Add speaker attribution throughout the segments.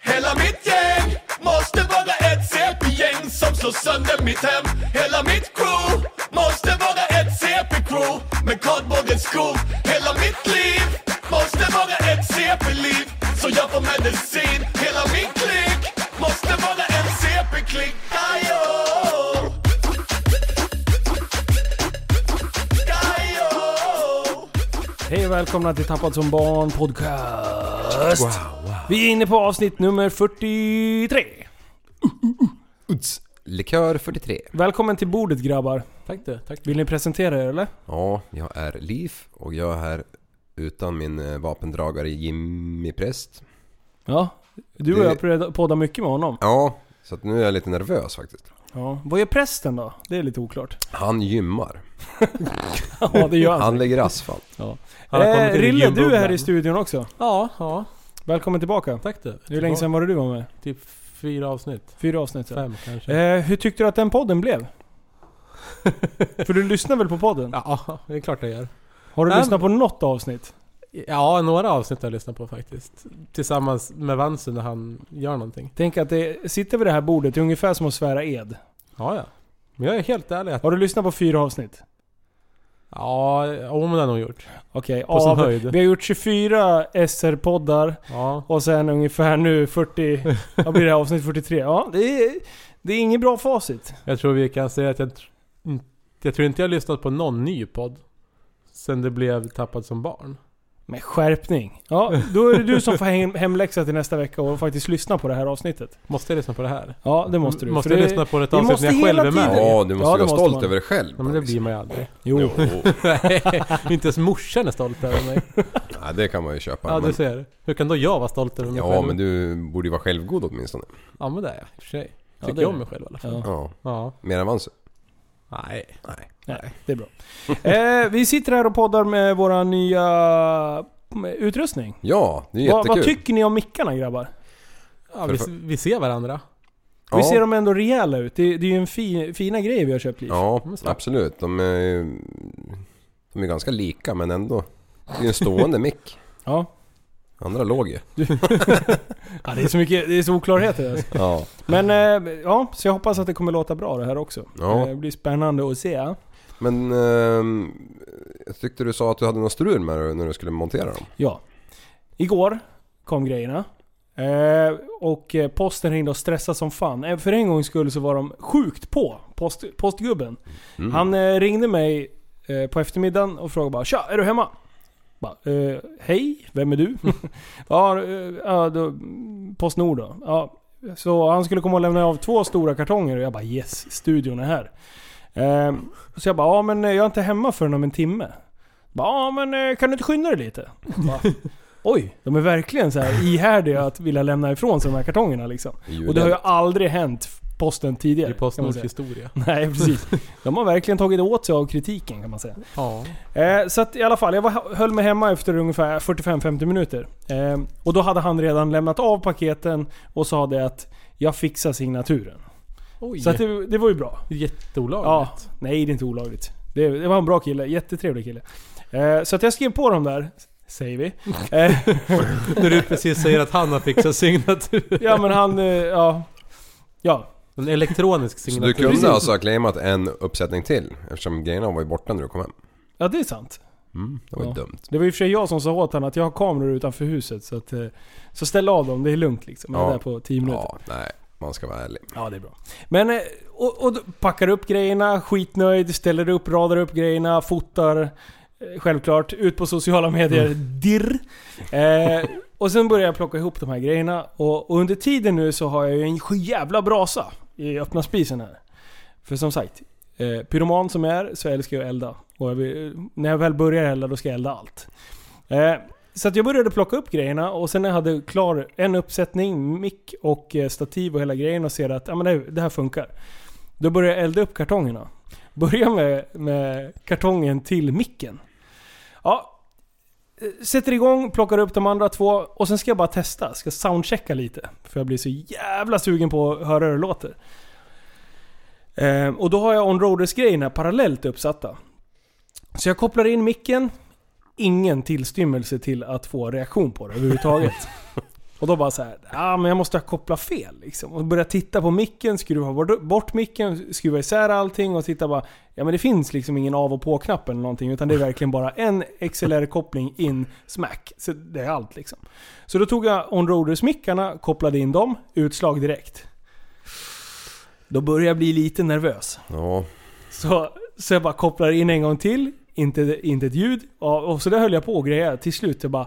Speaker 1: Hela mitt gäng måste vara ett CP-gäng som slår sönder mitt hem Hela mitt crew måste vara ett CP-crew med kardborrens skor Hela mitt liv måste vara ett CP-liv så jag får medicin Hela min klick måste vara en CP-klick Ajo! Ajo!
Speaker 2: Hej och välkomna till Tappad som barn podcast. Vi är inne på avsnitt nummer 43.
Speaker 3: Uts. Likör 43.
Speaker 2: Välkommen till bordet grabbar.
Speaker 4: Tack du, tack.
Speaker 2: Vill ni presentera er eller?
Speaker 3: Ja, jag är Liv och jag är här utan min eh, vapendragare Jimmy Präst.
Speaker 2: Ja. Du och
Speaker 3: Det-
Speaker 2: jag pred- poddar mycket med honom.
Speaker 3: Ja, så att nu är jag lite nervös faktiskt.
Speaker 2: Ja. Vad är prästen då? Det är lite oklart.
Speaker 3: Han gymmar.
Speaker 2: Ja, det gör han.
Speaker 3: Han lägger asfalt.
Speaker 4: Han har kommit
Speaker 2: Eh,
Speaker 4: in i
Speaker 2: Rille, du är här
Speaker 4: ljudbubblan.
Speaker 2: i studion också.
Speaker 4: Ja, ja.
Speaker 2: Välkommen tillbaka.
Speaker 4: Tack du.
Speaker 2: Hur länge sedan var det du var med?
Speaker 4: Typ fyra avsnitt.
Speaker 2: Fyra avsnitt sedan.
Speaker 4: Fem kanske.
Speaker 2: Eh, hur tyckte du att den podden blev? För du lyssnar väl på podden?
Speaker 4: Ja, det är klart jag gör.
Speaker 2: Har du
Speaker 4: Nej,
Speaker 2: lyssnat på något avsnitt?
Speaker 4: Ja, några avsnitt har jag lyssnat på faktiskt. Tillsammans med Vansu när han gör någonting.
Speaker 2: Tänk att det, sitter vid det här bordet, det är ungefär som att svära ed.
Speaker 4: Ja, ja. Men jag är helt ärlig att...
Speaker 2: Har du lyssnat på fyra avsnitt?
Speaker 4: Ja, om det har jag nog gjort.
Speaker 2: Okej,
Speaker 4: På sin
Speaker 2: av-
Speaker 4: höjd.
Speaker 2: Vi har gjort 24 SR-poddar
Speaker 4: Ja.
Speaker 2: och sen ungefär nu 40... Vad blir det här? Avsnitt 43? Ja, det är, det är inget bra facit.
Speaker 4: Jag tror vi kan säga att jag... tr- in- Jag tror inte jag har lyssnat på någon ny podd. Sen det blev Tappad som barn.
Speaker 2: Men skärpning. Ja, då är det du som får hem, hemläxa till nästa vecka och faktiskt lyssna på det här avsnitt.
Speaker 4: Måste jag lyssna på det här?
Speaker 2: Ja, det måste du.
Speaker 4: Måste
Speaker 2: för
Speaker 4: jag
Speaker 2: det,
Speaker 4: lyssna på ett
Speaker 2: vi
Speaker 4: avsnitt
Speaker 2: måste
Speaker 4: när jag själv
Speaker 2: hela
Speaker 4: är med?
Speaker 2: tiden-
Speaker 4: Ja.
Speaker 3: Ja, du måste
Speaker 2: Ja, det
Speaker 3: vara
Speaker 2: måste
Speaker 3: stolt
Speaker 2: man.
Speaker 3: över dig själv.
Speaker 4: men det
Speaker 3: Magnus.
Speaker 4: blir man ju aldrig.
Speaker 2: Jo.
Speaker 4: inte ens morsan är stolt över mig.
Speaker 3: Nej, det kan man ju köpa.
Speaker 4: Ja, du
Speaker 3: men...
Speaker 4: ser. Hur kan då jag vara stolt över mig
Speaker 3: Ja,
Speaker 4: själv?
Speaker 3: men du borde ju vara självgod åtminstone.
Speaker 4: Ja, men det är jag i och för sig.
Speaker 2: Ja,
Speaker 4: Tycker
Speaker 2: det är
Speaker 4: jag om
Speaker 2: det.
Speaker 4: mig själv i alla fall.
Speaker 2: Ja.
Speaker 3: Ja.
Speaker 4: Ja.
Speaker 3: Mer än Vansu.
Speaker 4: Nej.
Speaker 3: Nej.
Speaker 2: Nej, det är bra. Eh, vi sitter här och poddar med våra nya mm, utrustning.
Speaker 3: Ja, det är
Speaker 2: Vad,
Speaker 3: jättekul.
Speaker 2: vad tycker ni om mickarna grabbar?
Speaker 4: Ja,
Speaker 3: För-
Speaker 4: vi, vi ser varandra.
Speaker 3: ja.
Speaker 2: Vi ser dem ändå rejäla ut. Det, det är ju en fi, fina grej vi har köpt Liv.
Speaker 3: Ja,
Speaker 4: De är starka.
Speaker 3: absolut. De är ju... De är ganska lika, men ändå. Det är ju en stående mick.
Speaker 2: Ja.
Speaker 3: Andra låg ju.
Speaker 2: Ja, det är så mycket, det är så oklarheter alltså.
Speaker 3: Ja.
Speaker 2: Men eh, ja, så jag hoppas att det kommer låta bra det här också.
Speaker 3: Ja.
Speaker 2: Eh, Det blir spännande att se.
Speaker 3: Men ehm, jag tyckte du sa att du hade någon strul med det när du skulle montera dem.
Speaker 2: Ja. Igår kom grejerna. Eh, och eh, posten ringde och stressade som fan. Eh, För en gångs skull så var de sjukt på, post, postgubben.
Speaker 3: Mm.
Speaker 2: Han eh, ringde mig eh, på eftermiddagen och frågade bara Tja, är du hemma? Bara, eh, hej, vem är du? ja, eh, ja då, Postnord då. Ja, så han skulle komma och lämna av två stora kartonger och jag bara yes, studion är här. Eh, så jag bara ja men eh, jag är inte hemma förrän om en timme. Bara, ja men eh, kan du inte skynda dig lite? Jag Bara, Oj, de är verkligen så här ihärdiga att vilja lämna ifrån sig de här kartongerna liksom.
Speaker 3: Julen.
Speaker 2: Och det har ju aldrig hänt posten tidigare.
Speaker 4: I
Speaker 2: kan man
Speaker 4: Postnords
Speaker 2: säga.
Speaker 4: historia.
Speaker 2: Nej, precis. De har verkligen tagit åt sig av kritiken kan man säga.
Speaker 4: Ja.
Speaker 2: Eh, så att i alla fall, jag var, höll mig hemma efter ungefär 45-50 minuter. Eh, och då hade han redan lämnat av paketen och sa det att jag fixar signaturen.
Speaker 4: Oj.
Speaker 2: Så att det, det var ju bra. Ja,
Speaker 4: Jätteolagligt.
Speaker 2: nej, det är inte olagligt. Det, det var en bra kille, jättetrevlig kille. Eh, så att jag skrev på dem där, säger vi. Eh,
Speaker 4: När du precis säger att han har fixat signatur.
Speaker 2: ja men han, eh, ja. Ja,
Speaker 4: En elektronisk
Speaker 3: Så du
Speaker 4: signatur.
Speaker 3: kunde
Speaker 2: Precis.
Speaker 3: alltså ha claimat en uppsättning till eftersom grejerna var ju borta när du kom hem.
Speaker 2: ja det är sant.
Speaker 3: Mm, det var ju
Speaker 2: Ja.
Speaker 3: dumt.
Speaker 2: Det var i och för sig jag som sa åt honom att jag har kameror utanför huset så att... eh, Så ställ av dem, det är lugnt liksom. Jag är
Speaker 3: Ja.
Speaker 2: där på 10 minuter. Ja.
Speaker 3: Ja, nej. Man ska vara ärlig.
Speaker 2: det är bra. Men... eh, Och, och då packar upp grejerna, skitnöjd, ställer upp, radar upp grejerna, fotar. eh, Självklart. Ut på sociala medier, dirr. Eh, och sen börjar jag plocka ihop de här grejerna. Och, och under tiden nu så har jag ju en jävla brasa i öppna spisen här. För som sagt, eh, pyroman som jag är så älskar jag att elda. Och jag vill, när jag väl börjar elda då ska jag elda allt. Eh, så att jag började plocka upp grejerna och sen när jag hade klar en uppsättning, mick och eh, stativ och hela grejen och ser att ja, men det, det här funkar. Då började jag elda upp kartongerna. Börja med, med kartongen till micken. Ja, eh, sätter igång, plockar upp de andra två och sen ska jag bara testa. Ska soundchecka lite. För jag blir så jävla sugen på att höra hur det låter. Ehm, och då har jag onroaders grejerna parallellt uppsatta. Så jag kopplar in micken. Ingen tillstymmelse till att få reaktion på det överhuvudtaget. Och då bara så här, ah, men jag måste ha kopplat fel liksom. Och börja titta på micken, skruva bort- bort micken, skruva isär allting och titta bara, ja men det finns liksom ingen av och på-knapp eller någonting. Utan det är verkligen bara en XLR-koppling in, smack. Så det är allt liksom. Så då tog jag onroaders-mickarna, kopplade in dem, utslag direkt. Då började jag bli lite nervös.
Speaker 3: Ja,
Speaker 2: Så, så jag bara kopplar in en gång till, inte, inte ett ljud. Och, och så där höll jag på och grejade. Till slut jag bara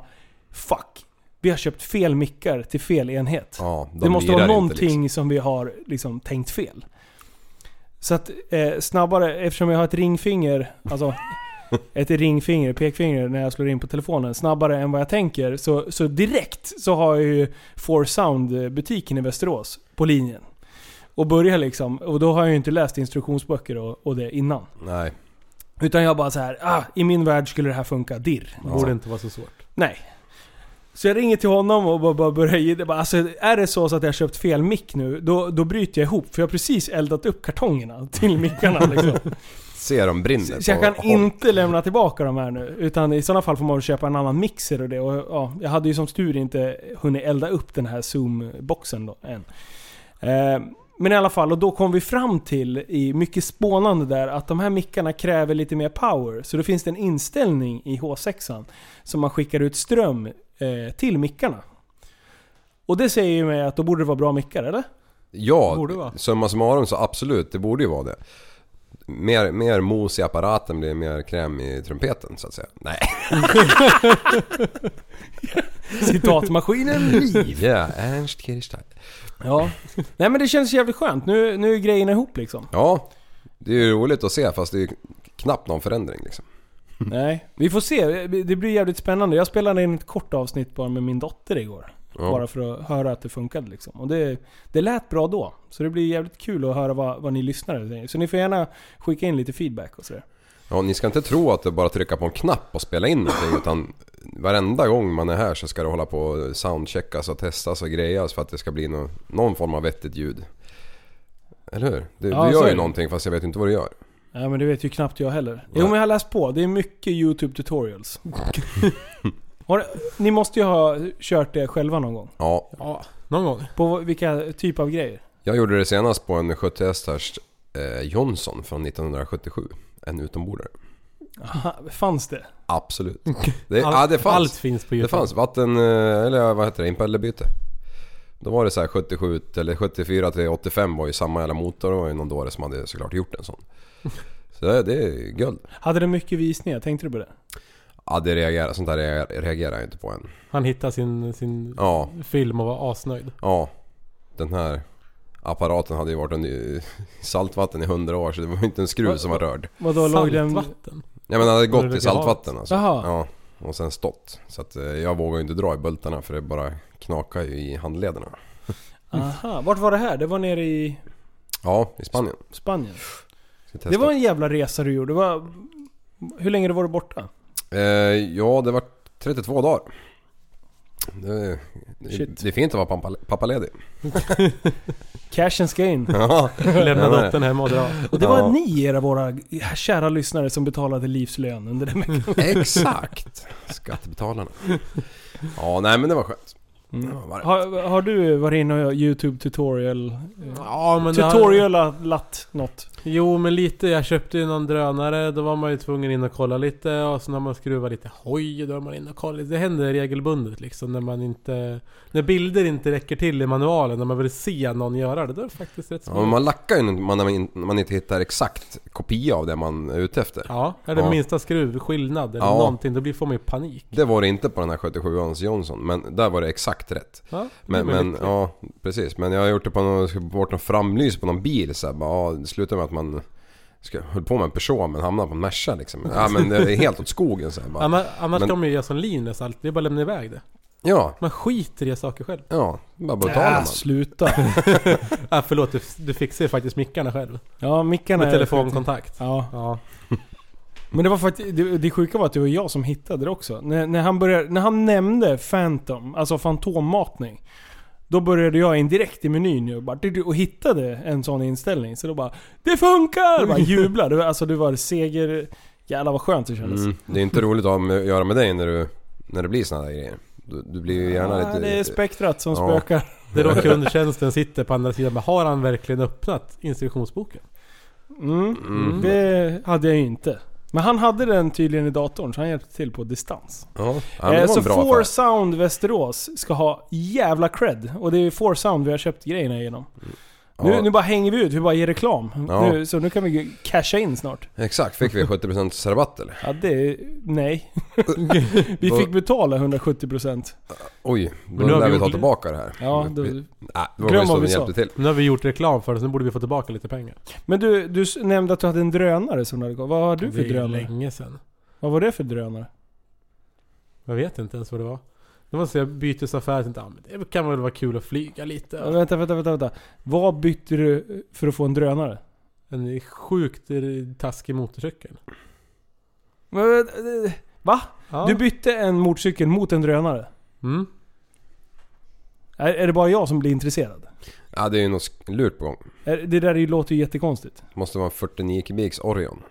Speaker 2: Fuck! Vi har köpt fel mickar till fel enhet.
Speaker 3: ja de
Speaker 2: det måste
Speaker 3: lirar
Speaker 2: vara
Speaker 3: inte,
Speaker 2: någonting
Speaker 3: liksom.
Speaker 2: som vi har liksom, tänkt fel. Så att eh, snabbare, eftersom jag har ett ringfinger, alltså ett ringfinger, pekfinger, när jag slår in på telefonen. Snabbare än vad jag tänker. Så, så direkt så har jag ju Four Sound eh, butiken i Västerås på linjen. Och börjar liksom, och då har jag ju inte läst instruktionsböcker och, och det innan.
Speaker 3: Nej,
Speaker 2: Utan jag bara så här, ah, i min värld skulle det här funka dirr.
Speaker 4: Det borde inte vara så svårt.
Speaker 2: Nej. Så jag ringer till honom och bara, bara börjar ge det. Bara, Alltså, är det så så att jag har köpt fel mick nu, då, då bryter jag ihop. För jag har precis eldat upp kartongerna till mickarna liksom.
Speaker 3: se de brinner
Speaker 2: Så, så jag
Speaker 3: på
Speaker 2: kan
Speaker 3: Mm, håll.
Speaker 2: inte lämna tillbaka de här nu. Utan i sådana fall får man väl köpa en annan mixer och det. Och, ja, jag hade ju som tur inte hunnit elda upp den här Zoom-boxen då än. Eh, men i alla fall, och då kom vi fram till i mycket spånande där att de här mickarna kräver lite mer power. Så då finns det en inställning i H6an som man skickar ut ström eh, till mickarna. Och det säger ju mig att då borde det vara bra mickar, eller?
Speaker 3: Ja,
Speaker 4: Borde vara.
Speaker 3: summa summarum så absolut, det borde ju vara det. Mer, mer mos i apparaten blir mer kräm i trumpeten så att säga. Nej,
Speaker 2: Citatmaskinen liv!
Speaker 3: ja, Ernst Kirchstein.
Speaker 2: Ja. Nej men det känns jävligt skönt. Nu, nu är grejerna ihop liksom.
Speaker 3: Ja, det är ju roligt att se fast det är ju knappt någon förändring liksom.
Speaker 2: Nej, vi får se. Det blir jävligt spännande. Jag spelade in ett kort avsnitt bara med min dotter igår.
Speaker 3: Ja.
Speaker 2: Bara för att höra att det funkade liksom. Och det, det lät bra då. Så det blir jävligt kul att höra vad, vad ni lyssnare säger. Så ni får gärna skicka in lite feedback och sådär.
Speaker 3: Ja, ni ska inte tro att det är bara att trycka på en knapp och spela in någonting utan varenda gång man är här så ska det hålla på och soundcheckas och testas och grejas för att det ska bli nå- någon form av vettigt ljud. Eller hur? Du,
Speaker 2: Ja,
Speaker 3: du
Speaker 2: så
Speaker 3: gör
Speaker 2: är
Speaker 3: ju
Speaker 2: det.
Speaker 3: någonting fast jag vet inte vad du gör.
Speaker 2: Ja men det vet ju knappt jag heller. Jo
Speaker 3: Nej.
Speaker 2: men jag har läst på. Det är mycket YouTube tutorials. Har, det- ni måste ju ha kört det själva någon gång.
Speaker 3: Ja,
Speaker 4: Någon gång.
Speaker 2: På vilka typ av grejer?
Speaker 3: Jag gjorde det senast på en 70 hästars eh, Johnson från 1977. En utombordare.
Speaker 2: Aha, fanns det?
Speaker 3: Absolut. Det,
Speaker 4: Allt-
Speaker 3: ja, det fanns.
Speaker 4: Allt finns på
Speaker 3: det
Speaker 4: Youtube.
Speaker 3: fanns vatten... eh, Eller vad heter det? Impellerbyte. Då var det så här 77 eller 74 till 85 var ju samma jävla motor. Det var ju någon dåre som hade såklart gjort en sån. Så det, det är ju guld.
Speaker 2: Hade det mycket visningar? Tänkte du på det?
Speaker 3: Ja, det reagerar, sånt där reagerar- reagerar jag inte på än.
Speaker 4: Han hittade sin, sin
Speaker 3: Ja,
Speaker 4: film och var asnöjd.
Speaker 3: ja. Den här apparaten hade ju varit under i saltvatten i 100 år så det var ju inte en skruv som var rörd.
Speaker 2: Vadå, låg den...
Speaker 4: Saltvatten.
Speaker 3: Ja men det hade
Speaker 4: Men
Speaker 3: gått
Speaker 4: det
Speaker 3: i
Speaker 4: kan vara-
Speaker 3: saltvatten alltså.
Speaker 2: Jaha.
Speaker 3: Ja, och sen stått. Så att eh, jag vågar ju inte dra i bultarna för det bara knakar ju i handlederna.
Speaker 2: Aha, vart var det här? Det var nere i
Speaker 3: Ja, i Spanien.
Speaker 2: Spanien.
Speaker 3: Ska testa.
Speaker 2: Det var en jävla resa du gjorde. Det var... Hur länge var du borta?
Speaker 3: eh, ja, det var 32 dagar. Det, det,
Speaker 2: Shit.
Speaker 3: det är fint att vara pappa, pappaledig.
Speaker 2: Cashen ska in.
Speaker 3: Ja,
Speaker 4: Lämna
Speaker 3: Ja, men-
Speaker 4: dottern hemma och dra.
Speaker 2: Och det var
Speaker 3: Ja.
Speaker 2: ni, era våra kära lyssnare, som betalade livslön under den
Speaker 3: Mm.
Speaker 2: veckan.
Speaker 3: Exakt! Skattebetalarna. Ja, nej men det var skönt. Det var varmt.
Speaker 2: Har, har du varit inne och gjort YouTube tutorial?
Speaker 4: Ja, men det har-
Speaker 2: Tutorialat något?
Speaker 4: Jo, men lite. Jag köpte ju någon drönare. Då var man ju tvungen in och kolla lite. Och sen har man skruvat lite hoj. Då är man in och kollar. Det händer regelbundet liksom. När man inte... När bilder inte räcker till i manualen. När man vill se någon göra det. Då är det faktiskt rätt
Speaker 3: Ja,
Speaker 4: svårt. Ja,
Speaker 3: men man lackar ju när man, när man inte hittar exakt kopia av det man är ute efter.
Speaker 4: är det
Speaker 3: Ja.
Speaker 4: minsta skruvskillnad eller
Speaker 3: Ja.
Speaker 4: någonting. Då blir, får man ju panik.
Speaker 3: Det var det inte på den här 77ans Johnson, men där var det exakt rätt.
Speaker 4: Ja, det
Speaker 3: Men,
Speaker 4: blir man
Speaker 3: men
Speaker 4: lycklig.
Speaker 3: ja, precis. Men jag har gjort det på någon, ska bort någon framlys på någon bil så här, bara, ja, Det slutade med att man ska, höll på med en Peugeot men hamnade på en Merca liksom. Ja men det är helt åt skogen så här, bara.
Speaker 4: Annars, annars
Speaker 3: Men-
Speaker 4: kan man ju göra som Linus alltid. Det är bara att lämna iväg det.
Speaker 3: Ja,
Speaker 4: Man skiter i saker själv.
Speaker 3: ja. Bara betalar man.
Speaker 2: Äh, sluta.
Speaker 4: Ah, förlåt, du, du fixar ju faktiskt mickarna själv.
Speaker 2: Ja, mickarna...
Speaker 4: Med
Speaker 2: är-
Speaker 4: telefonkontakt.
Speaker 2: Ja.
Speaker 4: Ja.
Speaker 2: Men det var faktiskt, det, det sjuka var att det var jag som hittade det också. När, när, han, började, när han nämnde Phantom, alltså fantommatning. Då började jag in direkt i menyn ju och, bara, du- och hittade en sån inställning. Så då bara Det funkar! Jag bara jublade. Det var- Alltså det var seger... Jävlar vad skönt det kändes.
Speaker 3: Mm. Det är inte roligt att ha med, att göra med dig när, du, när det blir såna där grejer. Du, du blir ju gärna
Speaker 2: Ja,
Speaker 3: lite...
Speaker 2: det är spektrat som
Speaker 3: Ja.
Speaker 2: spökar.
Speaker 4: Det råkar undertjänsten sitter på andra sidan. Men har han verkligen öppnat instruktionsboken?
Speaker 2: Mm.
Speaker 3: Mm.
Speaker 2: Det hade jag ju inte. Men han hade den tydligen i datorn så han hjälpte till på distans.
Speaker 3: Ja, ja, men det
Speaker 2: eh,
Speaker 3: var
Speaker 2: så
Speaker 3: en bra
Speaker 2: Four
Speaker 3: affär.
Speaker 2: Sound Västerås ska ha jävla cred. Och det är ju Four Sound vi har köpt grejerna genom. Nu,
Speaker 3: Ja.
Speaker 2: nu bara hänger vi ut, vi bara ger reklam.
Speaker 3: Ja.
Speaker 2: Nu, så nu kan vi ju casha in snart.
Speaker 3: Exakt, fick vi 70% rabatt eller?
Speaker 2: Ja, det... är- Nej. vi fick betala 170%.
Speaker 3: Oj,
Speaker 4: nu
Speaker 3: då
Speaker 4: har
Speaker 3: lär
Speaker 4: vi
Speaker 3: vi
Speaker 4: gjort
Speaker 3: ta
Speaker 4: li-
Speaker 3: tillbaka det här.
Speaker 2: Ja,
Speaker 3: Vi-
Speaker 2: då,
Speaker 3: Nej, det var
Speaker 2: Glöm
Speaker 3: schysst
Speaker 2: vad
Speaker 3: att
Speaker 2: vi
Speaker 3: ni
Speaker 2: sa.
Speaker 3: hjälpte till.
Speaker 4: Nu har vi gjort reklam för det, så nu borde vi få tillbaka lite pengar.
Speaker 2: Men du, du s- nämnde att du hade en drönare som du hade gått. Vad har du för
Speaker 4: det är
Speaker 2: drönare?
Speaker 4: länge sedan.
Speaker 2: Vad var det för drönare?
Speaker 4: Jag vet inte ens vad det var. Det var en sån här bytesaffär. Jag tänkte, ah, men det kan väl vara kul att flyga
Speaker 2: Ja.
Speaker 4: lite.
Speaker 2: Vänta, vänta, vänta, vänta. Vad bytte du för att få en drönare?
Speaker 4: En sjukt taskig motorcykel.
Speaker 2: Men, eh, Va?
Speaker 4: Ja.
Speaker 2: Du bytte en motorcykel mot en drönare?
Speaker 4: mm.
Speaker 2: Är, är det bara jag som blir intresserad?
Speaker 3: Ja, det är ju något sk- lurt på gång.
Speaker 2: Är, Eh, det där ju- låter ju jättekonstigt.
Speaker 3: Måste vara en 49 kubiks Orion.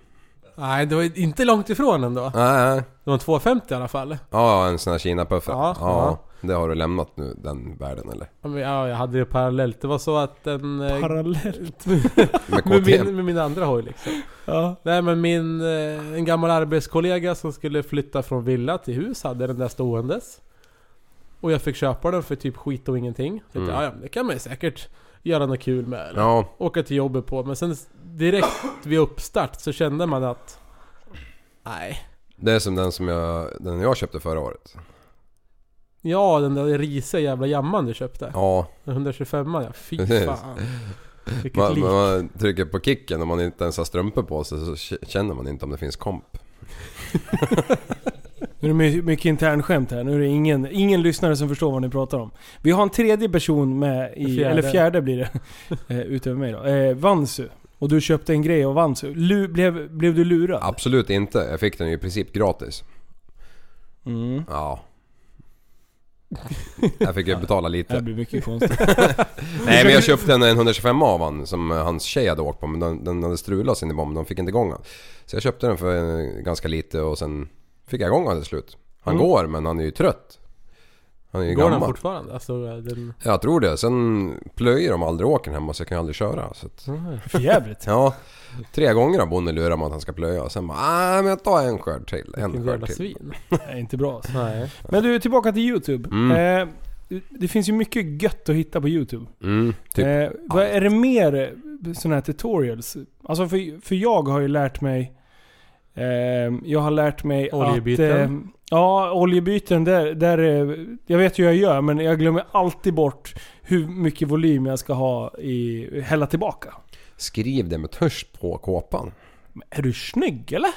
Speaker 4: Nej, det var inte långt ifrån ändå.
Speaker 3: Nej, nej.
Speaker 4: Det var en 250 i alla fall.
Speaker 3: Ja, en sån här Kina-puffra.
Speaker 4: Ja,
Speaker 3: Ja,
Speaker 4: ja.
Speaker 3: det har du lämnat nu, den världen eller?
Speaker 4: Ja, men, ja, jag hade det parallellt. Det var så att en... eh,
Speaker 2: Parallellt.
Speaker 3: Med
Speaker 4: med,
Speaker 3: KTM.
Speaker 4: min, med min andra hoj liksom.
Speaker 2: Ja.
Speaker 4: Nej men min, eh, en gammal arbetskollega som skulle flytta från villa till hus hade den där ståendes. Och jag fick köpa den för typ skit och ingenting. Tänkte,
Speaker 3: Mm.
Speaker 4: ja, ja, men det kan man ju säkert göra något kul med eller
Speaker 3: Ja,
Speaker 4: åka till jobbet på. Men sen s- direkt vid uppstart så kände man att... Nej.
Speaker 3: det är som den som jag, den jag köpte förra året.
Speaker 4: Ja, den där risiga jävla jamman du köpte.
Speaker 3: Ja,
Speaker 4: Den 125 ja. Fy
Speaker 3: Precis.
Speaker 4: fan. Vilket
Speaker 3: man,
Speaker 4: lik.
Speaker 3: man trycker på kicken och man inte ens har strumpor på sig så k- känner man inte om det finns komp.
Speaker 2: Nu är det my- mycket internskämt här. Nu är det ingen, ingen lyssnare som förstår vad ni pratar om. Vi har en tredje person med i...
Speaker 4: Fjärde.
Speaker 2: Eller fjärde blir det. eh, utöver mig då. Eh, Vansu. Och du köpte en grej av Vansu. Lu, blev, blev du lurad?
Speaker 3: Absolut inte, jag fick den ju i princip gratis.
Speaker 2: Mm.
Speaker 3: Ja. Jag fick ju betala
Speaker 2: Det här
Speaker 3: lite.
Speaker 2: blir mycket konstigt.
Speaker 3: Nej men jag köpte en 125 av han som eh, hans tjej hade åkt på men den, den hade strulat sin i bomben, de fick inte igång den. Så jag köpte den för eh, ganska lite och sen fick jag igång den till slut. Han
Speaker 2: Mm.
Speaker 3: går men han är ju trött. Han är ju
Speaker 4: Går den
Speaker 3: gammal.
Speaker 4: fortfarande? Alltså den...
Speaker 3: Jag tror det. Sen plöjer de aldrig åkern hemma så jag kan aldrig köra. Så att,
Speaker 2: För jävligt.
Speaker 3: ja, tre gånger har Bonnie lurat mig att han ska plöja och sen bara "Ah, men jag tar en skörd till. En
Speaker 4: Vilken
Speaker 3: skörd
Speaker 4: jävla
Speaker 3: till.
Speaker 4: svin.
Speaker 2: Nej, inte bra alltså.
Speaker 4: Nej.
Speaker 2: Men du, tillbaka till YouTube.
Speaker 3: Mm.
Speaker 2: Eh, det finns ju mycket gött att hitta på YouTube.
Speaker 3: Mm, typ.
Speaker 2: Eh, vad är det mer sådana här tutorials? Alltså för, för jag har ju lärt mig... ehm, jag har lärt mig
Speaker 4: Oljebyten.
Speaker 2: att... Eh, ja, oljebyten. Där, där, eh, jag vet hur jag gör men jag glömmer alltid bort hur mycket volym jag ska ha i... Hälla tillbaka.
Speaker 3: Skriv det med törs på kåpan.
Speaker 2: Men är du snygg eller?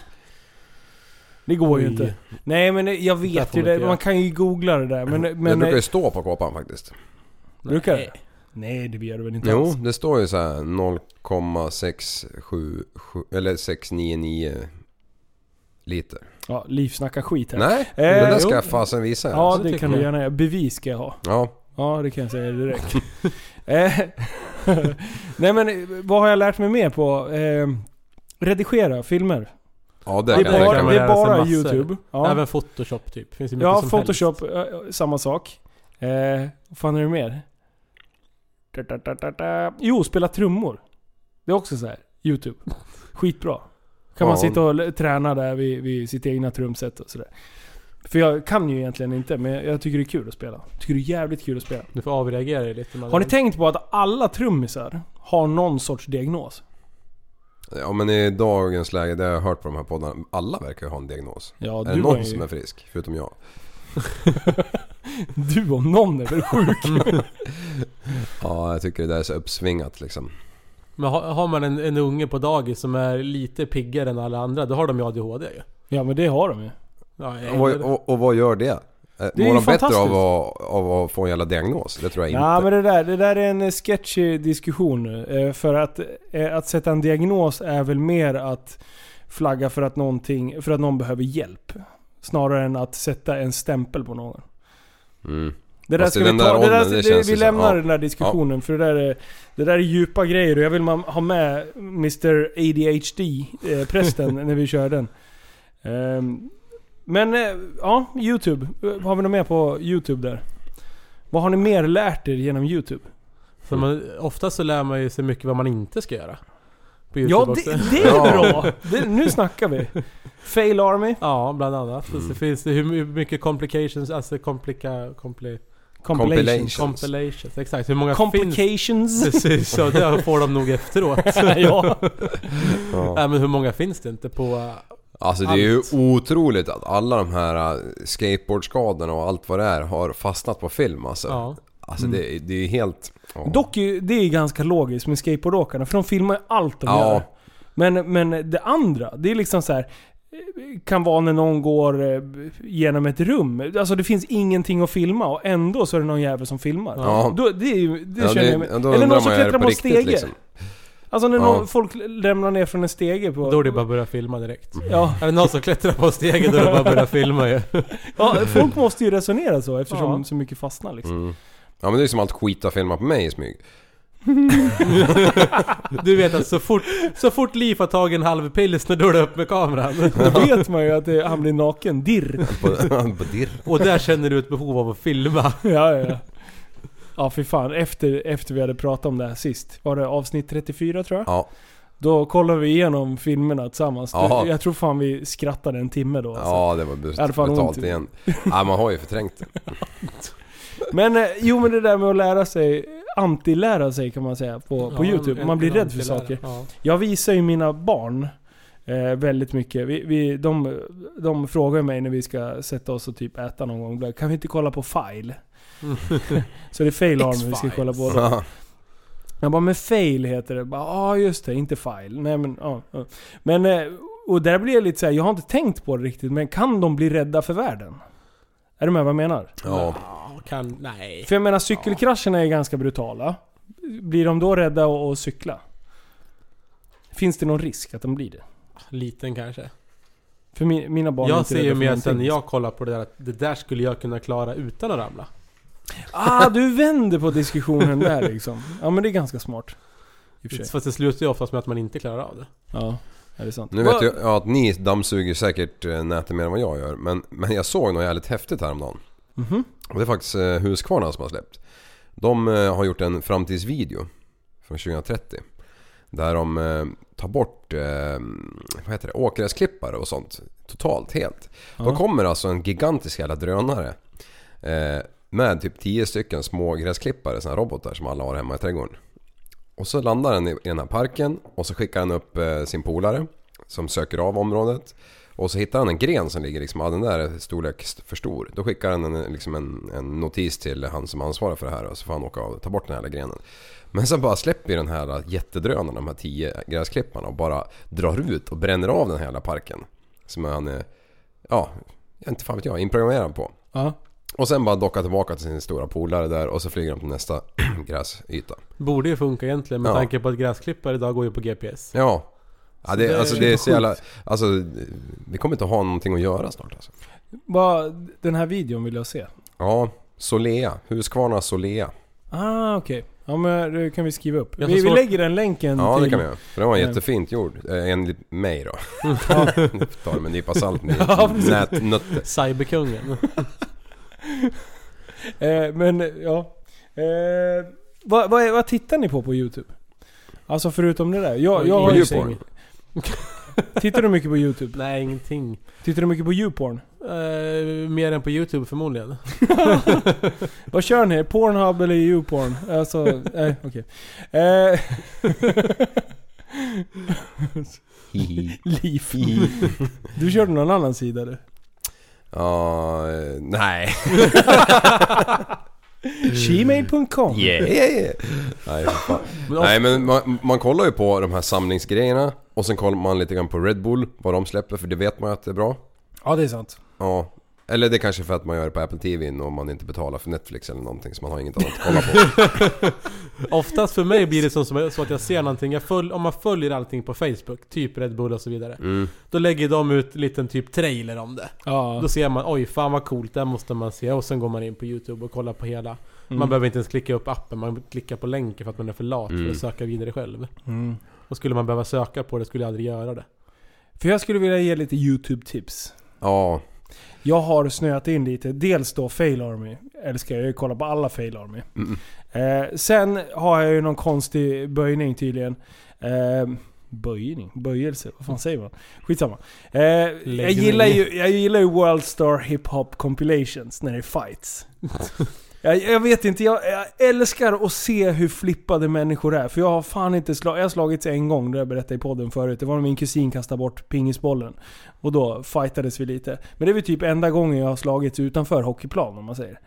Speaker 2: Det går ju
Speaker 4: Oj.
Speaker 2: inte. Nej men eh, jag
Speaker 4: där
Speaker 2: vet
Speaker 4: får
Speaker 2: ju
Speaker 4: man
Speaker 2: det.
Speaker 4: inte göra.
Speaker 2: Man kan ju googla det där. Men,
Speaker 3: det
Speaker 2: men, eh,
Speaker 3: brukar
Speaker 4: eh,
Speaker 3: ju stå på kåpan faktiskt.
Speaker 2: Brukar
Speaker 4: Nej.
Speaker 2: det? Nej, det gör du väl inte
Speaker 3: Jo,
Speaker 2: alls?
Speaker 3: det står ju så här 0,677 eller 699 liter.
Speaker 2: Ja, Liv snackar skit här.
Speaker 3: Nej, det där
Speaker 2: Eh, jo.
Speaker 3: ska jag fasen visa er.
Speaker 2: Ja,
Speaker 3: alltså.
Speaker 2: det
Speaker 4: tycker
Speaker 2: kan du
Speaker 4: jag.
Speaker 2: gärna göra. Bevis ska jag ha.
Speaker 3: ja.
Speaker 2: Ja, det kan jag säga direkt. Eh, Nej men, eh, vad har jag lärt mig mer på? Eh, redigera filmer.
Speaker 3: ja,
Speaker 2: Det
Speaker 3: det,
Speaker 2: är
Speaker 3: kan jag
Speaker 2: bara,
Speaker 3: tänka mig.
Speaker 2: det är
Speaker 4: lära sig
Speaker 2: bara
Speaker 4: massor.
Speaker 2: YouTube. Ja,
Speaker 4: Även Photoshop typ. Finns ju mycket
Speaker 2: ja
Speaker 4: som
Speaker 2: Photoshop, eh, samma sak. Eh, vad fan är det mer? Da, da, da, da, da. Jo, spela trummor. Det är också så här. YouTube. Skitbra. Kan man
Speaker 3: Ja.
Speaker 2: sitta och l- träna där vid, vid sitt egna trumset och sådär. För jag kan ju egentligen inte, men jag- jag tycker det är kul att spela. Jag tycker det är jävligt kul att spela.
Speaker 4: Du får avreagera dig lite. Man
Speaker 2: Har ni tänkt på att alla trummisar har någon sorts diagnos?
Speaker 3: Ja men i dagens läge, det har jag hört på de här poddarna, alla verkar ju ha en diagnos.
Speaker 2: Ja,
Speaker 3: är det
Speaker 2: du, var
Speaker 3: någon som
Speaker 2: ju,
Speaker 3: är frisk? Förutom jag.
Speaker 2: du om någon är väl sjuk?
Speaker 3: Ja, jag tycker det där är så uppsvingat liksom.
Speaker 4: Men har, har man en, en unge på dagis som är lite piggare än alla andra, då har de ju ADHD ju.
Speaker 2: ja men det har de ju.
Speaker 4: Ja, jag-
Speaker 3: Och, vad- och, och vad gör det? Eh,
Speaker 2: ju
Speaker 3: Mår de bättre
Speaker 2: fantastiskt.
Speaker 3: av att, av att få en jävla diagnos? Det tror jag inte.
Speaker 2: Ja men det där, det där är en eh, sketchy diskussion nu. Eh, För att, eh, att sätta en diagnos är väl mer att flagga för att, någonting, för att någon behöver hjälp. Snarare än att sätta en stämpel på någon.
Speaker 3: mm.
Speaker 2: Det där
Speaker 3: Fast i
Speaker 2: ska vi
Speaker 3: den
Speaker 2: ta,
Speaker 3: där
Speaker 2: det där,
Speaker 3: åldern, det
Speaker 2: det
Speaker 3: känns
Speaker 2: vi
Speaker 3: ju så-
Speaker 2: lämnar
Speaker 3: ja.
Speaker 2: den där diskussionen för det där, är, det där är djupa grejer och jag vill man ha med Mr ADHD, eh, prästen, när vi kör den. Ehm, Men eh, ja, YouTube. Eh, Har vi något mer på YouTube där? Vad har ni mer lärt er genom YouTube?
Speaker 4: För man, ofta så lär man ju sig mycket vad man inte ska göra. På YouTube
Speaker 2: Ja,
Speaker 4: också.
Speaker 2: det, det är bra! Det, nu snackar vi. Fail Army.
Speaker 4: Ja, bland annat.
Speaker 2: Mm.
Speaker 4: Så finns det hur mycket complications, alltså komplika... Kompli,
Speaker 2: Compilations.
Speaker 4: compilations. Exakt, hur många finns
Speaker 2: Complications.
Speaker 4: Precis, så det får de nog efteråt.
Speaker 2: ja.
Speaker 3: Ja.
Speaker 4: Nej men hur många finns det inte på... eh,
Speaker 3: Alltså det är ju
Speaker 4: Allt.
Speaker 3: otroligt att alla de här eh, skateboardskadorna och allt vad det är har fastnat på film alltså.
Speaker 4: Ja.
Speaker 3: Alltså det, är- det är ju helt... Ja.
Speaker 2: Mm. Dock, är ju- det är ju ganska logiskt med skateboardåkarna, för de filmar ju allt de
Speaker 3: Ja.
Speaker 2: gör. Men, men det andra, det är liksom så här. eh, Kan vara när någon går eh, genom ett rum. Alltså det finns ingenting att filma och ändå så är det någon jävel som filmar.
Speaker 3: Ja.
Speaker 2: Då, det är ju, det
Speaker 3: Ja,
Speaker 2: känner
Speaker 3: det-
Speaker 2: jag mig.
Speaker 3: ja, då
Speaker 2: Eller
Speaker 3: undrar
Speaker 2: någon som
Speaker 3: man ju, är det
Speaker 2: klättrar
Speaker 3: på
Speaker 2: på en
Speaker 3: riktigt,
Speaker 2: stege.
Speaker 3: liksom?
Speaker 2: Alltså när
Speaker 3: Ja.
Speaker 2: någon, folk lämnar ner från en stege på...
Speaker 4: Då är det bara att börja filma direkt.
Speaker 2: Ja,
Speaker 4: Är det någon som klättrar på stegen då är det bara att börja filma ju.
Speaker 2: ja, folk måste ju resonera så eftersom
Speaker 4: Ja.
Speaker 2: så mycket fastnar liksom.
Speaker 3: Mm. Ja men det är som allt skit har filmat på mig i smyg.
Speaker 4: Du vet att så fort, så fort Liv har tagit en halv pilsner då är det upp med kameran.
Speaker 3: Mm.
Speaker 2: Då vet man ju att det, han blir naken. Dirr.
Speaker 3: På, på dirr.
Speaker 4: Och där känner du ett behov av att filma.
Speaker 2: Ja, ja, ja. Ja, fy fan. Efter, efter vi hade pratat om det här sist. Var det avsnitt 34 tror jag?
Speaker 3: Ja,
Speaker 2: Då kollade vi igenom filmerna tillsammans.
Speaker 3: Ja.
Speaker 2: Jag tror fan vi skrattade en timme då. Alltså.
Speaker 3: ja det var
Speaker 2: Jag hade fan
Speaker 3: brutalt
Speaker 2: ont.
Speaker 3: igen. Ja man har ju förträngt det.
Speaker 2: Men eh, jo, men det där med att lära sig, antilära sig kan man säga på, på
Speaker 4: Ja,
Speaker 2: YouTube.
Speaker 4: en-
Speaker 2: Man blir
Speaker 4: en
Speaker 2: rädd för
Speaker 4: antilärare.
Speaker 2: saker.
Speaker 4: Ja.
Speaker 2: Jag visar ju mina barn eh, väldigt mycket. Vi, vi, de, de frågar mig när vi ska sätta oss och typ äta någon gång. ibland, Kan vi inte kolla på file?
Speaker 4: Mm.
Speaker 2: Så det är fail arm vi ska
Speaker 4: X-Files.
Speaker 2: kolla på. Då.
Speaker 3: Ja.
Speaker 2: Jag bara, men fail heter det. Ja, ah, just det. Inte file. Nej men, ja. ja. Men, eh, och där blir jag lite såhär, jag har inte tänkt på det riktigt, men kan de bli rädda för världen? Är du med vad jag menar?
Speaker 3: ja.
Speaker 4: Ja, Kan, nej.
Speaker 2: För jag menar, cykelkrascherna är ganska brutala. Blir de då rädda att att cykla? Finns det någon risk att de blir det?
Speaker 4: Liten kanske.
Speaker 2: För mi, mina barn är
Speaker 4: Jag
Speaker 2: inte
Speaker 4: ser
Speaker 2: rädda
Speaker 4: ju
Speaker 2: för
Speaker 4: mer
Speaker 2: någonting.
Speaker 4: sen när jag kollar på det där att det där skulle jag kunna klara utan att ramla.
Speaker 2: Ah, du vänder på diskussionen där liksom. Ja men det är ganska smart. I och för sig.
Speaker 4: Fast det slutar ju oftast med att man inte klarar av det.
Speaker 2: Ja, är det sant?
Speaker 3: Nu vet jag ja, att ni dammsuger säkert eh, nätet mer än vad jag gör. Men, men jag såg något jävligt häftigt häromdagen.
Speaker 2: Mhm.
Speaker 3: Och det är faktiskt eh, Husqvarna som har släppt. De eh, har gjort en framtidsvideo från 2030. Där de eh, tar bort eh, vad heter det, åkgräsklippare och sånt totalt helt. Då kommer alltså en gigantisk jävla drönare. Eh, med typ 10 stycken små gräsklippare, såna här robotar som alla har hemma i trädgården. Och så landar den i i den här parken och så skickar han upp eh, sin polare som söker av området. Och så hittar han en gren som ligger liksom, ah, den där är storlek st- för stor. Då skickar han en, liksom en, en notis till han som ansvarar för det här och så får han åka av och ta bort den här jävla grenen. Men sen bara släpper ju den här jättedrönaren de här tio gräsklipparna och bara drar ut och bränner av den här jävla parken. Som han är, ja, inte fan vet jag, inprogrammerad på.
Speaker 2: Ja.
Speaker 3: Och sen bara dockar tillbaka till sin stora polare där och så flyger de till nästa gräsyta.
Speaker 4: Borde ju funka egentligen med
Speaker 3: Ja.
Speaker 4: tanke på att gräsklippare idag går ju på GPS.
Speaker 3: Ja. ja det,
Speaker 4: det-
Speaker 3: alltså det är så jävla... Alltså, vi kommer inte ha någonting att göra snart alltså.
Speaker 2: Bara, den här videon vill jag se.
Speaker 3: Ja, Solea. Husqvarna Solea.
Speaker 2: Ah, okej. Ja men det kan vi skriva upp. Vi,
Speaker 4: Jag har
Speaker 2: vi
Speaker 4: svårt-
Speaker 2: lägger den länken
Speaker 3: Ja,
Speaker 2: till...
Speaker 3: det kan vi göra. För den var
Speaker 2: Nej.
Speaker 3: jättefint gjord. Eh, Enligt mig då.
Speaker 2: Ja.
Speaker 3: Ta det med en nypa salt med
Speaker 2: Ja, precis.
Speaker 3: nätnötter.
Speaker 4: Cyberkungen.
Speaker 2: Eh, men ja. Eh, vad, vad, är- vad tittar ni på på YouTube? Alltså förutom det där. Jag, jag har ju
Speaker 3: Youporn.
Speaker 2: Tittar du mycket på YouTube?
Speaker 4: Nej, ingenting.
Speaker 2: Tittar du mycket på YouPorn?
Speaker 4: Eh, mer än på YouTube förmodligen.
Speaker 2: Vad kör ni? Pornhub eller YouPorn? Alltså, nej okej. Eh,
Speaker 3: Hihi.
Speaker 2: Liv. Du körde någon annan sida du.
Speaker 3: Ja, eh, nej.
Speaker 2: Mm. Shemale.com
Speaker 3: Yeah. Nej, för fan. Nej men alltså- man, man kollar ju på de här samlingsgrejerna och sen kollar man lite grann på Red Bull, vad de släpper för det vet man ju att det är bra.
Speaker 2: Ja det är sant.
Speaker 3: Ja. Eller det kanske är för att man gör det på Apple TV och man inte betalar för Netflix eller någonting så man har inget annat att kolla på.
Speaker 4: Oftast för mig blir det som, som så att jag ser någonting, jag följ, om man följer allting på Facebook, typ Red Bull och så vidare.
Speaker 3: Mm.
Speaker 4: Då lägger de ut en liten typ trailer om det.
Speaker 2: Ja.
Speaker 4: Då ser man, oj fan vad coolt, det här måste man se. Och sen går man in på YouTube och kollar på hela.
Speaker 2: Mm.
Speaker 4: Man behöver inte ens klicka upp appen, man klickar på länken för att man är för lat för att söka vidare själv.
Speaker 2: Mm.
Speaker 4: Och skulle man behöva söka på det skulle jag aldrig göra det.
Speaker 2: För jag skulle vilja ge lite YouTube-tips.
Speaker 3: Ja,
Speaker 2: Jag har snöat in lite. Dels då Fail Army. Älskar jag. Jag kollar på alla Fail Army.
Speaker 3: Mm.
Speaker 2: Eh, sen har jag ju någon konstig böjning tydligen. Eh, böjning? Böjelse? Vad fan säger man? Skitsamma. Eh, jag, gillar ju, jag gillar ju Worldstar Hip Hop Compilations när det är fights. jag, jag vet inte, jag, jag älskar att se hur flippade människor är. För jag har fan inte slagit... Jag har slagits en gång, det har jag berättade i podden förut. Det var när min kusin kastade bort pingisbollen. Och då fightades vi lite. Men det är väl typ enda gången jag har slagits utanför hockeyplan om man säger.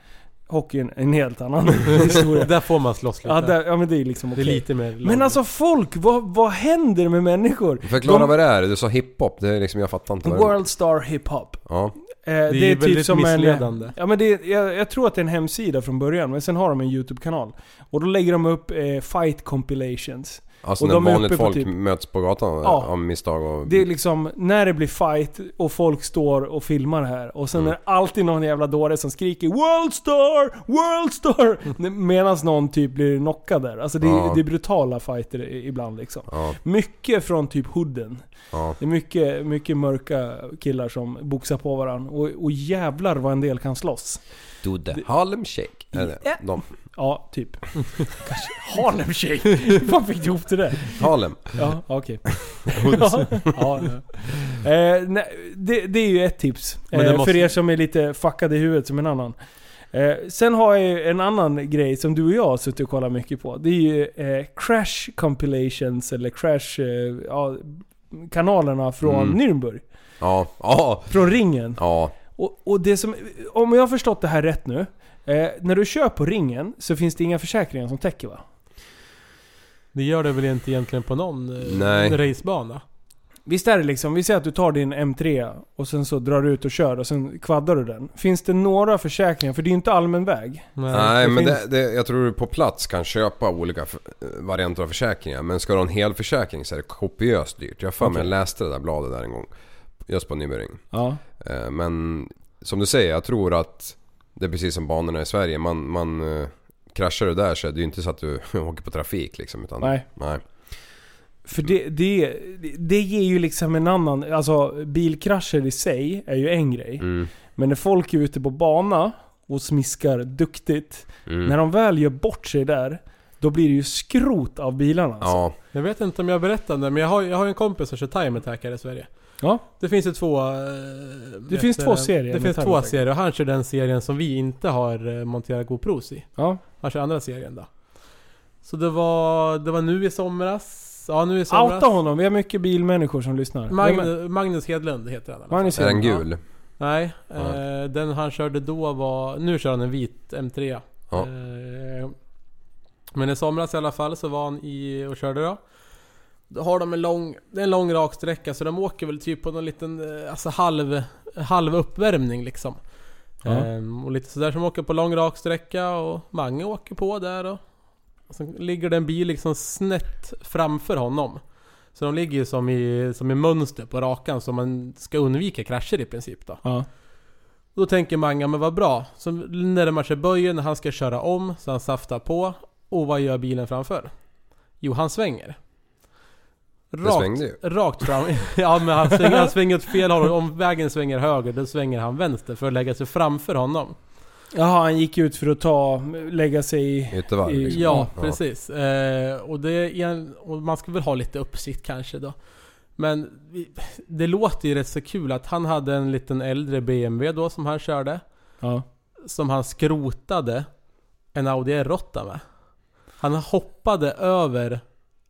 Speaker 2: Hockeyn är en helt annan historia.
Speaker 4: Där får man slåss lite.
Speaker 2: Ja, där, ja men det är liksom
Speaker 4: Det är
Speaker 2: okej.
Speaker 4: lite mer
Speaker 2: Men alltså folk, vad, vad händer med människor?
Speaker 3: Förklara
Speaker 2: De-
Speaker 3: vad det är. Du sa hiphop. Det är liksom, jag fattar inte vad det är.
Speaker 2: Worldstar Hiphop.
Speaker 3: Ja.
Speaker 2: Eh, det,
Speaker 4: ju
Speaker 2: är typ
Speaker 4: väldigt
Speaker 2: som en...
Speaker 4: missledande.
Speaker 2: Ja men det, är- jag, jag tror att det är en hemsida från början, men sen har de en YouTube-kanal. Och då lägger de upp eh, fight compilations.
Speaker 3: Alltså
Speaker 2: Och
Speaker 3: när
Speaker 2: de är
Speaker 3: vanligt
Speaker 2: uppe på
Speaker 3: folk
Speaker 2: typ-
Speaker 3: möts på gatan
Speaker 2: Ja.
Speaker 3: av misstag och...
Speaker 2: Det är liksom när det blir fight och folk står och filmar det här. Och sen
Speaker 3: Mm.
Speaker 2: är det alltid någon jävla dåre som skriker 'Worldstar! Worldstar!' Medan någon typ blir knockad där. Alltså det, är-
Speaker 3: Ja.
Speaker 2: det är brutala fighter i- ibland liksom.
Speaker 3: Ja,
Speaker 2: Mycket från typ hooden.
Speaker 3: ja.
Speaker 2: Det är mycket, mycket mörka killar som boxar på varandra. Och, och jävlar vad en del kan slåss.
Speaker 3: Do the Harlem Shake. Är det?
Speaker 2: Ja.
Speaker 3: De.
Speaker 2: Ja, typ. Kanske Harlem Shake. Hur fan fick du ihop det där?
Speaker 3: Harlem.
Speaker 2: Ja, okej. ja, ja. Eh, nej, det, det är ju ett tips.
Speaker 4: Men det
Speaker 2: Eh,
Speaker 4: måste-
Speaker 2: För er som är lite fuckade i huvudet som en annan. Eh, sen har jag ju en annan grej som du och jag har suttit och kollat mycket på. Det är ju eh, Crash Compilations eller Crash... Eh, ja, kanalerna från
Speaker 3: Mm.
Speaker 2: Nürnberg.
Speaker 3: Ja. Ja.
Speaker 2: Från ringen.
Speaker 3: Ja.
Speaker 2: Och, och det som, om jag har förstått det här rätt nu. Eh, när du kör på ringen så finns det inga försäkringar som täcker va?
Speaker 4: Det gör det väl inte egentligen på någon eh,
Speaker 3: Nej.
Speaker 4: racebana?
Speaker 2: Visst är det liksom, vi säger att du tar din M3 och sen så drar du ut och kör och sen kvaddar du den. Finns det några försäkringar? För det är ju inte allmän väg.
Speaker 3: Nej men
Speaker 4: finns-
Speaker 3: det, det, jag tror du på plats kan köpa olika f- varianter av försäkringar. Men ska du ha en hel försäkring så är det kopiöst dyrt. Jag har för mig
Speaker 2: Okej.
Speaker 3: jag läste det där bladet där en gång. Just på Nybering.
Speaker 2: Ja.
Speaker 3: Eh, Men som du säger, jag tror att det är precis som banorna i Sverige. Man, man eh, kraschar du där så är det ju inte så att du åker på trafik liksom. Utan,
Speaker 2: Nej.
Speaker 3: nej.
Speaker 2: För det, det, det ger ju liksom en annan... Alltså bilkrascher i sig är ju en grej.
Speaker 3: Mm,
Speaker 2: Men när folk är ute på bana och smiskar duktigt.
Speaker 3: mm.
Speaker 2: När de väl gör bort sig där, då blir det ju skrot av bilarna. alltså.
Speaker 3: Ja,
Speaker 4: Jag vet inte om jag berättade men jag har, jag har en kompis som kör time attack här i Sverige.
Speaker 2: Ja.
Speaker 4: Det finns ju två... eh, vet
Speaker 2: finns
Speaker 4: du,
Speaker 2: två serier
Speaker 4: Det
Speaker 2: med
Speaker 4: finns
Speaker 2: Time
Speaker 4: två
Speaker 2: Attack.
Speaker 4: serier och han kör den serien som vi inte har eh, monterat GoPros i.
Speaker 2: Ja.
Speaker 4: Han kör andra serien då. Så det var, det var nu i somras. Ja nu i somras.
Speaker 2: Outa honom, vi har mycket bilmänniskor som lyssnar. Vem är-
Speaker 4: Magnus, Magnus Hedlund heter han. i alla fall.
Speaker 2: Magnus
Speaker 3: är den
Speaker 2: Hedlund.
Speaker 3: gul?
Speaker 4: Nej,
Speaker 3: Ja.
Speaker 4: eh, den han körde då var... Nu kör han en vit M3.
Speaker 3: Ja.
Speaker 4: Eh, men i somras i alla fall så var han i och körde då. Då har de en lång, det är en lång rak sträcka så de åker väl typ på någon liten eh, alltså halv, halv uppvärmning liksom.
Speaker 2: Ja.
Speaker 4: Ehm, och lite sådär som åker på lång rak sträcka och Mange åker på där och, och sen ligger det en bil liksom snett framför honom. Så de ligger ju som i, som i mönster på rakan så man ska undvika krascher i princip då.
Speaker 2: Ja.
Speaker 4: Och då tänker Manga, men vad bra. Så närmar sig böjen, han ska köra om, så han saftar på. Och vad gör bilen framför? Jo, han svänger.
Speaker 3: Det svängde ju.
Speaker 4: rakt fram. ja, men han svänger, han svänger åt fel håll. Om vägen svänger höger, då svänger han vänster för att lägga sig framför honom.
Speaker 2: Jaha, han gick ut för att ta, lägga sig i...
Speaker 3: Yttervarv liksom.
Speaker 4: Ja, precis. Eh, och, det är en, och man ska väl ha lite uppsikt kanske då. Men vi- det låter ju rätt så kul att han hade en liten äldre BMW då som han körde.
Speaker 2: Ja.
Speaker 4: som han skrotade en Audi R8 med. Han hoppade över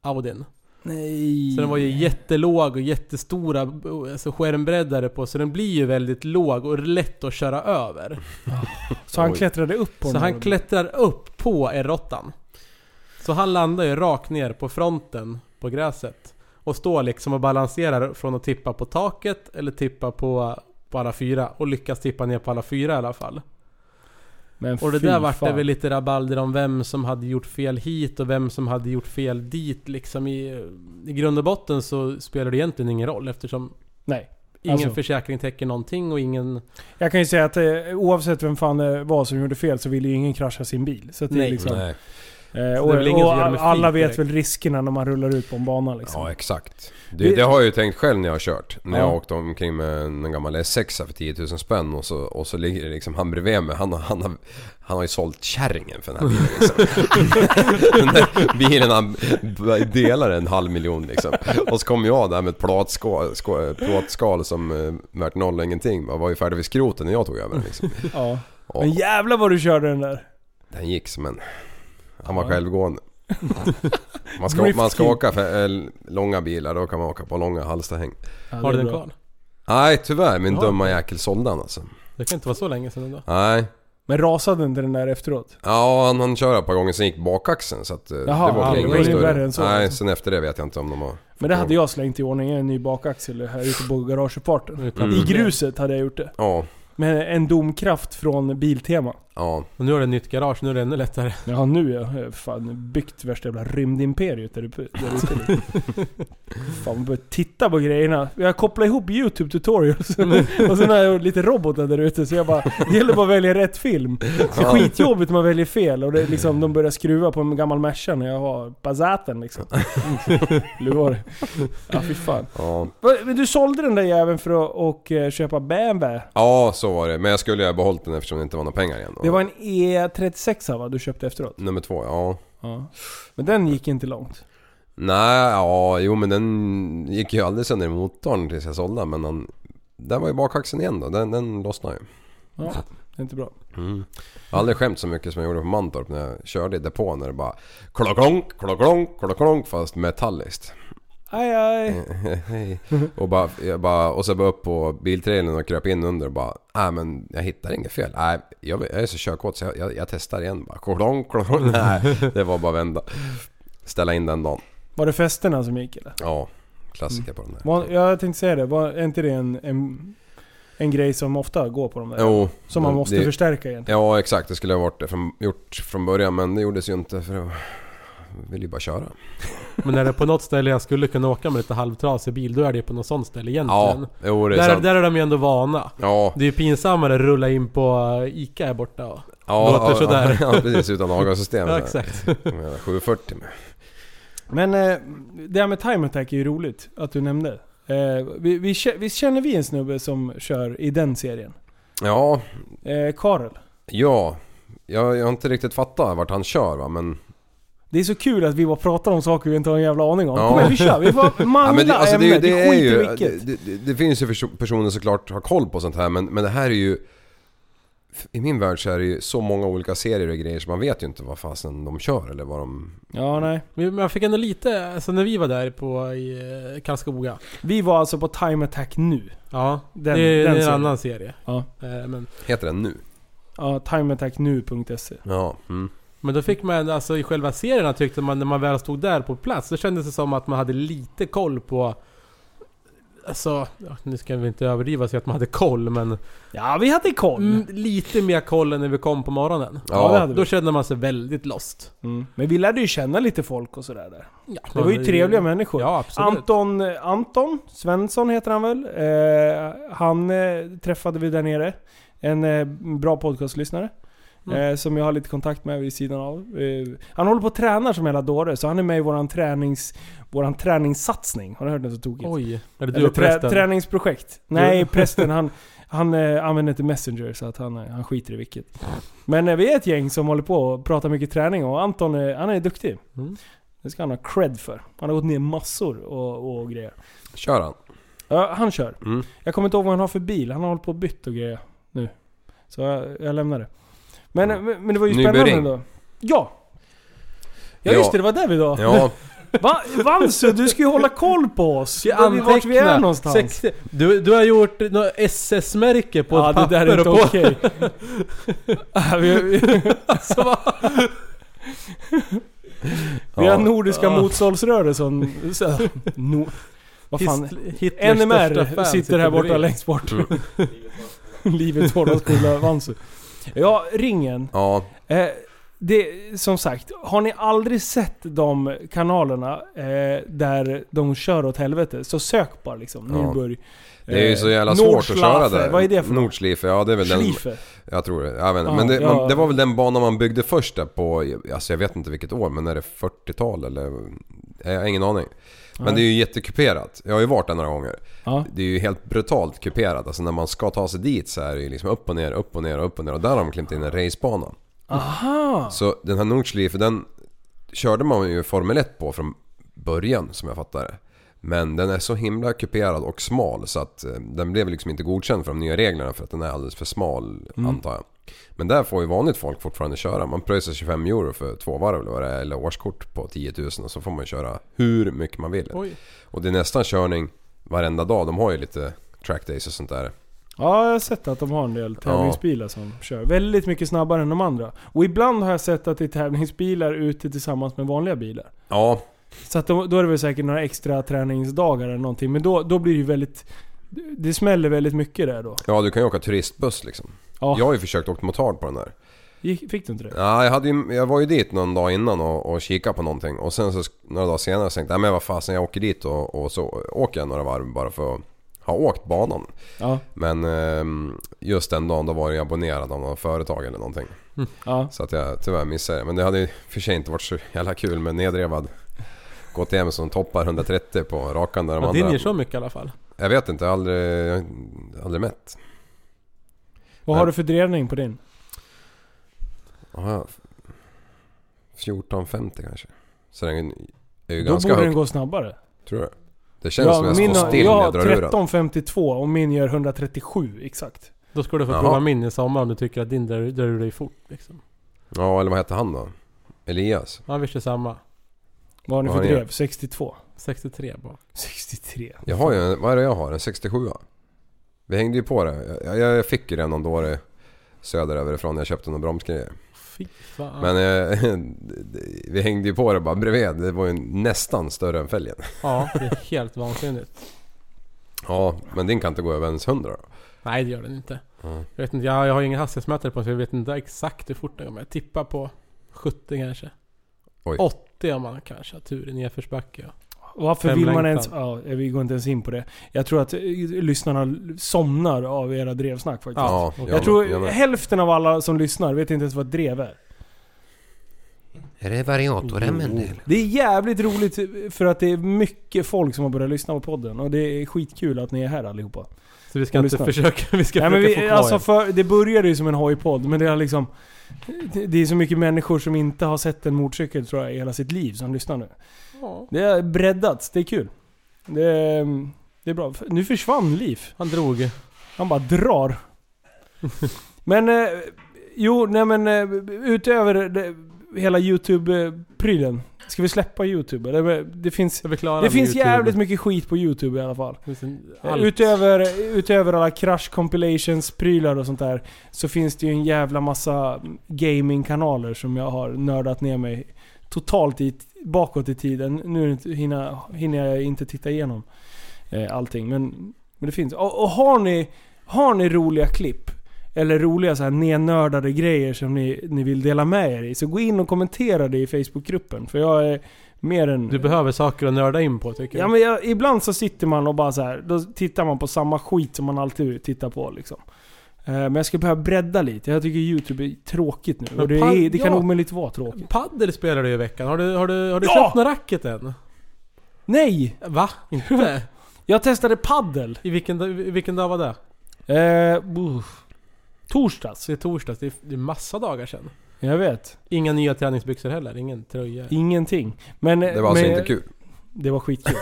Speaker 4: Audin.
Speaker 2: Nej.
Speaker 4: Så den var ju jättelåg och jättestora alltså skärmbreddare på. Så den blir ju väldigt låg och lätt att köra över.
Speaker 2: Så han
Speaker 3: Oj.
Speaker 2: klättrade upp på
Speaker 4: Så
Speaker 2: den
Speaker 4: han
Speaker 2: där.
Speaker 4: klättrar upp på R8. Så han landar ju rakt ner på fronten på gräset. Och står liksom och balanserar från att tippa på taket eller tippa på, på alla fyra. Och lyckas tippa ner på alla fyra i alla fall.
Speaker 2: Men
Speaker 4: Och det
Speaker 2: fy
Speaker 4: där vart det
Speaker 2: fan.
Speaker 4: väl lite rabalder om vem som hade gjort fel hit och vem som hade gjort fel dit liksom i, i grund och botten så spelar det egentligen ingen roll eftersom
Speaker 2: Nej.
Speaker 4: ingen
Speaker 2: Alltså.
Speaker 4: försäkring täcker någonting och ingen...
Speaker 2: Jag kan ju säga att eh, oavsett vem fan det var som gjorde fel så ville ju ingen krascha sin bil. Så att det är
Speaker 4: Nej.
Speaker 2: liksom...
Speaker 3: Nej.
Speaker 2: Eh,
Speaker 4: Så
Speaker 2: och
Speaker 4: det är väl ingen som gör det
Speaker 2: och
Speaker 4: med
Speaker 2: alla
Speaker 4: flit
Speaker 2: vet
Speaker 4: direkt.
Speaker 2: väl riskerna när man rullar ut på en bana liksom.
Speaker 3: Ja, exakt.
Speaker 2: Vi-
Speaker 3: Det, det har jag ju tänkt själv när jag har kört. När
Speaker 2: Ja.
Speaker 3: jag åkte omkring med en gammal S6 för 10 000 spänn och så, och så ligger det liksom han bredvid mig. Han, har- han, har, han har ju sålt kärringen för den här bilen liksom. den där bilen han b- delar en halv miljon liksom. Och så kom jag där med ett plåtskal, ska- plåtskal som eh, värt noll och ingenting. Jag var ju färdig vid skroten när jag tog över den liksom.
Speaker 2: Ja.
Speaker 3: Och
Speaker 2: Men jävlar vad du körde den där.
Speaker 3: den gick som en... Han var självgående. Man ska,
Speaker 2: Drift
Speaker 3: man ska
Speaker 2: king.
Speaker 3: åka för, eh, långa bilar, då kan man åka på långa halstahäng.
Speaker 2: Ja, det är
Speaker 4: Har du den
Speaker 2: bra.
Speaker 4: kvar?
Speaker 3: Nej tyvärr, min
Speaker 4: Ja.
Speaker 3: dumma jäkel sålde han alltså.
Speaker 4: Det kan inte vara så länge sedan ändå.
Speaker 3: Nej.
Speaker 2: Men rasade inte den där efteråt?
Speaker 3: Ja han hann köra ett par gånger, sen gick bakaxeln så att eh,
Speaker 2: Jaha,
Speaker 3: det
Speaker 4: ja,
Speaker 3: var väl
Speaker 4: det
Speaker 3: inget
Speaker 4: var ju
Speaker 3: större.
Speaker 2: värre än så,
Speaker 3: Nej,
Speaker 2: alltså.
Speaker 3: sen efter det vet jag inte om de har...
Speaker 2: Men det hade jag slängt i ordning, en ny bakaxel här ute på garageuppfarten.
Speaker 4: Mm.
Speaker 2: I gruset hade jag gjort det.
Speaker 3: Ja,
Speaker 2: Med en domkraft från Biltema.
Speaker 3: ja.
Speaker 4: Och nu har du ett nytt garage, nu är det ännu lättare.
Speaker 2: Men ja, nu har jag eh, fan byggt värsta jävla rymdimperiet där uppe. Där ute. fan, man börjar titta på grejerna. Jag kopplar ihop youtube tutorials och sen har jag lite robotar där ute så jag bara, det gäller bara att välja rätt film. Så skitjobbigt om man väljer fel och det är liksom, de börjar skruva på en gammal Merca när jag har Bazaten liksom. Lugar. Ja fy fan.
Speaker 3: Ja.
Speaker 2: Va, Men du sålde den där jäveln för att och, eh, köpa BMW.
Speaker 3: ja, så var det. Men jag skulle ju ha behållit den eftersom det inte var några pengar igen.
Speaker 2: Det var en E36 va, du köpte efteråt?
Speaker 3: Nummer två, ja.
Speaker 2: Ja. Men den gick inte långt.
Speaker 3: Nej, ja, jo men den gick ju aldrig sönder i motorn tills jag sålde den, men han... Där var ju bakaxeln igen då, den, den lossnade ju.
Speaker 2: Ja, det är inte bra.
Speaker 3: Jag har aldrig skämt så mycket som jag gjorde på Mantorp när jag körde i depån när det bara... Klocklonk, klocklonk, klocklonk fast metalliskt.
Speaker 2: Aj,
Speaker 3: Eh.
Speaker 2: aj.
Speaker 3: Hej. och, bara, jag bara, och så bara upp på biltrailern och kröp in under och bara Nej men jag hittar inget fel. Nej, jag, jag är så körkåt så jag, jag, jag testar igen bara. Klong, klong. Nej, det var bara vända. Ställa in den dagen.
Speaker 2: Var det festerna som gick eller?
Speaker 3: Ja, klassiker på den
Speaker 4: Mm.
Speaker 3: där.
Speaker 2: Var, jag tänkte säga det, var är inte det en, en, en grej som ofta går på de där?
Speaker 3: Jo,
Speaker 2: som man
Speaker 3: men
Speaker 2: måste
Speaker 3: det-
Speaker 2: förstärka egentligen?
Speaker 3: Ja exakt, det skulle jag ha varit det från, gjort från början men det gjordes ju inte för jag ville ju bara köra.
Speaker 4: Men är det på något ställe jag skulle kunna åka med lite halvtrasig bil, då är det ju på något sånt ställe egentligen.
Speaker 3: Ja, jo det är
Speaker 4: där,
Speaker 3: sant.
Speaker 4: där är de ju ändå vana.
Speaker 3: Ja,
Speaker 4: Det är ju pinsammare att rulla in på eh, Ica här borta och...
Speaker 3: ja,
Speaker 4: låter
Speaker 3: ja,
Speaker 4: sådär.
Speaker 3: Ja, precis utan avgassystem.
Speaker 4: Ja, exakt.
Speaker 3: 740 med.
Speaker 2: Men eh, det här med time attack är ju roligt att du nämnde. Eh, vi, vi, kä- visst känner vi en snubbe som kör i den serien?
Speaker 3: Ja,
Speaker 2: Eh, Karel.
Speaker 3: Ja, jag, jag har inte riktigt fattat vart han kör va, men...
Speaker 2: Det är så kul att vi bara pratar om saker vi inte har en jävla aning om.
Speaker 3: Ja.
Speaker 2: Kom igen, vi kör. Vi får
Speaker 3: Ja,
Speaker 2: mangla
Speaker 3: men alltså,
Speaker 2: ämnet.
Speaker 3: ju-
Speaker 2: Det,
Speaker 3: är
Speaker 2: skiter
Speaker 3: ju,
Speaker 2: vilket.
Speaker 3: det, det, det finns ju perso- personer såklart har koll på sånt här men, men det här är ju... I min värld så är det ju så många olika serier och grejer så man vet ju inte vad fasen de kör eller vad de...
Speaker 2: Ja, nej.
Speaker 4: Men jag fick ändå lite, alltså när vi var där på i eh, Karlskoga.
Speaker 2: Vi var alltså på time attack nu.
Speaker 4: Ja,
Speaker 2: Den-
Speaker 4: det
Speaker 2: den
Speaker 4: är det är en
Speaker 2: serien.
Speaker 4: annan serie.
Speaker 2: Ja.
Speaker 4: Eh, Men,
Speaker 3: Heter den nu?
Speaker 2: Ja, timeattacknu.se.
Speaker 3: Ja. Mm.
Speaker 4: men då fick man, alltså i själva serierna tyckte man när man väl stod där på plats, då kändes det som att man hade lite koll på Alltså, ja, nu ska vi inte överdriva och säga att man hade koll men
Speaker 2: Ja, vi hade koll.
Speaker 4: mm, Lite mer koll än när vi kom på morgonen.
Speaker 2: Ja, det hade
Speaker 4: Då
Speaker 2: vi.
Speaker 4: kände man sig väldigt lost.
Speaker 2: Mm. Men vi lärde ju känna lite folk och sådär där.
Speaker 4: Ja,
Speaker 2: Det var ju trevliga människor.
Speaker 4: Ja, absolut.
Speaker 2: Anton, eh, Anton Svensson heter han väl? Eh, han eh, träffade vi där nere. En eh, bra podcastlyssnare.
Speaker 4: Mm.
Speaker 2: Eh, som jag har lite kontakt med vid sidan av. Eh, han håller på och tränar som hela dåre, så han är med i våran, tränings, våran träningssatsning. Har du hört något så tokigt?
Speaker 4: Oj. Är det du
Speaker 2: Eller
Speaker 4: och
Speaker 2: trä,
Speaker 4: prästen?
Speaker 2: träningsprojekt. Nej, prästen han, han eh, använder inte Messenger så att han, eh, han skiter i vilket. Men eh, vi är ett gäng som håller på och pratar mycket träning och Anton eh, han är duktig.
Speaker 4: Mm.
Speaker 2: Det ska han ha cred för. Han har gått ner massor och, och grejer.
Speaker 3: Kör han?
Speaker 2: Ja, han kör.
Speaker 3: Mm.
Speaker 2: Jag kommer inte ihåg vad han har för bil. Han har hållit på och bytt och grejer nu. Så jag, jag lämnar det. Men,
Speaker 3: Mm.
Speaker 2: men- men det var ju
Speaker 3: Nybyring.
Speaker 2: spännande ändå. Ja! Ja,
Speaker 3: Ja.
Speaker 2: just det, det var där vi då.
Speaker 3: Ja,
Speaker 2: Va, Vansu, du ska ju hålla koll på oss!
Speaker 4: Jag
Speaker 2: Vart vi- Vart vi är
Speaker 4: antecknar.
Speaker 2: någonstans.
Speaker 4: Sex- Du, du har gjort något SS-märke på ett
Speaker 2: ja, det
Speaker 4: papper
Speaker 2: där är inte
Speaker 4: och på...
Speaker 2: okej. Ja, vi, vi, alltså, va? vi har
Speaker 3: Ja.
Speaker 2: Nordiska motståndsrörelsen. Så, no, vad fan?
Speaker 4: Hist- Hitlers största
Speaker 2: NMR
Speaker 4: fan
Speaker 2: sitter här borta
Speaker 4: bredvid.
Speaker 2: längst bort.
Speaker 3: mm.
Speaker 2: Livets hårda skola, Vansu. Ja, ringen.
Speaker 3: ja.
Speaker 2: Eh, det, som sagt, har ni aldrig sett de kanalerna eh, där de kör åt helvete, så sök bara liksom.
Speaker 3: Ja.
Speaker 2: Nürburg.
Speaker 3: Det är ju så jävla
Speaker 2: Eh,
Speaker 3: svårt att köra
Speaker 2: Nordschleife,
Speaker 3: där.
Speaker 2: Vad är det för något?
Speaker 3: Nordschleife, ja det är väl den...
Speaker 2: Schleife?
Speaker 3: Jag tror det. Jag vet inte.
Speaker 2: Ja,
Speaker 3: men det,
Speaker 2: ja.
Speaker 3: man, det var väl den banan man byggde först där på, alltså jag vet inte vilket år, men är det 40-tal eller? Jag har ingen aning. Men
Speaker 2: Nej.
Speaker 3: det är ju jättekuperat. Jag har ju varit där några gånger.
Speaker 2: Ja.
Speaker 3: Det är ju helt brutalt kuperat. Alltså när man ska ta sig dit så är det ju liksom upp och ner, upp och ner, upp och ner. Och där har de klippt in en racebana.
Speaker 2: Aha!
Speaker 3: Så den här Nordschleife, den körde man ju Formel 1 på från början som jag fattar det. Men den är så himla kuperad och smal så att eh, den blev liksom inte godkänd för de nya reglerna för att den är alldeles för smal antar jag. Men där får ju vanligt folk fortfarande köra. Man pröjsar 25 euro för två varv eller vad det är, eller årskort på 10 000 och så får man köra hur mycket man vill.
Speaker 4: Oj.
Speaker 3: Och det är nästan körning varenda dag. De har ju lite track days och sånt där.
Speaker 2: Ja, jag har sett att de har en del tävlingsbilar som kör väldigt mycket snabbare än de andra. Och ibland har jag sett att det är tävlingsbilar ute tillsammans med vanliga bilar.
Speaker 3: Ja,
Speaker 2: Så att då, då är det väl säkert några extra träningsdagar eller någonting. Men då, då blir det ju väldigt... Det smäller väldigt mycket där då.
Speaker 3: ja du kan ju åka turistbuss liksom.
Speaker 2: Ja.
Speaker 3: Jag har ju försökt åka motard på den där.
Speaker 2: Gick- Fick du inte det?
Speaker 3: Ja, jag, hade ju, jag var ju dit någon dag innan och, och kikade på någonting och sen så sk- några dagar senare så tänkte jag men vad fasen jag åker dit och, och så åker jag några varv bara för att ha åkt banan.
Speaker 2: Ja.
Speaker 3: Men ehm, just den dagen då var jag abonnerad av något företag eller någonting.
Speaker 2: ja.
Speaker 3: Så att jag tyvärr missade det. Men det hade ju för sig inte varit så jävla kul med nedrevad KTM som toppar 130 på rakan där de
Speaker 4: Ja, din ger så
Speaker 3: andra...
Speaker 4: mycket i alla fall.
Speaker 3: Jag vet inte, jag har aldrig, jag har aldrig mätt.
Speaker 2: Vad
Speaker 3: Nej.
Speaker 2: har du för drevning på din?
Speaker 3: Aha. 14.50 kanske. Så den är ju
Speaker 2: Då
Speaker 3: ganska
Speaker 2: borde
Speaker 3: hög.
Speaker 2: den gå snabbare.
Speaker 3: Tror du? Det känns som jag
Speaker 2: min
Speaker 3: står
Speaker 2: har-
Speaker 3: still
Speaker 2: jag
Speaker 3: när
Speaker 2: har
Speaker 3: jag drar ur den.
Speaker 2: 13.52 och min gör 137 exakt.
Speaker 4: Då ska du få
Speaker 3: Jaha.
Speaker 4: prova min i sommar om du tycker att din drar drar ur dig fort. Liksom.
Speaker 3: Ja, eller vad hette han då? Elias?
Speaker 4: Ja, vi kör samma.
Speaker 2: Vad har ni
Speaker 3: Vad
Speaker 2: för
Speaker 3: har ni?
Speaker 2: drev? 62?
Speaker 4: 63 bara.
Speaker 2: 63?
Speaker 3: Jag har ju en, vad är det jag har? En 67 Vi hängde ju på det. Jag, jag, jag fick ju den någon dåre söderöver ifrån. Jag köpte några bromsgrejer.
Speaker 4: Fy fan.
Speaker 3: Men eh, vi hängde ju på det bara bredvid. Det var ju nästan större än fälgen.
Speaker 4: Ja, det är helt vansinnigt.
Speaker 3: Ja, men din kan inte gå över ens 100 då.
Speaker 4: Nej, det gör den inte.
Speaker 3: Mm.
Speaker 4: Jag, vet inte jag, jag har ingen hastighetsmätare på mig så jag vet inte exakt hur fort den går. Men jag tippar på 70 kanske.
Speaker 3: Oj.
Speaker 4: 80 om man kanske har tur i nedförsbacke. Ja.
Speaker 2: Varför vill man
Speaker 4: Femlängtan.
Speaker 2: ens... Ja, vi går inte ens in på det. Jag tror att eh, lyssnarna somnar av era drevsnack faktiskt.
Speaker 3: Ja,
Speaker 4: okej.
Speaker 3: ja,
Speaker 2: Jag tror
Speaker 3: men-
Speaker 2: hälften av alla som lyssnar vet inte ens vad ett drev är.
Speaker 5: Är det variatorremmen det? eller?
Speaker 2: Det är jävligt roligt eh, för att det är mycket folk som har börjat lyssna på podden och det är skitkul att ni är här allihopa.
Speaker 4: Så vi ska
Speaker 2: Och
Speaker 4: inte
Speaker 2: lyssna.
Speaker 4: försöka, vi ska
Speaker 2: Nej, men
Speaker 4: försöka få
Speaker 2: vi,
Speaker 4: kvar
Speaker 2: alltså
Speaker 4: er.
Speaker 2: för, det började ju som en hojpodd, men det är liksom... det- Det är så mycket människor som inte har sett en motorcykel tror jag i hela sitt liv som lyssnar nu.
Speaker 4: Ja.
Speaker 2: Det har breddats, det är kul. Det, är- det är bra. Nu försvann Liv.
Speaker 4: Han drog.
Speaker 2: Han bara drar. men, eh, jo, nej men eh, utöver det, hela YouTube-prylen. Ska vi släppa YouTube? Eller, det finns,
Speaker 4: Så vi klarar
Speaker 2: det
Speaker 4: med
Speaker 2: finns
Speaker 4: YouTube.
Speaker 2: jävligt mycket skit på YouTube i alla fall.
Speaker 4: Det finns en-
Speaker 2: Eh,
Speaker 4: allt.
Speaker 2: Utöver, utöver alla crash compilations, prylar och sånt där. Så finns det ju en jävla massa gamingkanaler som jag har nördat ner mig totalt i, bakåt i tiden. Nu är det inte- hinner, hinner jag inte titta igenom eh, allting. Men, men det finns. Och, och har, ni, har ni roliga klipp eller roliga så här nednördade grejer som ni, ni vill dela med er i. Så gå in och kommentera det i Facebookgruppen. För jag är mer än...
Speaker 4: Du behöver saker att nörda in på tycker
Speaker 2: Ja,
Speaker 4: jag.
Speaker 2: men jag, ibland så sitter man och bara så här, då tittar man på samma skit som man alltid tittar på liksom. Eh, Men jag skulle behöva bredda lite. Jag tycker YouTube är tråkigt nu.
Speaker 4: Men
Speaker 2: Och det,
Speaker 4: pan-
Speaker 2: är, det kan
Speaker 4: ja.
Speaker 2: omöjligt vara tråkigt.
Speaker 4: Paddel spelar du ju i veckan. Har du, har du, har du
Speaker 2: Ja!
Speaker 4: köpt någon racket än?
Speaker 2: Nej!
Speaker 4: Va? Inte?
Speaker 2: Jag testade paddel.
Speaker 4: I vilken, dag- i vilken dag var det?
Speaker 2: Eh, uff.
Speaker 4: Så
Speaker 2: torsdags.
Speaker 4: Det är torsdags. Det är, det är massa dagar sedan.
Speaker 2: Jag vet.
Speaker 4: Inga nya träningsbyxor heller. Ingen tröja.
Speaker 2: Ingenting. Men,
Speaker 3: Det var alltså
Speaker 2: men,
Speaker 3: inte kul.
Speaker 2: Det var skitkul.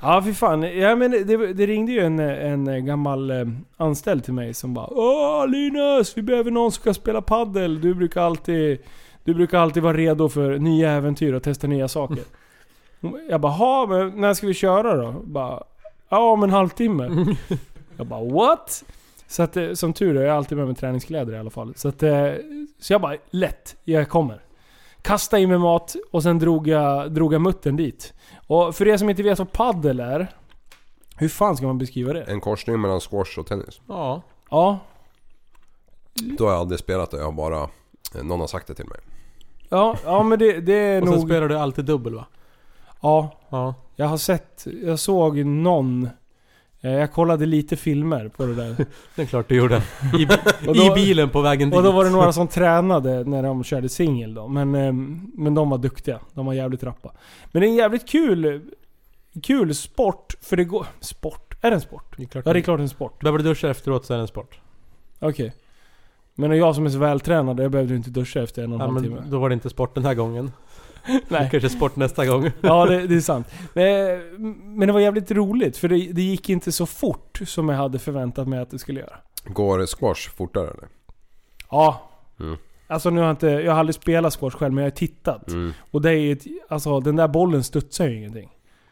Speaker 2: ja, fy fan. Ja, men det, det ringde ju en, en gammal eh, anställd till mig som bara Åh Linus, vi behöver någon som kan spela paddel. Du brukar alltid, du brukar alltid vara redo för nya äventyr och testa nya saker. Jag bara, "Ha, men när ska vi köra då? Bara, ja om en halvtimme. jag bara, what? Så att, eh, som tur är, jag har alltid med mig träningskläder i alla fall. Så, att, eh, så jag bara, lätt, jag kommer. Kasta i mig mat och sen drog jag, drog jag muttern dit. Och för er som inte vet vad paddel är. Hur fan ska man beskriva det?
Speaker 3: En korsning mellan squash och tennis.
Speaker 4: Ja.
Speaker 2: Ja,
Speaker 3: Då har jag aldrig spelat det. Jag har bara Eh, Någon har sagt det till mig.
Speaker 2: Ja, ja men det, det är
Speaker 4: Och sen
Speaker 2: nog...
Speaker 4: spelar du alltid dubbel va?
Speaker 2: Ja,
Speaker 4: Ja.
Speaker 2: jag har sett... Jag såg någon... eh, Jag kollade lite filmer på det där.
Speaker 4: Det är klart du gjorde. I,
Speaker 2: Och
Speaker 4: I
Speaker 2: då-
Speaker 4: bilen på vägen dit.
Speaker 2: Och då var det några som tränade när de körde singel då. Men, eh, men de var duktiga. De var jävligt rappa. Men det är en jävligt kul... Kul sport, för det går... Sport? Är det en sport?
Speaker 4: Det är klart
Speaker 2: Ja, det är
Speaker 4: du-
Speaker 2: klart en sport.
Speaker 4: Behöver du duscha efteråt så är det en sport.
Speaker 2: Okej. Men jag som är så vältränad, jag behövde ju inte duscha efter en och en
Speaker 4: Ja,
Speaker 2: halv
Speaker 4: men
Speaker 2: timme.
Speaker 4: då var det inte sport den här gången.
Speaker 2: Nej.
Speaker 4: Kanske sport nästa gång.
Speaker 2: Ja, det, det är sant. Men, men det var jävligt roligt, för det, det gick inte så fort som jag hade förväntat mig att det skulle göra.
Speaker 3: Går squash fortare eller?
Speaker 2: Ja.
Speaker 3: Mm.
Speaker 2: Alltså nu har jag inte, jag har aldrig spelat squash själv, men jag har tittat.
Speaker 3: Mm.
Speaker 2: Och det är ju, ett- alltså den där bollen studsar ju ingenting.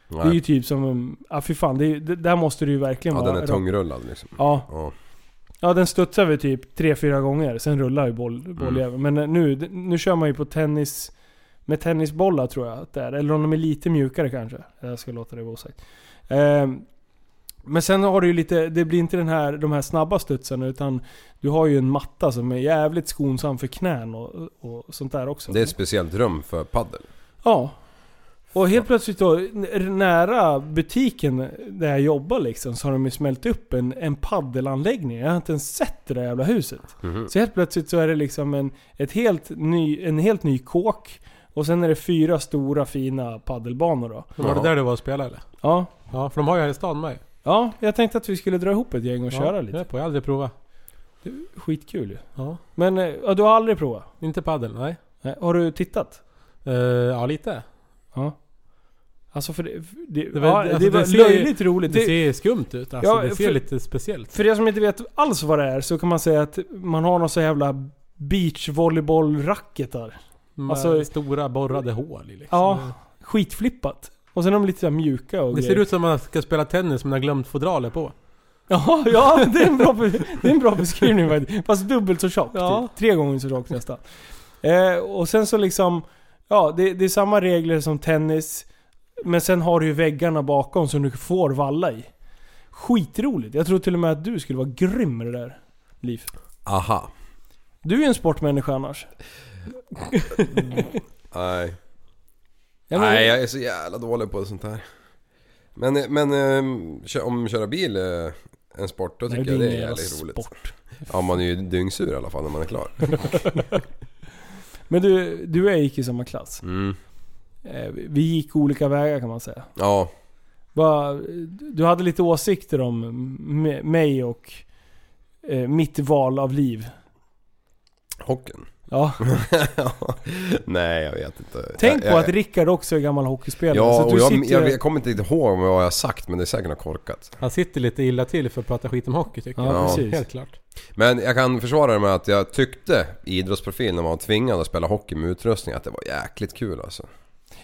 Speaker 2: Det är ju
Speaker 3: Nej.
Speaker 2: typ som, ja fy fan, det, är ju- det, där måste det ju verkligen
Speaker 3: Ja,
Speaker 2: vara.
Speaker 3: den är tungrullad liksom.
Speaker 2: Ja,
Speaker 3: Ja.
Speaker 2: ja, den studsar väl typ 3-4 gånger, sen rullar ju
Speaker 3: Mm.
Speaker 2: boll, bolljäveln. Men eh, nu, nu kör man ju på tennis, med tennisbollar tror jag att det är. Eller om de är lite mjukare kanske. Jag ska låta det vara osagt. Ehm, men sen har du ju lite, det blir inte den här, de här snabba studsarna utan du har ju en matta som är jävligt skonsam för knän och, och sånt där också.
Speaker 3: Det är ett speciellt rum för paddel.
Speaker 2: Ja. Och helt plötsligt då, n- nära butiken där jag jobbar liksom, så har de ju smält upp en, en paddelanläggning. Jag har inte ens sett det där jävla huset.
Speaker 4: Mm.
Speaker 2: Så helt plötsligt så är det liksom en, ett helt ny, en helt ny kåk. Och sen är det fyra stora fina paddelbanor då.
Speaker 4: Var det
Speaker 3: Ja.
Speaker 4: där du var och spelade eller?
Speaker 2: Ja.
Speaker 4: Ja, för de har ju här i stan med.
Speaker 2: Ja, jag tänkte att vi skulle dra ihop ett gäng och
Speaker 4: Ja,
Speaker 2: köra
Speaker 4: Jag, är
Speaker 2: lite.
Speaker 4: på, jag har aldrig provat.
Speaker 2: Skitkul ju.
Speaker 4: Ja.
Speaker 2: Men eh, ja, du har aldrig provat?
Speaker 4: Inte padel, nej.
Speaker 2: Nej. Har du tittat?
Speaker 4: Eh, ja, lite.
Speaker 2: Ja. Alltså för det, för det,
Speaker 4: Det
Speaker 2: det
Speaker 4: var-
Speaker 2: var, ja,
Speaker 4: alltså
Speaker 2: det var
Speaker 4: det ser-
Speaker 2: löjligt roligt.
Speaker 4: Det
Speaker 2: Det-
Speaker 4: ser skumt ut alltså.
Speaker 2: Ja,
Speaker 4: det ser
Speaker 2: för-
Speaker 4: lite speciellt.
Speaker 2: För er som inte vet alls vad det är så kan man säga att man har någon så jävla beachvolleyboll-racketar.
Speaker 4: Med
Speaker 2: alltså-
Speaker 4: stora borrade hål i liksom.
Speaker 2: Ja, skitflippat. Och sen är de lite så här mjuka och
Speaker 4: Det
Speaker 2: grejer.
Speaker 4: ser ut som att man ska spela tennis men har glömt fodralet på.
Speaker 2: Ja, ja det, är en bra, det är en bra beskrivning faktiskt. Fast dubbelt så tjockt.
Speaker 4: Ja.
Speaker 2: Typ. Tre gånger så tjockt nästan. Eh, och sen så liksom, ja det, det är samma regler som tennis. Men sen har du ju väggarna bakom som du får valla i. Skitroligt. Jag tror till och med att du skulle vara grym med det där, Liv.
Speaker 3: Aha.
Speaker 2: Du är ju en sportmänniska annars.
Speaker 3: Nej.
Speaker 2: Jag menar-
Speaker 3: Nej, jag är så jävla dålig på sånt här. Men, men ehm, kö- om köra bil är en sport, då tycker
Speaker 2: Nej,
Speaker 3: jag det
Speaker 2: ingen
Speaker 3: är
Speaker 2: jävla
Speaker 3: jävligt roligt.
Speaker 2: sport.
Speaker 3: Ja, man är ju dyngsur i alla fall när man är klar.
Speaker 2: Men du, du och jag gick i samma klass.
Speaker 3: Mm.
Speaker 2: Eh, Vi gick olika vägar kan man säga.
Speaker 3: Ja,
Speaker 2: Bara, Du hade lite åsikter om m- mig och eh, mitt val av liv.
Speaker 3: hockeyn.
Speaker 2: Ja.
Speaker 3: Nej, jag vet inte.
Speaker 2: Tänk
Speaker 3: jag,
Speaker 2: på
Speaker 3: jag,
Speaker 2: att Rickard också är gammal hockeyspelare.
Speaker 3: Ja,
Speaker 2: så
Speaker 3: och
Speaker 2: du
Speaker 3: jag,
Speaker 2: sitter...
Speaker 3: jag, jag kommer inte ihåg vad jag har sagt, men det är säkert något korkat.
Speaker 4: Han sitter lite illa till för att prata skit om hockey tycker
Speaker 2: Ja,
Speaker 3: Ja.
Speaker 4: jag.
Speaker 2: precis.
Speaker 4: Helt klart.
Speaker 3: Men jag kan försvara det med att jag tyckte i idrottsprofil när man var tvingad att spela hockey med utrustning att det var jäkligt kul alltså.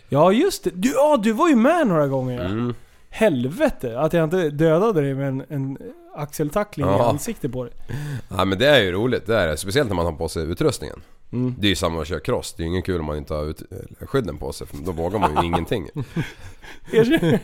Speaker 2: Ja, just det. Du, ja, du var ju med några gånger. ja.
Speaker 3: Mm.
Speaker 2: Helvete att jag inte dödade dig med en, en axeltackling i
Speaker 3: Ja.
Speaker 2: ansiktet på dig.
Speaker 3: Ja men det är ju roligt, det är det. Speciellt när man har på sig utrustningen.
Speaker 2: Mm.
Speaker 3: Det är ju samma som att köra cross, det är ju ingen kul om man inte har ut- eller skydden på sig för då vågar man ju ingenting.
Speaker 2: Erkänn.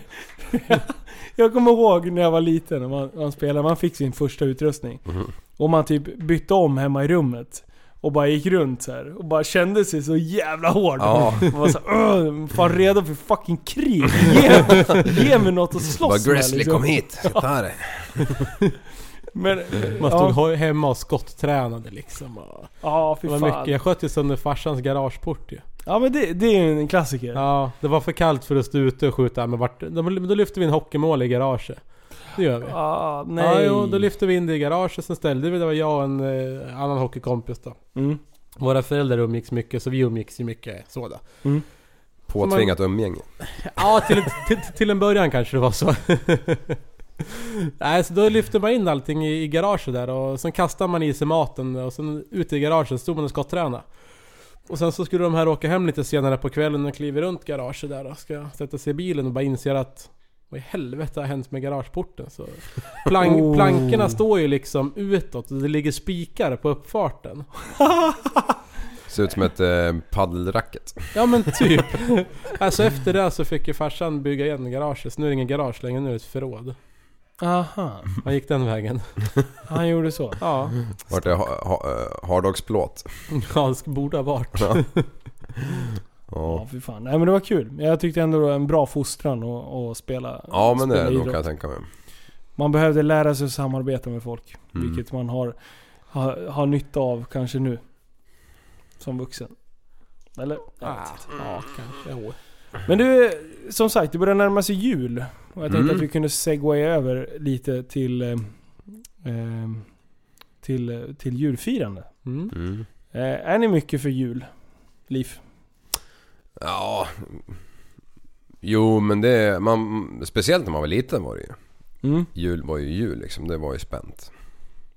Speaker 2: jag kommer ihåg när jag var liten och man, man spelade, man fick sin första utrustning.
Speaker 4: Mhm.
Speaker 2: Och man typ bytte om hemma i rummet. Och bara gick runt så här och bara kände sig så jävla hård.
Speaker 3: Ja.
Speaker 2: Man var så här, "Åh, fan redo för fucking krig. Ge, ge mig något att
Speaker 3: Bara
Speaker 2: slåss
Speaker 3: Grizzly
Speaker 2: liksom."
Speaker 3: kom hit, ska ta dig.
Speaker 2: Men,
Speaker 4: Man stod
Speaker 2: ja,
Speaker 4: ho- hemma och skotttränade liksom. Och
Speaker 2: ja,
Speaker 4: det
Speaker 2: fy
Speaker 4: var
Speaker 2: fan.
Speaker 4: mycket. Jag sköt ju sönder farsans garageport ju.
Speaker 2: Ja men det, det är ju en klassiker.
Speaker 4: Ja, det var för kallt för att stå ute och skjuta. Men vart, då, då lyfte vi en hockeymål i garaget. Det gör vi.
Speaker 2: Ah, nej.
Speaker 4: Ja, jo, då lyfte vi in det i garaget, sen ställde vi det. var jag och en eh, annan hockeykompis då.
Speaker 2: mm.
Speaker 4: Våra föräldrar umgicks mycket, så vi umgicks ju mycket så då.
Speaker 3: Påtvingat umgänge.
Speaker 4: Ja, till, till, till en början kanske det var så. Nej, så då lyfte man in allting i, i garaget där och sen kastade man i sig maten och sen ute i garagen stod man och skotttränade. Och sen så skulle de här åka hem lite senare på kvällen och kliver runt garaget där och ska sätta sig i bilen och bara inser att vad i helvete har hänt med garageporten? Så plank,
Speaker 2: Oh.
Speaker 4: Plankorna står ju liksom utåt och det ligger spikar på uppfarten.
Speaker 3: Ser ut som ett eh, paddelracket.
Speaker 4: Ja men typ. alltså efter det så fick ju farsan bygga igen garaget. Så nu är det ingen garage längre, nu är det ett förråd.
Speaker 2: Aha.
Speaker 4: Han gick den vägen.
Speaker 2: Han gjorde så.
Speaker 4: Ja.
Speaker 3: Vart det ha, ha, eh, harddogsplåt?
Speaker 4: Han sk- borde ha varit.
Speaker 3: Ja.
Speaker 2: Ja, fy fan. Nej men det var kul. Jag tyckte ändå det var en bra fostran att, att spela
Speaker 3: ja men det
Speaker 2: spela
Speaker 3: är det
Speaker 2: idrott.
Speaker 3: kan jag tänka mig.
Speaker 2: Man behövde lära sig att samarbeta med folk.
Speaker 3: Mm.
Speaker 2: Vilket man har, har, har nytta av kanske nu. Som vuxen. Eller? Jag
Speaker 4: Ah,
Speaker 2: vet inte.
Speaker 3: Ah.
Speaker 4: Ja, kanske. Jo.
Speaker 2: Men du, som sagt, det börjar närma sig jul. Och jag tänkte
Speaker 3: Mm.
Speaker 2: att vi kunde segwaya över lite till, eh, eh, till, eh, till julfirande.
Speaker 4: Mm.
Speaker 3: Mm.
Speaker 2: Eh, är ni mycket för jul? Liv?
Speaker 3: Ja... Jo men det... Man, speciellt när man var liten var det ju.
Speaker 2: Mm.
Speaker 3: Jul var ju jul liksom. Det var ju spänt.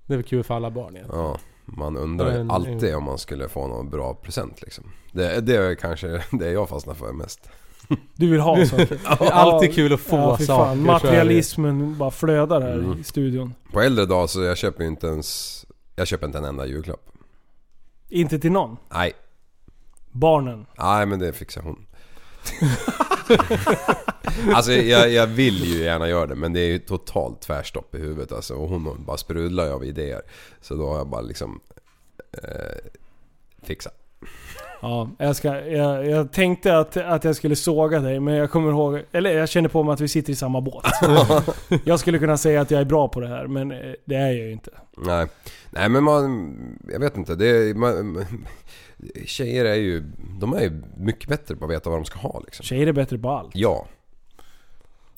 Speaker 4: Det är väl kul för alla barn egentligen.
Speaker 3: Ja. Man undrar ju
Speaker 4: Men-
Speaker 3: alltid om man skulle få någon bra present liksom. Det, det är kanske det jag fastnar för mest.
Speaker 2: Du vill ha saker?
Speaker 4: Det är alltid kul att få
Speaker 2: ja, fy
Speaker 4: saker.
Speaker 2: fan.
Speaker 4: så är det.
Speaker 2: Materialismen bara flödar här
Speaker 3: Mm.
Speaker 2: i studion.
Speaker 3: På äldre dag så jag köper ju inte ens... Jag köper inte en enda julklapp.
Speaker 2: Inte till någon.
Speaker 3: Nej.
Speaker 2: Barnen.
Speaker 3: Nej men det fixar hon. alltså jag, jag vill ju gärna göra det men det är ju totalt tvärstopp i huvudet alltså. Och hon bara sprudlar ju av idéer. Så då har jag bara liksom... Eh, fixa.
Speaker 2: Ja, jag, ska, jag, jag tänkte att, att jag skulle såga dig, men jag kommer ihåg... Eller jag känner på mig att vi sitter i samma båt. jag skulle kunna säga att jag är bra på det här, men eh, det är jag ju inte.
Speaker 3: Nej. Nej men man... Jag vet inte. Det, är- man, tjejer är ju... De är ju mycket bättre på att veta vad de ska ha liksom.
Speaker 2: Tjejer är bättre på allt.
Speaker 3: Ja.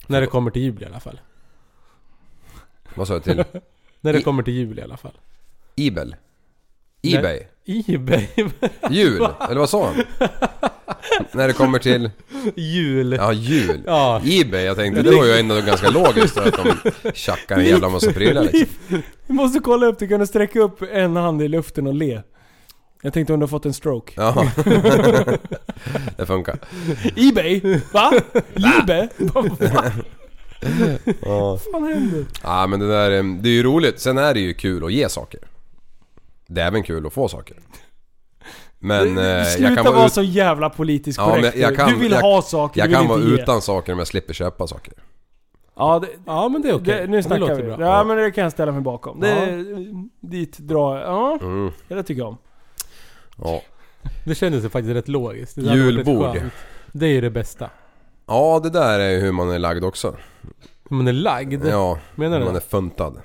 Speaker 4: När det kommer till jul i alla fall.
Speaker 3: Vad sa jag till?
Speaker 4: När det
Speaker 3: I-
Speaker 4: kommer till jul i alla fall.
Speaker 3: Ebel? Ebay?
Speaker 4: Ebay.
Speaker 3: Jul? Eller vad sa han? När det kommer till...
Speaker 4: jul.
Speaker 3: Ja, jul.
Speaker 4: Ja.
Speaker 3: Ebay, jag tänkte det var ju ändå ganska logiskt att de tjackar en jävla massa prylar liksom.
Speaker 2: Vi måste kolla upp, du kunde sträcka upp en hand i luften och le. Jag tänkte om du har fått en stroke.
Speaker 3: Ja. Det funkar.
Speaker 2: Ebay? Va? Libe? Vad
Speaker 3: Ja.
Speaker 2: fan händer?
Speaker 3: ja men det där, eh, det är ju roligt. Sen är det ju kul att ge saker. Det är även kul att få saker. Men eh, jag
Speaker 2: Sluta
Speaker 3: kan
Speaker 2: vara
Speaker 3: vara, ut,
Speaker 2: så jävla politiskt
Speaker 3: Ja, men
Speaker 2: korrekt
Speaker 3: jag
Speaker 2: nu.
Speaker 3: kan-
Speaker 2: Du vill
Speaker 3: jag-
Speaker 2: ha saker,
Speaker 3: jag
Speaker 2: du
Speaker 3: kan
Speaker 2: vill
Speaker 3: vara
Speaker 2: inte ge.
Speaker 3: utan saker om jag slipper köpa saker.
Speaker 2: Ja, det,
Speaker 4: Ja men det är okej.
Speaker 2: det, nu snackar
Speaker 4: låter
Speaker 2: vi.
Speaker 4: bra.
Speaker 2: Ja, men det kan jag ställa mig bakom. Det, dit drar jag. Ja,
Speaker 3: Mm.
Speaker 2: det tycker jag om.
Speaker 3: Ja.
Speaker 4: Det kändes ju faktiskt rätt logiskt. Det där hade varit rätt
Speaker 3: Julbord.
Speaker 4: skönt. Det är ju det bästa.
Speaker 3: ja, det där är ju hur man är lagd också.
Speaker 4: Om man är lagd.
Speaker 3: Ja,
Speaker 4: Menar du
Speaker 3: man
Speaker 4: det?
Speaker 3: är funtad.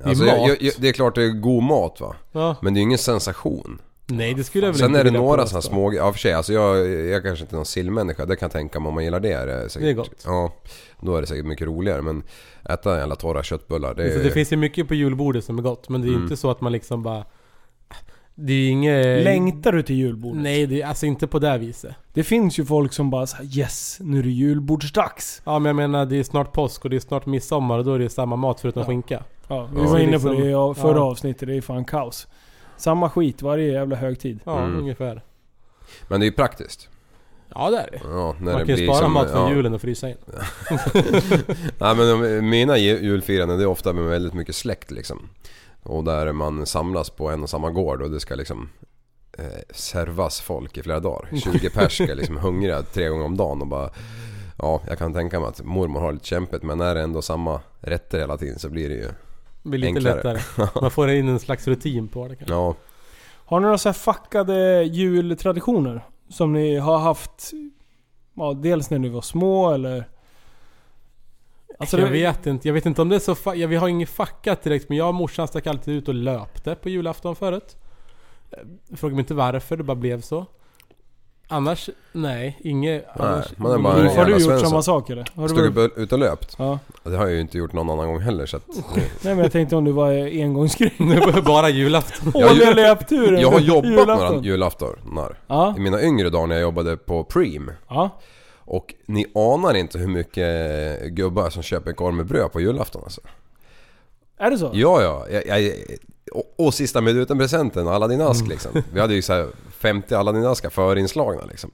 Speaker 4: är
Speaker 3: Alltså,
Speaker 4: mat.
Speaker 3: jag, jag, jag, det är klart det är god mat va.
Speaker 4: Ja.
Speaker 3: Men det är ju ingen sensation.
Speaker 4: Nej det skulle jag väl
Speaker 3: Sen
Speaker 4: inte
Speaker 3: är det
Speaker 4: vilja
Speaker 3: några
Speaker 4: påstå.
Speaker 3: sådana små Ja, för sig, alltså jag, jag kanske inte är någon sillmänniska. Det kan jag tänka mig om man gillar det. Är det, säkert,
Speaker 4: Det är gott.
Speaker 3: Ja, då är det säkert mycket roligare. Men äta alla torra köttbullar. Det,
Speaker 4: Så
Speaker 3: är-
Speaker 4: det finns ju mycket på julbordet som är gott. Men det är ju
Speaker 3: Eh. Mm.
Speaker 4: inte så att man liksom bara... Det är ju inget...
Speaker 2: Längtar du till julbordet?
Speaker 4: Nej, det är alltså inte på det här viset.
Speaker 2: Det finns ju folk som bara så här, 'Yes, nu är det julbordsdags'
Speaker 4: Ja men jag menar det är snart påsk och det är snart midsommar och då är det ju samma mat förutom
Speaker 2: Ja.
Speaker 4: skinka.
Speaker 2: Ja, vi
Speaker 3: Ja.
Speaker 2: var inne på
Speaker 4: Liksom,
Speaker 2: det i förra
Speaker 4: ja.
Speaker 2: avsnittet, det är fan kaos. Samma skit varje jävla högtid.
Speaker 4: Ja,
Speaker 3: Mm.
Speaker 4: ungefär.
Speaker 3: Men det är ju praktiskt.
Speaker 4: Ja det är det.
Speaker 3: Ja, när
Speaker 4: Man
Speaker 3: det
Speaker 4: kan ju
Speaker 3: blir
Speaker 4: spara
Speaker 3: som-
Speaker 4: mat från
Speaker 3: ja.
Speaker 4: julen och frysa in.
Speaker 3: Nej men de- mina ju- julfiranden det är ofta med väldigt mycket släkt liksom. Och där man samlas på en och samma gård och det ska liksom eh, servas folk i flera dagar.
Speaker 2: Mm.
Speaker 3: 20 pers ska liksom hungriga tre gånger om dagen och bara... Ja, jag kan tänka mig att mormor har lite kämpigt men är det ändå samma rätter hela tiden så blir det ju...
Speaker 4: Det blir lite
Speaker 3: Enklare.
Speaker 4: lättare. Man får in en slags rutin på det kanske.
Speaker 3: Ja,
Speaker 2: Har ni några så här fuckade jultraditioner? Som ni har haft, ja, dels när ni var små eller... Alltså,
Speaker 4: jag
Speaker 2: det-
Speaker 4: vet inte. Jag vet inte om det är så fa- ja, Vi har inget fackat direkt men jag och morsan stack alltid ut och löpte på julafton förut. Eh, Fråga mig inte varför, det bara blev så. Annars, nej. Inget
Speaker 3: Nej,
Speaker 4: annars. Mm.
Speaker 3: man är bara en
Speaker 2: Ulf, har
Speaker 3: jävla
Speaker 2: du gjort
Speaker 3: Svensson.
Speaker 2: samma sak eller? Har du
Speaker 3: stod
Speaker 2: varit...
Speaker 3: ju ut och löpt.
Speaker 2: Ja.
Speaker 3: Det har jag ju inte gjort någon annan gång heller så att...
Speaker 2: Nej men jag tänkte om du var eh, engångsgrej.
Speaker 4: bara julafton.
Speaker 3: Jag har
Speaker 2: Åh,
Speaker 3: ju-
Speaker 2: jag har löpturen!
Speaker 3: Jag har
Speaker 2: på
Speaker 3: jobbat
Speaker 2: julafton.
Speaker 3: några julaftonar.
Speaker 2: Ja,
Speaker 3: I mina yngre dagar när jag jobbade på Preem
Speaker 2: ja.
Speaker 3: Och ni anar inte hur mycket gubbar som köper en korv med bröd på julafton alltså.
Speaker 2: Är det så?
Speaker 3: Ja, ja. Jag, jag, och, och sista minuten-presenten, Aladdin-ask liksom. Vi hade ju så här 50 Aladdin-askar förinslagna liksom.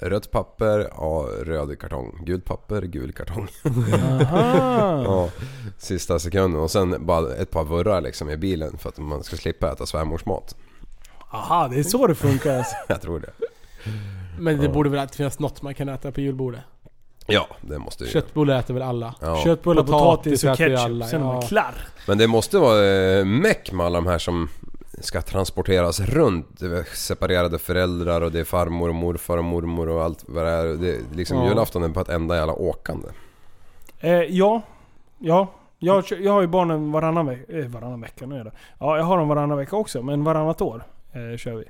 Speaker 3: Rött papper, ja, röd kartong. Gult papper, gul kartong.
Speaker 2: Aha.
Speaker 3: Ja, sista sekunden. Och sen bara ett par vurrar liksom i bilen för att man ska slippa äta svärmors mat.
Speaker 2: Aha, det är så det funkar alltså.
Speaker 3: Jag tror det.
Speaker 4: Men det borde väl alltid finnas något man kan äta på julbordet?
Speaker 3: Ja, det måste ju...
Speaker 4: Köttbullar äter väl alla?
Speaker 3: Ja.
Speaker 2: Köttbullar, potatis,
Speaker 4: Potatis
Speaker 2: och
Speaker 4: äter ju
Speaker 2: ketchup.
Speaker 4: alla,
Speaker 2: Sen är man
Speaker 4: ja.
Speaker 2: klar.
Speaker 3: Men det måste vara eh, meck med alla de här som ska transporteras runt. Det är Separerade föräldrar och det är farmor och morfar och mormor och allt vad det är. Det är liksom
Speaker 4: Ja.
Speaker 3: julafton är på ett enda jävla åkande.
Speaker 2: Eh, ja. Ja. Jag, kö- jag har ju barnen varannan vecka. Eh, varannan vecka, nu är det. Ja, jag har dem varannan vecka också. Men varannat år eh, kör vi.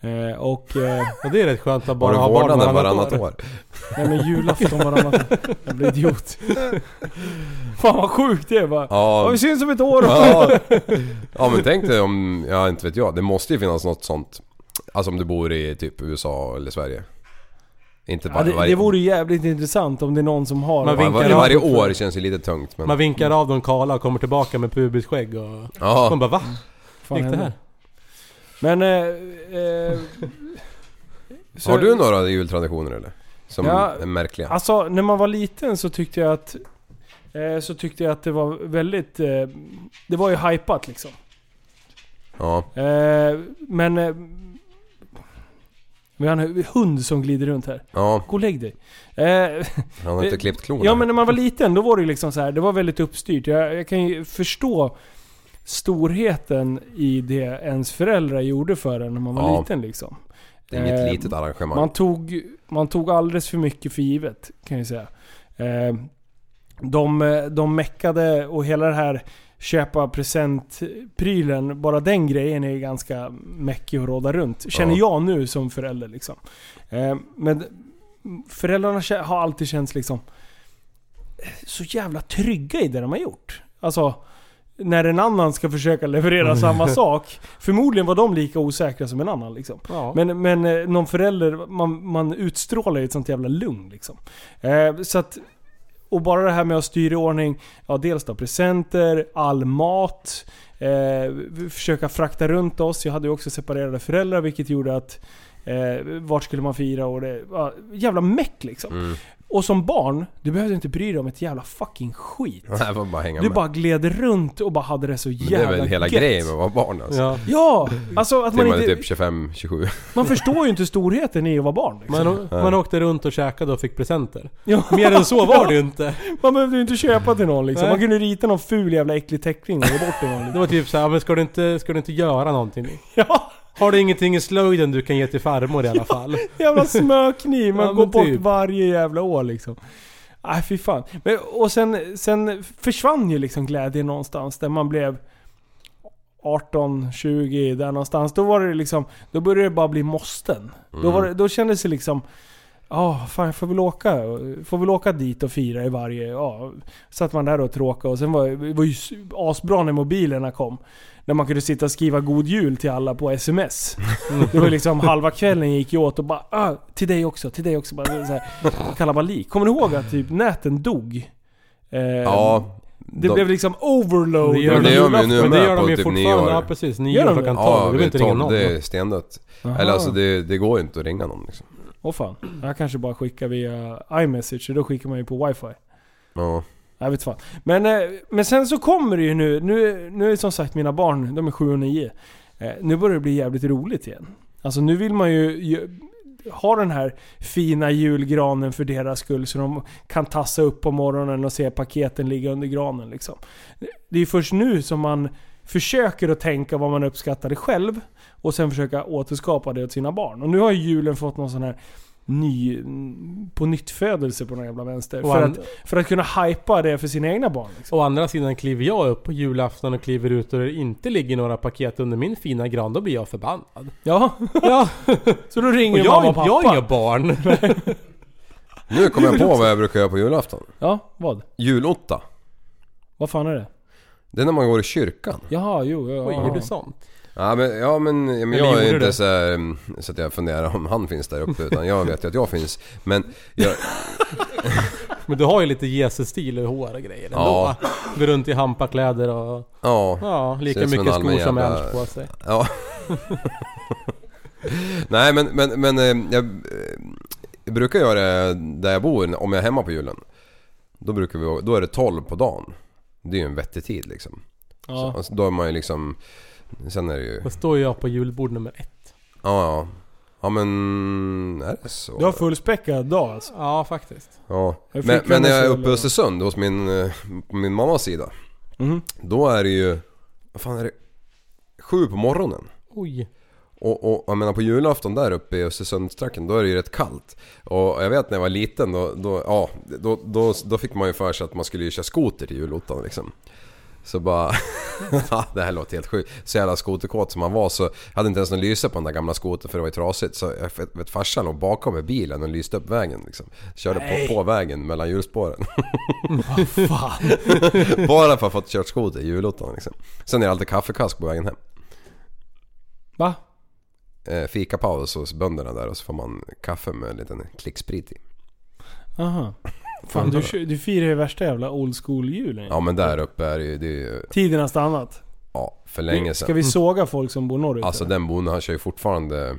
Speaker 2: Eh, och... Eh,
Speaker 4: Ja, det är rätt skönt att
Speaker 3: Har
Speaker 4: bara
Speaker 3: du
Speaker 4: ha barn
Speaker 3: vårdnaden varannat
Speaker 4: varannat år.
Speaker 3: år?
Speaker 2: nej men julafton varannat år. Jag blir idiot. Fan vad sjukt det är bara. Ja,
Speaker 3: Ja,
Speaker 2: vi syns om ett år.
Speaker 3: ja. ja men tänk dig om, ja inte vet jag. Det måste ju finnas något sånt. Alltså om du bor i typ USA eller Sverige. Inte
Speaker 2: Ja,
Speaker 3: bara
Speaker 2: det,
Speaker 3: varje,
Speaker 2: det vore ju jävligt intressant om det är någon som har...
Speaker 4: Man
Speaker 3: var,
Speaker 4: vinkar
Speaker 3: var,
Speaker 4: av
Speaker 3: varje
Speaker 4: dem för-
Speaker 3: år känns ju lite tungt men...
Speaker 4: Man vinkar av de kala och kommer tillbaka med pubisskägg och... De
Speaker 3: ja,
Speaker 4: bara va?
Speaker 2: Fan,
Speaker 4: Gick det
Speaker 2: hände.
Speaker 4: här?
Speaker 2: Men... Eh, eh, så-
Speaker 3: har du några jultraditioner eller? Som
Speaker 2: Ja,
Speaker 3: är märkliga?
Speaker 2: Alltså när man var liten så tyckte jag att... Eh, så tyckte jag att det var väldigt... Eh, det var ju hypat liksom.
Speaker 3: Ja.
Speaker 2: Eh, men... Eh, vi har en hund som glider runt här.
Speaker 3: Ja,
Speaker 2: Gå och lägg dig. Eh,
Speaker 3: han har inte klippt klorna.
Speaker 2: ja men när man var liten då var det ju liksom så här. Det var väldigt uppstyrt. Jag, jag kan ju förstå storheten i det ens föräldrar gjorde för en när man var
Speaker 3: Ja.
Speaker 2: liten liksom.
Speaker 3: Det är inget
Speaker 2: Eh,
Speaker 3: litet arrangemang.
Speaker 2: Man tog, man tog alldeles för mycket för givet, kan jag säga. Eh, De, eh, de meckade och hela det här köpa presentprylen, bara den grejen är ju ganska mäckig att råda runt. Känner
Speaker 3: Ja.
Speaker 2: jag nu som förälder liksom. Eh, Men föräldrarna kä- har alltid känts liksom eh, så jävla trygga i det de har gjort. Alltså, när en annan ska försöka leverera samma sak. Förmodligen var de lika osäkra som en annan liksom.
Speaker 4: Ja.
Speaker 2: Men, men eh, någon förälder, man, man utstrålar ju ett sånt jävla lugn liksom. Eh, så att, och bara det här med att styra i ordning, ja dels då presenter, all mat, eh, v- försöka frakta runt oss. Jag hade ju också separerade föräldrar vilket gjorde att eh, vart skulle man fira och det, ja, jävla meck liksom.
Speaker 3: Mm.
Speaker 2: Och som barn, du behövde inte bry dig om ett jävla fucking skit.
Speaker 3: Nej, får bara hänga
Speaker 2: Du
Speaker 3: med.
Speaker 2: bara gled runt och bara hade det så
Speaker 3: men det
Speaker 2: jävla
Speaker 3: är väl hela
Speaker 2: gött.
Speaker 3: grejen med att vara barn alltså.
Speaker 4: Ja. Eh,
Speaker 2: Ja! Alltså att
Speaker 3: Till
Speaker 2: man
Speaker 3: man är
Speaker 2: inte...
Speaker 3: typ 25-27.
Speaker 2: Man förstår ju inte storheten i att vara barn liksom.
Speaker 4: Man, man åkte runt och käkade och fick presenter.
Speaker 2: Ja.
Speaker 4: Mer än så var det ju inte.
Speaker 2: Man behövde ju inte köpa till någon liksom.
Speaker 4: Nej.
Speaker 2: Man kunde rita någon ful jävla äcklig teckning och ge bort till någon.
Speaker 4: Det
Speaker 2: Liksom.
Speaker 4: var typ såhär, men ska du, inte, ska du inte göra någonting?
Speaker 2: Ja,
Speaker 4: Har du ingenting i slöjden du kan ge till farmor i alla fall?
Speaker 2: jävla smörkniv. Man
Speaker 4: Ja, men
Speaker 2: går bort
Speaker 4: typ.
Speaker 2: varje jävla år liksom. Nej fy fan. Men, och sen, sen försvann ju liksom glädjen någonstans där man blev 18, 20 där någonstans. Då var det liksom, då började det bara bli måsten. Då, var det, då kändes det liksom, ja fan jag får väl åka, får väl åka dit och fira i varje, ja. Satt man där och tråkade och sen var det var ju s- asbra när mobilerna kom. När man kunde sitta och skriva God Jul till alla på sms. Det var liksom halva kvällen gick ju åt och bara "Ah, till dig också, till dig också. Bara, så här, kalabalik. Kommer ni ihåg att typ näten dog? Eh,
Speaker 3: Ja.
Speaker 2: det
Speaker 3: de-
Speaker 2: blev liksom overload.
Speaker 4: Det gör
Speaker 3: Men det
Speaker 4: de
Speaker 3: gör man ju nu
Speaker 4: men det
Speaker 3: med
Speaker 4: gör
Speaker 3: på
Speaker 4: de ju
Speaker 3: typ
Speaker 4: fortfarande.
Speaker 3: nyår.
Speaker 4: Ja precis,
Speaker 2: Gör
Speaker 4: nio
Speaker 2: de
Speaker 4: klockan
Speaker 2: det?
Speaker 4: 12.
Speaker 3: Ja,
Speaker 4: det
Speaker 3: vid
Speaker 4: behöver inte ringa
Speaker 3: 12,
Speaker 4: någon.
Speaker 3: det är stendött.
Speaker 2: Aha.
Speaker 3: Eller alltså det, det går ju inte att ringa någon liksom.
Speaker 2: Åh fan. Jag kanske bara skickar via iMessage och då skickar man ju på wifi.
Speaker 3: Ja.
Speaker 2: Jag vet fan. Men, eh, men sen så kommer det ju nu, nu, nu är som sagt mina barn, de är 7 och 9. Eh, Nu börjar det bli jävligt roligt igen. Alltså nu vill man ju ju ha den här fina julgranen för deras skull så de kan tassa upp på morgonen och se paketen ligga under granen liksom. Det är ju först nu som man försöker att tänka vad man uppskattade själv och sen försöka återskapa det åt sina barn. Och nu har ju julen fått någon sån här ny, på nytt födelse på någon jävla vänster.
Speaker 4: Och
Speaker 2: För
Speaker 4: an-
Speaker 2: att, för att kunna hypa det för sina egna barn. Liksom.
Speaker 4: Å andra sidan kliver jag upp på julafton och kliver ut och det inte ligger några paket under min fina gran, då blir jag förbannad.
Speaker 2: Ja,
Speaker 4: Ja,
Speaker 2: så då
Speaker 4: och
Speaker 2: ringer mamma och
Speaker 4: jag,
Speaker 2: pappa.
Speaker 4: jag är inga barn.
Speaker 3: Nu kom jag på vad jag brukar göra på julafton.
Speaker 2: Ja, vad?
Speaker 3: Julotta.
Speaker 2: Vad fan är det?
Speaker 3: Det är när man går i kyrkan.
Speaker 2: Jaha, jo, ja.
Speaker 4: Oj,
Speaker 2: ja.
Speaker 4: gjorde sånt?
Speaker 3: Ja men, ja, men, ja, men
Speaker 4: Eller
Speaker 3: jag är
Speaker 4: gjorde
Speaker 3: inte
Speaker 4: du?
Speaker 3: så, här, mm, så att jag funderar om han finns där uppe utan jag vet ju att jag finns. Men jag,
Speaker 4: Men du har ju lite Jesus-stil i hår och grejer ändå.
Speaker 3: Ja.
Speaker 4: Går runt i hampakläder och...
Speaker 3: ja,
Speaker 4: Ja, lika
Speaker 3: Ser ut som
Speaker 4: mycket
Speaker 3: en
Speaker 4: skor som
Speaker 3: allmän jävla-
Speaker 4: Ernst på sig.
Speaker 3: Ja. Nej men, men, men eh, jag, eh, jag brukar göra det där jag bor om jag är hemma på julen. Då, brukar vi, då är det 12 på dagen. Det är ju en vettig tid liksom. Så,
Speaker 2: Ja.
Speaker 3: alltså, då är man ju liksom... Sen är det ju...
Speaker 4: Då står jag på julbord nummer ett.
Speaker 3: Ja, ja. Ja men... Är det så?
Speaker 2: Du har fullspäckad dag alltså.
Speaker 4: Ja, faktiskt.
Speaker 3: Ja.
Speaker 2: Jag
Speaker 3: Men,
Speaker 2: fick
Speaker 3: men när jag är
Speaker 2: Vänersöl
Speaker 3: uppe i
Speaker 2: och-
Speaker 3: Östersund hos min, eh, på min mammas sida.
Speaker 2: Mhm.
Speaker 3: Då är det ju... Vad fan är det? Sju på morgonen.
Speaker 4: Oj.
Speaker 3: Och, och jag menar på julafton där uppe i Östersundstrakten då är det ju rätt kallt. Och jag vet när jag var liten då, då, ja, då, då, då fick man ju för sig att man skulle ju köra skoter till julottan liksom. Så bara... ja, det här låter helt sjukt. Så jävla skoterkåt som man var så... Jag hade inte ens någon lyse på den där gamla skotern för det var ju trasigt. Så jag vet- vet farsan låg bakom med bilen och lyste upp vägen liksom. Körde på, på vägen mellan hjulspåren. Bara för att få kört skoter i julottan liksom. Sen är det alltid kaffekask på vägen hem.
Speaker 2: Va?
Speaker 3: eh, fikapaus hos bönderna där och så får man kaffe med en liten klick sprit i.
Speaker 2: Aha. Fan du, kö- du firar ju värsta jävla old school-julen ju.
Speaker 3: Ja men där uppe är det ju, det är ju
Speaker 2: Tiden har stannat.
Speaker 3: ja, för länge
Speaker 2: Ska
Speaker 3: sedan.
Speaker 2: vi såga folk som bor norrut?
Speaker 3: Alltså
Speaker 2: eller?
Speaker 3: den bonden han kör ju fortfarande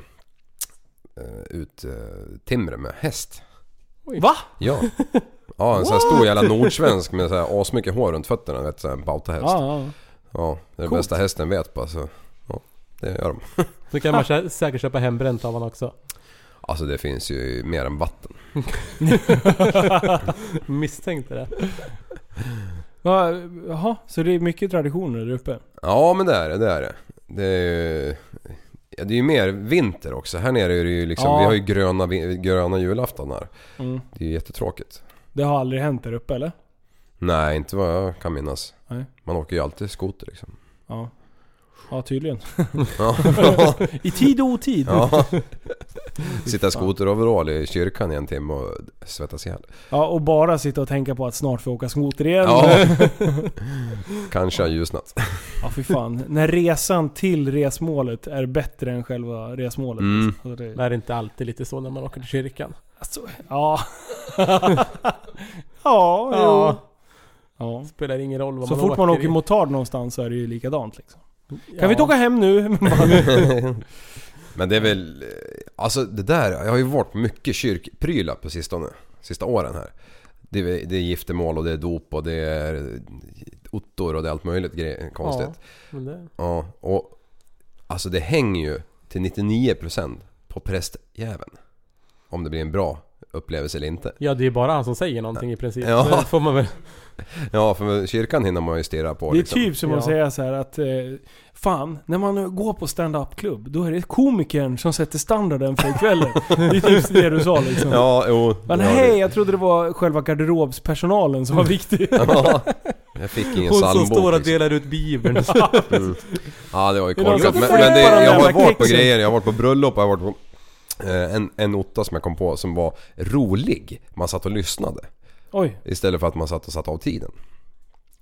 Speaker 3: eh, ut eh, timre med häst.
Speaker 2: Va?
Speaker 3: Ja. Ja en sån här stor jävla nordsvensk med så här asmycket hår runt fötterna. Vet, så här, en bautahäst. Ja.
Speaker 2: Ja, ja.
Speaker 3: det är det
Speaker 2: Coolt.
Speaker 3: bästa hästen vet bara så. Ja, det gör de.
Speaker 4: Så kan man kä- säkert köpa hembränt av honom också.
Speaker 3: Alltså det finns ju mer än vatten.
Speaker 4: Misstänkte det.
Speaker 2: Va? Jaha, så det är mycket traditioner där uppe?
Speaker 3: Ja men det är det, det är det. Det är ju, ja, det är ju mer vinter också. Här nere är det ju liksom,
Speaker 2: Ja.
Speaker 3: vi har ju gröna, vin- gröna julaftonar.
Speaker 2: Mm.
Speaker 3: Det är ju jättetråkigt.
Speaker 2: Det har aldrig hänt där uppe eller?
Speaker 3: Nej, inte vad jag kan minnas.
Speaker 2: Nej.
Speaker 3: Man åker ju alltid skoter liksom.
Speaker 2: Ja. Ja, tydligen.
Speaker 3: Ja.
Speaker 2: I tid och otid.
Speaker 3: ja. Sitta i skoteroverall i kyrkan i en timme och svettas ihjäl.
Speaker 2: Ja, och bara sitta och tänka på att snart får jag åka skoter igen.
Speaker 3: Ja. Kanske har ljusnat.
Speaker 2: Ja, fy fan. När resan till resmålet är bättre än själva resmålet.
Speaker 3: Mm.
Speaker 2: Alltså,
Speaker 4: Det
Speaker 2: det,
Speaker 4: är inte alltid lite så när man åker till kyrkan.
Speaker 2: alltså, ja. ja, ja, jo.
Speaker 4: Spelar ingen roll
Speaker 2: Ja.
Speaker 4: vad
Speaker 2: Så
Speaker 4: man
Speaker 2: fort man åker
Speaker 4: i.
Speaker 2: motard någonstans så är det ju likadant liksom.
Speaker 4: Ja.
Speaker 2: Kan vi inte åka hem nu?
Speaker 3: Men det är väl... eh, Alltså det där, jag har ju varit mycket kyrkprylar på sistone. Sista åren här. Det är, det är giftermål och det är dop och det är ottor och det är allt möjligt gre- konstigt. Ja.
Speaker 4: Men det...
Speaker 3: och... Alltså det hänger ju till 99% på prästjäveln. Om det blir en bra upplevelse eller inte.
Speaker 4: Ja, det är bara han som säger någonting i princip.
Speaker 3: Ja.
Speaker 4: Det får man väl...
Speaker 3: Ja, för kyrkan hinner man ju stirra på
Speaker 2: Det är
Speaker 3: liksom.
Speaker 2: typ som att
Speaker 4: Ja.
Speaker 2: säga så här att eh, Fan, när man går på stand-up-klubb då är det komikern som sätter standarden för kvällen. det är typ det du sa liksom.
Speaker 3: Ja, jo.
Speaker 2: Men
Speaker 3: ja, det-
Speaker 2: hej, jag trodde det var själva garderobspersonalen som var viktig.
Speaker 3: Ja, jag fick ingen
Speaker 4: Hon som
Speaker 3: psalmbok.
Speaker 4: står och
Speaker 3: liksom.
Speaker 4: delar ut bibeln.
Speaker 3: Mm. Ja det var ju
Speaker 2: Det är någon
Speaker 3: korkat.
Speaker 2: som
Speaker 3: Men,
Speaker 2: får
Speaker 3: men det,
Speaker 2: äta de
Speaker 3: jag har
Speaker 2: jävla
Speaker 3: varit på
Speaker 2: kexen.
Speaker 3: grejer, jag har varit på bröllop, jag har varit på eh, en, en otta som jag kom på som var rolig. Man satt och lyssnade.
Speaker 2: Oj,
Speaker 3: Istället för att man satt och satt av tiden.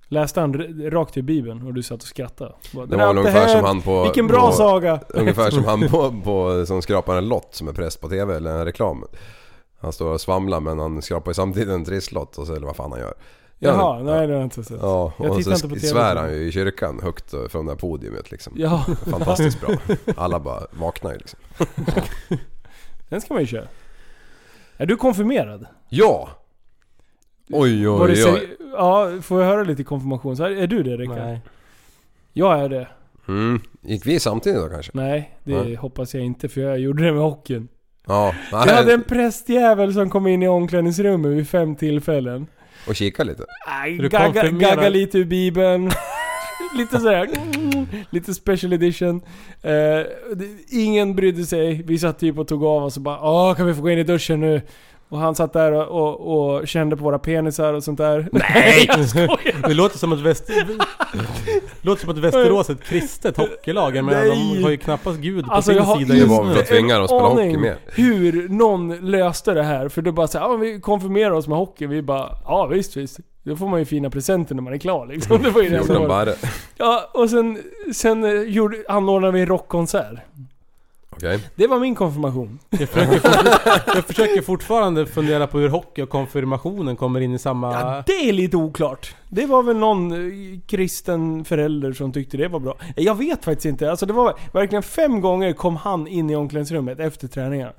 Speaker 2: läste han r- rakt i bibeln och du satt och skrattade. Bara,
Speaker 3: Det
Speaker 2: "Den här
Speaker 3: var väl ungefär
Speaker 2: här-
Speaker 3: som han på...
Speaker 2: Vilken bra
Speaker 3: på,
Speaker 2: saga!
Speaker 3: Ungefär som han på, på, som skrapar en lott som är präst på TV eller en reklam. Han står och svamlar men han skrapar ju samtidigt en trisslott och så, eller vad fan han gör.
Speaker 2: Jaha, nej det har jag inte sett.
Speaker 3: Ja,
Speaker 2: Jag
Speaker 3: och
Speaker 2: tittar
Speaker 3: så
Speaker 2: inte på TV.
Speaker 3: svär han ju i kyrkan högt eh, från det här podiumet liksom.
Speaker 2: Ja,
Speaker 3: Fantastiskt bra. Alla bara vaknar ju liksom.
Speaker 2: den ska man ju köra. Är du konfirmerad?
Speaker 3: Ja! Oj
Speaker 2: Var det
Speaker 3: oj oj.
Speaker 2: seri- ja, får jag höra lite konfirmation? Så här, är du det Rickard?
Speaker 4: Nej.
Speaker 2: Jag är det.
Speaker 3: Mm. Gick vi samtidigt då kanske?
Speaker 2: Nej, det
Speaker 3: Nej.
Speaker 2: hoppas jag inte för jag gjorde det med hockeyn.
Speaker 3: Ja.
Speaker 2: Jag hade
Speaker 3: Nej,
Speaker 2: en prästjävel som kom in i omklädningsrummet vid fem tillfällen.
Speaker 3: och kika lite.
Speaker 2: Aj,
Speaker 4: Du
Speaker 2: Gagga,
Speaker 4: konfirmerar-
Speaker 2: gagga lite ur bibeln. lite sådär. mm, Lite special edition. Eh, det, ingen brydde sig. Vi satt typ och tog av oss och bara Åh, kan vi få gå in i duschen nu? Och han satt där och, och, och kände på våra penisar och sånt där. Nej! jag skojar!
Speaker 4: Det låter som att, väst... låter som att Västerås är ett kristet hockeylag. Jag menar,
Speaker 2: Nej.
Speaker 4: de har ju knappast Gud på
Speaker 2: Alltså,
Speaker 4: sin
Speaker 2: jag har
Speaker 4: sida
Speaker 3: Det
Speaker 4: just
Speaker 3: var
Speaker 4: nu.
Speaker 3: väl för att tvinga dem att spela
Speaker 2: Ingen
Speaker 3: hockey mer.
Speaker 2: hur någon löste det här. För det bara såhär, ja vi konfirmerar oss med hockey. Vi bara, ja visst visst. Då får man ju fina presenter när man är klar liksom. Det var ju det som
Speaker 3: 14
Speaker 2: var.
Speaker 3: bara.
Speaker 2: Ja, och sen, sen eh, gjorde, anordnade vi en rockkonsert.
Speaker 3: Okej.
Speaker 2: Det var min konfirmation.
Speaker 4: Jag försöker, fort... jag försöker fortfarande fundera på hur hockey och konfirmationen kommer in i samma...
Speaker 2: Ja, det är lite oklart. Det var väl någon eh, kristen förälder som tyckte det var bra. Eh, Jag vet faktiskt inte. Alltså det var verkligen fem gånger kom han in i omklädningsrummet efter träningen.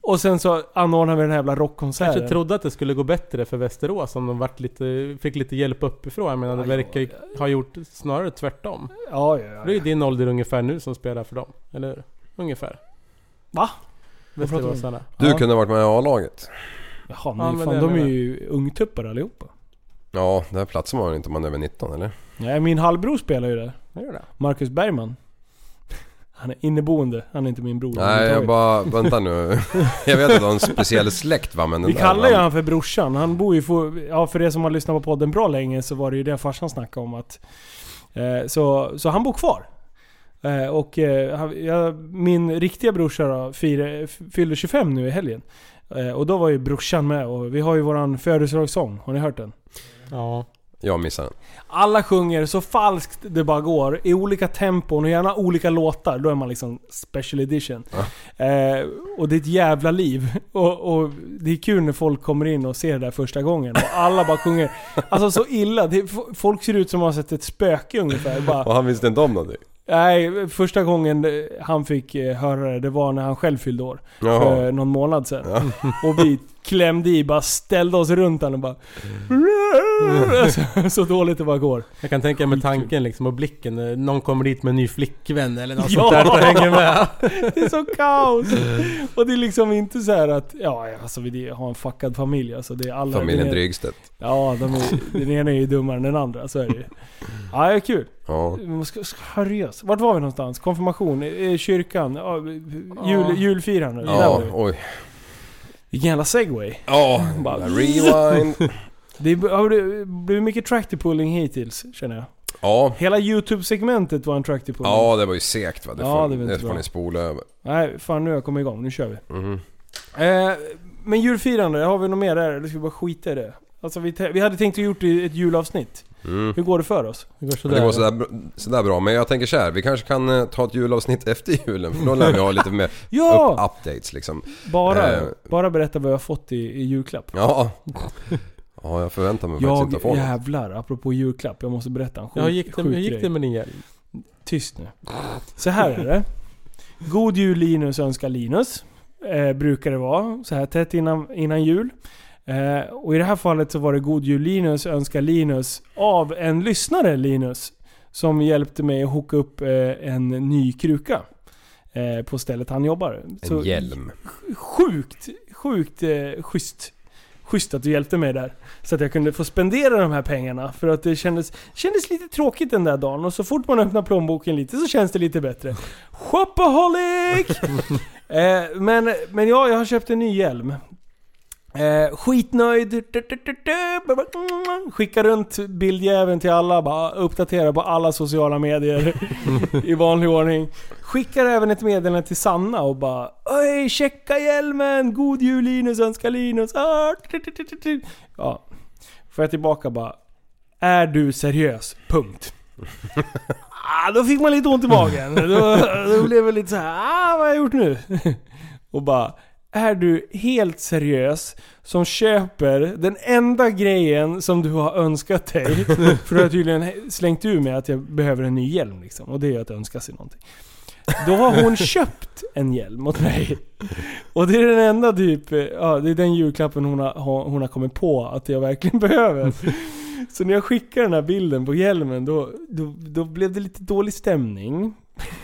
Speaker 2: Och sen så anordnade vi den här jävla
Speaker 4: Jag
Speaker 2: rockkonserten.
Speaker 4: kanske trodde att det skulle gå bättre för Västerås om de vart lite, fick lite hjälp uppifrån. Jag menar, det verkar ju ha gjort snarare tvärtom.
Speaker 2: Ja, ja,
Speaker 4: Det är
Speaker 2: ja.
Speaker 4: ju din ålder ungefär nu som spelar för dem, eller hur? Ungefär.
Speaker 2: Va? pratar vi om?
Speaker 4: Västeråsarna.
Speaker 3: Du
Speaker 2: Ja.
Speaker 3: kunde ha varit med i A-laget.
Speaker 2: Jaha,
Speaker 4: Ja,
Speaker 2: men,
Speaker 4: men
Speaker 2: fan,
Speaker 4: det
Speaker 2: de är
Speaker 4: menar
Speaker 2: ju ungtuppar allihopa.
Speaker 3: Ja, där platsar man väl inte om man är över 19 eller?
Speaker 2: Nej, min halvbror spelar ju där.
Speaker 4: Jag gör det.
Speaker 2: Marcus Bergman. Han är inneboende, han är inte min bror.
Speaker 3: Nej, jag
Speaker 2: överhuvudtaget.
Speaker 3: bara... Vänta nu. jag vet att du har en speciell släkt va, men den
Speaker 2: Vi
Speaker 3: där,
Speaker 2: kallar ju
Speaker 3: va?
Speaker 2: han för brorsan. Han bor ju för, ja, för er som har lyssnat på podden bra länge så var det ju det farsan snackade om att... Eh, så, så han bor kvar. Eh, och eh, han, jag, min riktiga brorsa då, fyra, fyllde 25 nu i helgen. Eh, och då var ju brorsan med och vi har ju våran födelsedagssång. Har ni hört den?
Speaker 4: Ja.
Speaker 3: Jag missar den.
Speaker 2: Alla sjunger så falskt det bara går, i olika tempon och gärna olika låtar. Då är man liksom special edition. Eh, och det är ett jävla liv. Och, och det är kul när folk kommer in och ser det där första gången. Och alla bara sjunger. Alltså så illa. Det, f- folk ser ut som att de har sett ett spöke ungefär. Bara,
Speaker 3: Och han visste inte om någonting?
Speaker 2: nej, första gången eh, han fick eh, höra det, det var när han själv fyllde år.
Speaker 3: Jaha.
Speaker 2: För någon månad sedan. Och vi klämde i, bara ställde oss runt han och bara... Så, så dåligt det bara går.
Speaker 4: Jag kan tänka mig tanken liksom och blicken. eh, Någon kommer dit med en ny flickvän eller något
Speaker 2: Ja!
Speaker 4: sånt där som hänger med.
Speaker 2: Det är så kaos! Och det är liksom inte så här att, ja alltså vi har en fuckad familj alltså. Det är alla,
Speaker 3: Familjen
Speaker 2: den ena-
Speaker 3: Drygstedt.
Speaker 2: Ja, de är, den ena är ju dummare än den andra, så är det ju. Ja, det är kul.
Speaker 3: Ja.
Speaker 2: Men Ska, ska, seriös. Vart var vi någonstans? Konfirmation? eh, Kyrkan? Ja, jul, julfirande? Där var
Speaker 3: Ja,
Speaker 2: vi.
Speaker 3: oj.
Speaker 2: Vilken jävla segway.
Speaker 3: Ja,
Speaker 2: Bara-
Speaker 3: rewind.
Speaker 2: Det är- har det blivit mycket tractor pulling hittills, känner jag.
Speaker 3: Ja.
Speaker 2: Hela YouTube-segmentet var en tractor pulling.
Speaker 3: Ja, det var ju segt va. Det får,
Speaker 2: Ja, det
Speaker 3: det
Speaker 2: var inte
Speaker 3: får
Speaker 2: bra.
Speaker 3: ni spola över.
Speaker 2: Nej, fan nu har jag kommit igång. Nu kör vi.
Speaker 3: Mhm.
Speaker 2: Eh, men julfirande, har vi något mer där? Eller ska vi bara skita i det? Alltså vi, te- vi hade tänkt att gjort ett julavsnitt.
Speaker 3: Mm.
Speaker 2: Hur går det för oss?
Speaker 4: Det går
Speaker 3: Men det
Speaker 4: sådär.
Speaker 3: går sådär, sådär bra. Men jag tänker så här, vi kanske kan eh, ta ett julavsnitt efter julen för då lär vi ha lite mer
Speaker 2: Ja!
Speaker 3: upp updates liksom.
Speaker 2: bara,
Speaker 3: eh.
Speaker 2: bara berätta vad jag har fått i, i julklapp.
Speaker 3: Ja. Ja, jag förväntar mig faktiskt
Speaker 2: Jag,
Speaker 3: inte att få något.
Speaker 2: jävlar, apropå julklapp. Jag måste berätta en sjuk,
Speaker 4: Ja, hur gick det,
Speaker 2: sjuk
Speaker 4: hur gick
Speaker 2: grej.
Speaker 4: det med din hjälp?
Speaker 2: Tyst nu. Så här är det. God jul Linus önskar Linus. Eh, brukar det vara. Så här tätt innan, innan jul. Eh, och i det här fallet så var det God jul Linus önskar Linus av en lyssnare Linus. Som hjälpte mig att hooka upp eh, en ny kruka. Eh, på stället han jobbar.
Speaker 3: En hjälm.
Speaker 2: Sjukt, sjukt eh, schysst. Schysst att du hjälpte mig där. Så att jag kunde få spendera de här pengarna. För att det kändes, kändes lite tråkigt den där dagen. Och så fort man öppnar plånboken lite så känns det lite bättre. Shopaholic! eh, men, men ja, jag har köpt en ny hjälm. Eh, skitnöjd. Skicka runt bildjäveln till alla. Bara uppdatera på alla sociala medier i vanlig ordning. Skickar även ett meddelande till Sanna och bara Oj, checka hjälmen! God jul Linus, önskar Linus! Ah, tu, tu, tu, tu, tu." Ja. Får jag tillbaka bara Är du seriös? Punkt. Ah, då fick man lite ont i magen. Då, då blev det lite så här, ah, vad har jag gjort nu? Och bara Är du helt seriös som köper den enda grejen som du har önskat dig? För du har tydligen slängt ur mig att jag behöver en ny hjälm liksom. Och det är att önska sig någonting. Då har hon köpt en hjälm åt mig. Och det är den enda typ, eh, ja det är den julklappen hon har, har- hon har kommit på att jag verkligen behöver. Så när jag skickar den här bilden på hjälmen då, då, då blev det lite dålig stämning.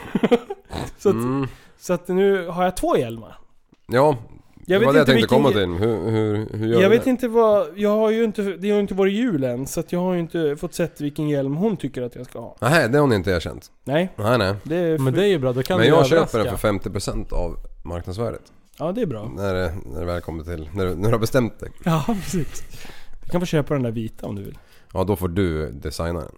Speaker 2: så, att,
Speaker 3: Mm.
Speaker 2: så att nu har jag två hjälmar.
Speaker 3: Ja,
Speaker 2: Jag
Speaker 3: det
Speaker 2: vet
Speaker 3: var det jag
Speaker 2: inte
Speaker 3: tänkte
Speaker 2: vilken
Speaker 3: komma
Speaker 2: ge-
Speaker 3: till. Hur, hur, hur gör
Speaker 2: Jag
Speaker 3: du
Speaker 2: vet
Speaker 3: det?
Speaker 2: inte vad, jag har ju inte, det har ju inte varit jul än så att jag har ju inte fått sett vilken hjälm hon tycker att jag ska ha.
Speaker 3: Nej, det har ni inte erkänt.
Speaker 2: Nej,
Speaker 3: Nej, nej.
Speaker 2: det är, för,
Speaker 4: Men det är ju bra, då kan
Speaker 3: Men
Speaker 4: du
Speaker 3: jag
Speaker 4: överraska.
Speaker 3: köper den för 50% av marknadsvärdet.
Speaker 2: ja det är bra.
Speaker 3: När, det- när det väl kommer till, när du, när du har bestämt dig.
Speaker 2: Ja precis. Du kan få köpa den där vita om du vill.
Speaker 3: Ja, då får du designa den.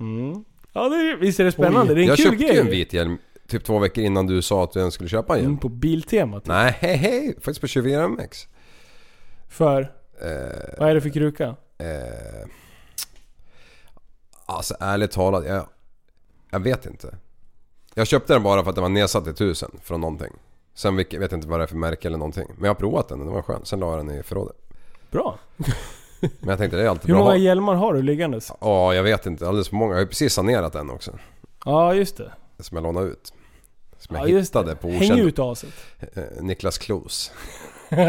Speaker 2: Mm. Ja, det är, visst är det spännande? Det är en
Speaker 3: jag
Speaker 2: kul
Speaker 3: köpte
Speaker 2: grej.
Speaker 3: ju en vit hjälm typ två veckor innan du sa att du ens skulle köpa en hjälm.
Speaker 2: Mm, på Biltemat.
Speaker 3: Nej, hej hej! Faktiskt på 24MX.
Speaker 2: För,
Speaker 3: Eh,
Speaker 2: vad är det för kruka?
Speaker 3: eh, alltså ärligt talat, jag, jag vet inte. Jag köpte den bara för att den var nedsatt i tusen från någonting. Sen vilket- vet jag inte vad det är för märke eller någonting. Men jag har provat den och den var skön. Sen la jag den i förrådet.
Speaker 2: Bra.
Speaker 3: Men jag tänkte det är alltid
Speaker 2: Hur
Speaker 3: bra
Speaker 2: många
Speaker 3: att ha.
Speaker 2: hjälmar har du liggandes?
Speaker 3: Ja, jag vet inte. Alldeles för många. Jag har ju precis sanerat den också.
Speaker 2: Ja, just det.
Speaker 3: Som jag lånade ut. Som
Speaker 2: Ja,
Speaker 3: jag
Speaker 2: just
Speaker 3: hittade på
Speaker 2: Häng
Speaker 3: okänd...
Speaker 2: ut aset.
Speaker 3: Eh, Niklas Klos.
Speaker 2: Vad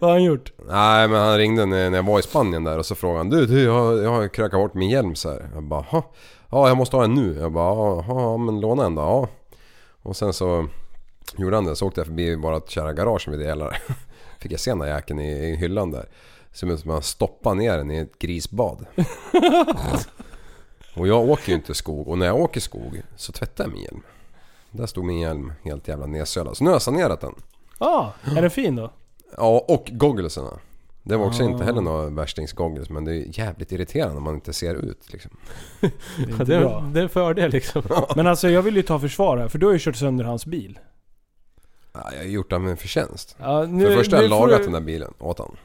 Speaker 2: har han gjort?
Speaker 3: Nej men han ringde när när jag var i Spanien där och så frågade han du, du jag, har- jag har krökat bort min hjälm så här. Jag bara "Jaha. Ja jag måste ha en nu. Jag bara "Ja, jaha men låna en då. Ja. Och sen så Gjorde han det så åkte jag förbi vårat kära garage vid delar. Fick jag se den där jäkeln i, i hyllan där. Ser ut som att man stoppar ner den i ett grisbad. och jag åker ju inte skog och när jag åker skog så tvättar jag min hjälm. Där stod min hjälm helt jävla nedsölad. Så nu har jag sanerat den.
Speaker 2: Ja, är den fin då?
Speaker 3: Ja, och gogglesarna. Det var
Speaker 2: Ah.
Speaker 3: också inte heller några värstingsgoggles men det är jävligt irriterande om man inte ser ut liksom.
Speaker 2: Det är
Speaker 4: Ja,
Speaker 2: inte
Speaker 4: det,
Speaker 2: bra.
Speaker 4: är, det är en fördel liksom.
Speaker 2: Men alltså jag vill ju ta försvar här, för du har ju kört sönder hans bil.
Speaker 3: Ja, jag har gjort det med en förtjänst.
Speaker 2: Ja, nu,
Speaker 3: För det första har jag
Speaker 2: nu får
Speaker 3: lagat
Speaker 2: du-
Speaker 3: den där bilen åt han.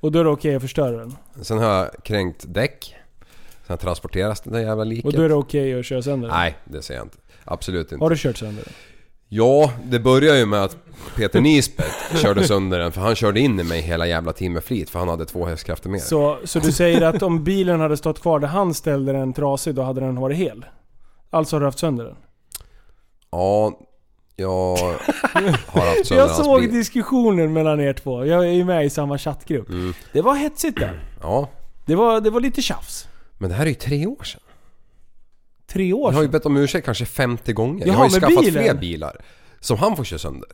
Speaker 2: Och då är det okej att förstöra den.
Speaker 3: Sen har jag kränkt däck. Sen har jag transporterat det där jävla liket.
Speaker 2: Och då är det okej att köra sönder den.
Speaker 3: Nej, det säger jag inte. Absolut inte.
Speaker 2: Har du kört sönder den?
Speaker 3: Ja, det börjar ju med att Peter Nisbet körde sönder den för han körde in i mig hela jävla tiden med flit för han hade två hästkrafter mer.
Speaker 2: Så, så du säger att om bilen hade stått kvar där han ställde den trasig, då hade den varit hel? Alltså har du haft sönder den?
Speaker 3: Ja, jag har haft sönder
Speaker 2: Jag
Speaker 3: hans
Speaker 2: såg
Speaker 3: bil.
Speaker 2: diskussionen mellan er två. Jag är ju med i samma chattgrupp.
Speaker 3: Mm.
Speaker 2: Det var hetsigt där.
Speaker 3: Ja,
Speaker 2: Det var, det var lite tjafs.
Speaker 3: men det här är ju tre år sedan.
Speaker 2: Tre år
Speaker 3: Jag har ju
Speaker 2: sedan.
Speaker 3: bett om ursäkt kanske 50 gånger. jag
Speaker 2: Jaha,
Speaker 3: har ju
Speaker 2: med
Speaker 3: skaffat
Speaker 2: bilen.
Speaker 3: fler bilar. Som han får köra sönder.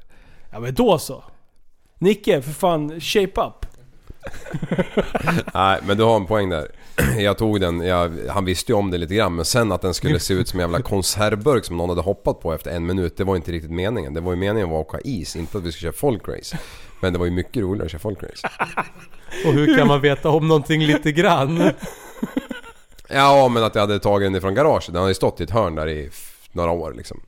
Speaker 2: Ja men då så. Nicke, för fan, shape up.
Speaker 3: Nej, men du har en poäng där. Jag tog den, jag, han visste ju om det lite grann men sen att den skulle se ut som en jävla konservburk som någon hade hoppat på efter en minut, det var inte riktigt meningen. Det var ju meningen att åka is, inte att vi skulle köra folkrace. Men det var ju mycket roligare att köra folkrace.
Speaker 4: Och hur kan man veta om någonting lite grann?
Speaker 3: Ja, men att jag hade tagit den ifrån garaget. Den hade ju stått i ett hörn där i f- några år liksom.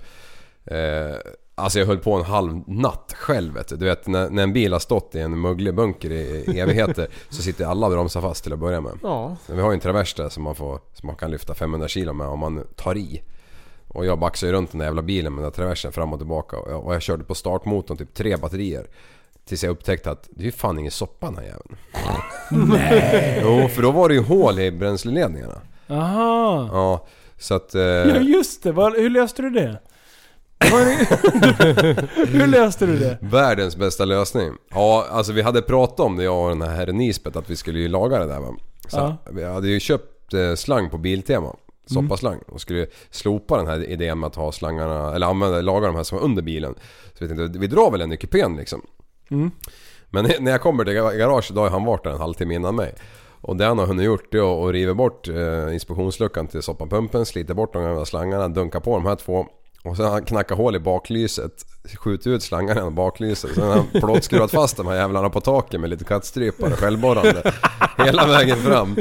Speaker 3: Eh, alltså jag höll på en halv natt själv vet du. Du vet när, när en bil har stått i en möglig bunker i, i evigheter så sitter alla bromsar fast till att börja med.
Speaker 4: Ja.
Speaker 3: Vi har ju en travers där som man, får, som man kan lyfta 500 kilo med om man tar i. Och jag baxade ju runt den där jävla bilen med den där traversen fram och tillbaka och jag, och jag körde på startmotorn typ tre batterier. Tills jag upptäckte att det är ju fan ingen soppa den här jäveln. Nej. Jo, för då var det ju hål i bränsleledningarna.
Speaker 2: Aha.
Speaker 3: Ja, så att... Eh,
Speaker 2: Ja just det, Vad- hur löste du det? Vad är det- hur löste du det?
Speaker 3: Världens bästa lösning. Ja, alltså vi hade pratat om det jag och den här herren Nisbet att vi skulle ju laga det där va. Så
Speaker 2: Ja.
Speaker 3: Vi hade ju köpt eh, slang på Biltema. Soppaslang. Och skulle slopa den här idén med att ha slangarna, eller använda, laga de här som var under bilen. Så vi tänkte, vi drar väl en i kupén liksom. Men när jag kommer till gar- garaget, då har han varit där en halvtimme innan mig. Och det han har hunnit gjort det är att riva bort eh, inspektionsluckan till soppapumpen, slita bort de gamla slangarna, dunka på de här två. Och sen har han knackat hål i baklyset, skjutit ut slangarna genom baklyset. Sen har han plåtskruvat fast de här jävlarna på taket med lite kattstrypare och självborrande. Hela vägen fram.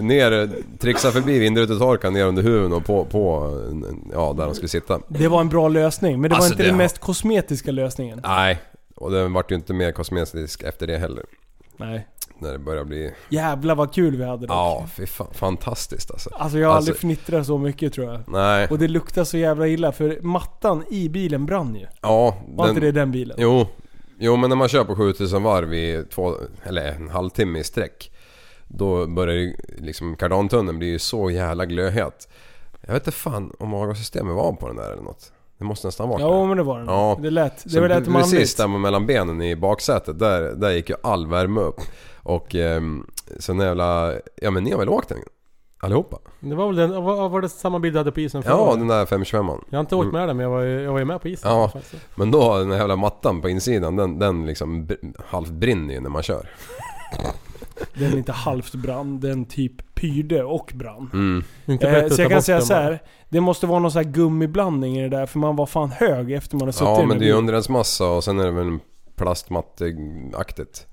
Speaker 3: Ner, trixar förbi vindrutetorkaren ner under huven och på, på ja, där de skulle sitta.
Speaker 2: Det var en bra lösning, men det
Speaker 3: Alltså,
Speaker 2: var inte
Speaker 3: det
Speaker 2: den
Speaker 3: har-
Speaker 2: mest kosmetiska lösningen.
Speaker 3: Nej, och den vart ju inte mer kosmetisk efter det heller.
Speaker 2: Nej.
Speaker 3: När det började bli
Speaker 2: Jävlar vad kul vi hade då.
Speaker 3: Ja, fy fan. Fantastiskt alltså.
Speaker 2: Alltså jag har aldrig fnittrat så mycket tror jag.
Speaker 3: Nej.
Speaker 2: Och det luktar så jävla illa för mattan i bilen brann ju.
Speaker 3: Ja.
Speaker 2: Var inte det den bilen?
Speaker 3: Jo. Jo, men när man kör på 7000 varv i två, eller en halvtimme i sträck. Då börjar ju liksom kardantunneln blir ju så jävla glödhet. Jag vet inte fan om avgassystemet var på den där eller något. Det måste nästan vara
Speaker 2: Ja men det var den.
Speaker 3: Ja.
Speaker 2: Det lät, det
Speaker 3: Så
Speaker 2: var lät
Speaker 3: pre- Precis
Speaker 2: manligt.
Speaker 3: där mellan benen i baksätet, där, där gick ju all värme upp. Och ehm, så när jävla... Ja men ni har väl åkt den? Allihopa?
Speaker 4: Det var väl den, var, var det samma bild du hade på isen förra
Speaker 3: Ja,
Speaker 4: året?
Speaker 3: den där 525an.
Speaker 4: Jag har inte åkt med den men jag var ju, jag var ju med på isen.
Speaker 3: Ja.
Speaker 4: faktiskt.
Speaker 3: Men då, den här jävla mattan på insidan, den, den liksom br- halvt brinner ju när man kör.
Speaker 2: Den är inte halvt brann, den typ pyrde och brann.
Speaker 3: Mm.
Speaker 4: Inte bättre
Speaker 2: Eh,
Speaker 4: att
Speaker 2: så
Speaker 4: ta
Speaker 2: jag kan
Speaker 4: bort
Speaker 2: säga
Speaker 4: den
Speaker 2: så
Speaker 4: bara.
Speaker 2: här. det måste vara någon sån här gummiblandning i det där för man var fan hög efter man hade suttit
Speaker 3: Ja
Speaker 2: i
Speaker 3: men
Speaker 2: den
Speaker 3: det är
Speaker 2: där
Speaker 3: ju
Speaker 2: bilen.
Speaker 3: underredsmassa och sen är det väl en plastmatteaktigt.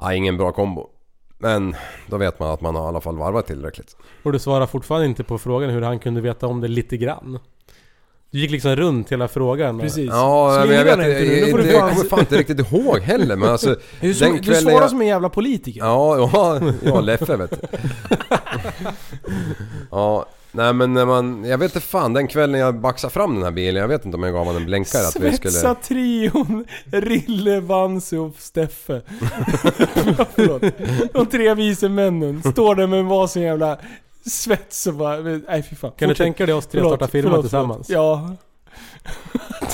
Speaker 3: Ja, ingen bra kombo. Men då vet man att man har i alla fall varvat tillräckligt.
Speaker 4: Och du svarar fortfarande inte på frågan hur han kunde veta om det lite grann. Du gick liksom runt hela frågan.
Speaker 2: Precis.
Speaker 3: Ja men jag
Speaker 2: Smyga
Speaker 3: vet
Speaker 2: den
Speaker 3: jag,
Speaker 2: inte nu, nu får
Speaker 3: jag,
Speaker 2: du
Speaker 3: jag
Speaker 2: fan...
Speaker 3: kommer fan inte riktigt ihåg heller men alltså...
Speaker 2: Du, är så, du
Speaker 3: kvällen
Speaker 2: svarar
Speaker 3: jag-
Speaker 2: som en jävla politiker.
Speaker 3: Ja, ja, ja Leffe vet du. Ja, nej men när man... Jag vet inte fan, den kvällen jag baxade fram den här bilen, jag vet inte om jag gav honom en blänkare att vi skulle...
Speaker 2: Svetsa trion Rille, Vanse och Steffe. Förlåt. De tre vise männen står där med varsin jävla svets och bara... Nej fy fan.
Speaker 4: Kan du
Speaker 2: Fortsätt.
Speaker 4: tänka dig oss tre
Speaker 2: Förlåt,
Speaker 4: starta firma
Speaker 2: förlåt,
Speaker 4: tillsammans?
Speaker 2: förlåt.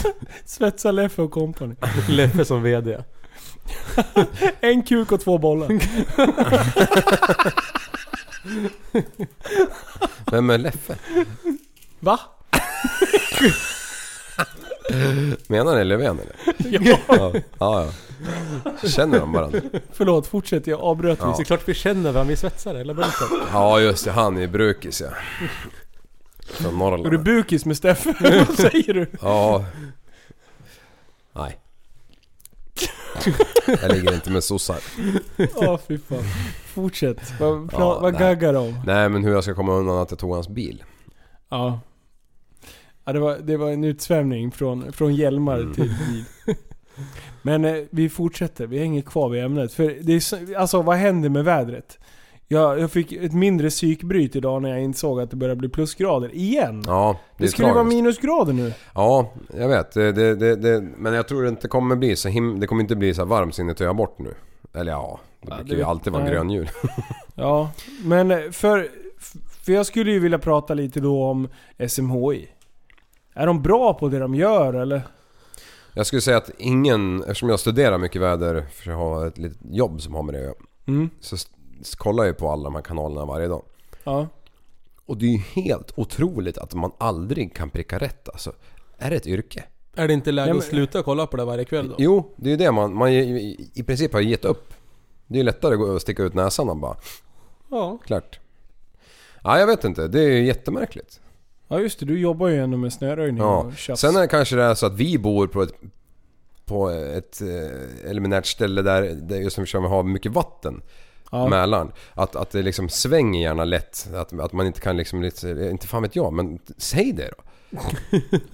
Speaker 2: Ja. Svetsa Leffe och company.
Speaker 4: Leffe som VD.
Speaker 2: En kuk och två bollar.
Speaker 3: Vem är Leffe?
Speaker 2: Va?
Speaker 3: Menar ni Löfven eller?
Speaker 2: Ja,
Speaker 3: Ja, ja. ja. Känner de varandra?
Speaker 2: förlåt, fortsätt. Jag avbröt
Speaker 3: Ja.
Speaker 4: Det är klart vi känner varandra, vi är svetsare, eller
Speaker 3: Ah.
Speaker 4: vad är det?
Speaker 3: Ja just det, han är brukis ja. Från
Speaker 2: Är du
Speaker 3: Norrland.
Speaker 2: bukis med Steffen? Vad säger du?
Speaker 3: Ja. Nej. Jag ligger inte med sossar.
Speaker 2: Ja, fy fan. Fortsätt. Vad, pra-
Speaker 3: Ja,
Speaker 2: vad
Speaker 3: nej.
Speaker 2: gaggar de om?
Speaker 3: Nej men hur jag ska komma undan att jag tog hans bil.
Speaker 2: Ja. ja det, var, det var en utsvämning från, från hjälmar
Speaker 3: Mm.
Speaker 2: till bil. Men eh, vi fortsätter, vi hänger kvar vid ämnet. För det är, så- alltså vad händer med vädret? Jag, jag fick ett mindre psykbryt idag när jag insåg att det började bli plusgrader. Igen!
Speaker 3: Ja, det,
Speaker 2: det
Speaker 3: är
Speaker 2: skulle ju
Speaker 3: tragiskt.
Speaker 2: vara minusgrader nu.
Speaker 3: Ja, jag vet. Det, det, det, det, men jag tror det inte kommer bli så him- Det kommer inte bli så här varmt så in i töja bort nu. Eller ja, det
Speaker 2: Ja,
Speaker 3: brukar
Speaker 2: det-
Speaker 3: ju alltid vara en
Speaker 2: nej.
Speaker 3: grön jul.
Speaker 2: Ja, men eh, för, för jag skulle ju vilja prata lite då om SMHI. Är de bra på det de gör eller?
Speaker 3: Jag skulle säga att ingen, eftersom jag studerar mycket väder, för jag har ett litet jobb som har med det att göra,
Speaker 2: Mm.
Speaker 3: så s- s- kollar jag ju på alla de här kanalerna varje dag.
Speaker 2: Ja.
Speaker 3: Och det är ju helt otroligt att man aldrig kan pricka rätt alltså. Är det ett yrke?
Speaker 4: Är det inte läge
Speaker 2: Nej, men-
Speaker 4: att sluta kolla på det varje kväll då?
Speaker 3: Jo, det är ju det man, man ju- i- i princip har gett upp. Det är ju lättare att gå och sticka ut näsan och bara,
Speaker 4: Ja.
Speaker 3: klart. Ja, jag vet inte. Det är ju jättemärkligt.
Speaker 2: Ja just det, du jobbar ju ändå med snöröjning
Speaker 3: Ja.
Speaker 2: och tjafs.
Speaker 3: Sen är det kanske det är så att vi bor på ett, på ett eh, eliminärt ställe där, där just eftersom vi har mycket vatten.
Speaker 2: Ja.
Speaker 3: Mälaren. Att, att det liksom svänger gärna lätt. Att, att man inte kan liksom, lite, inte fan vet jag, men säg det då.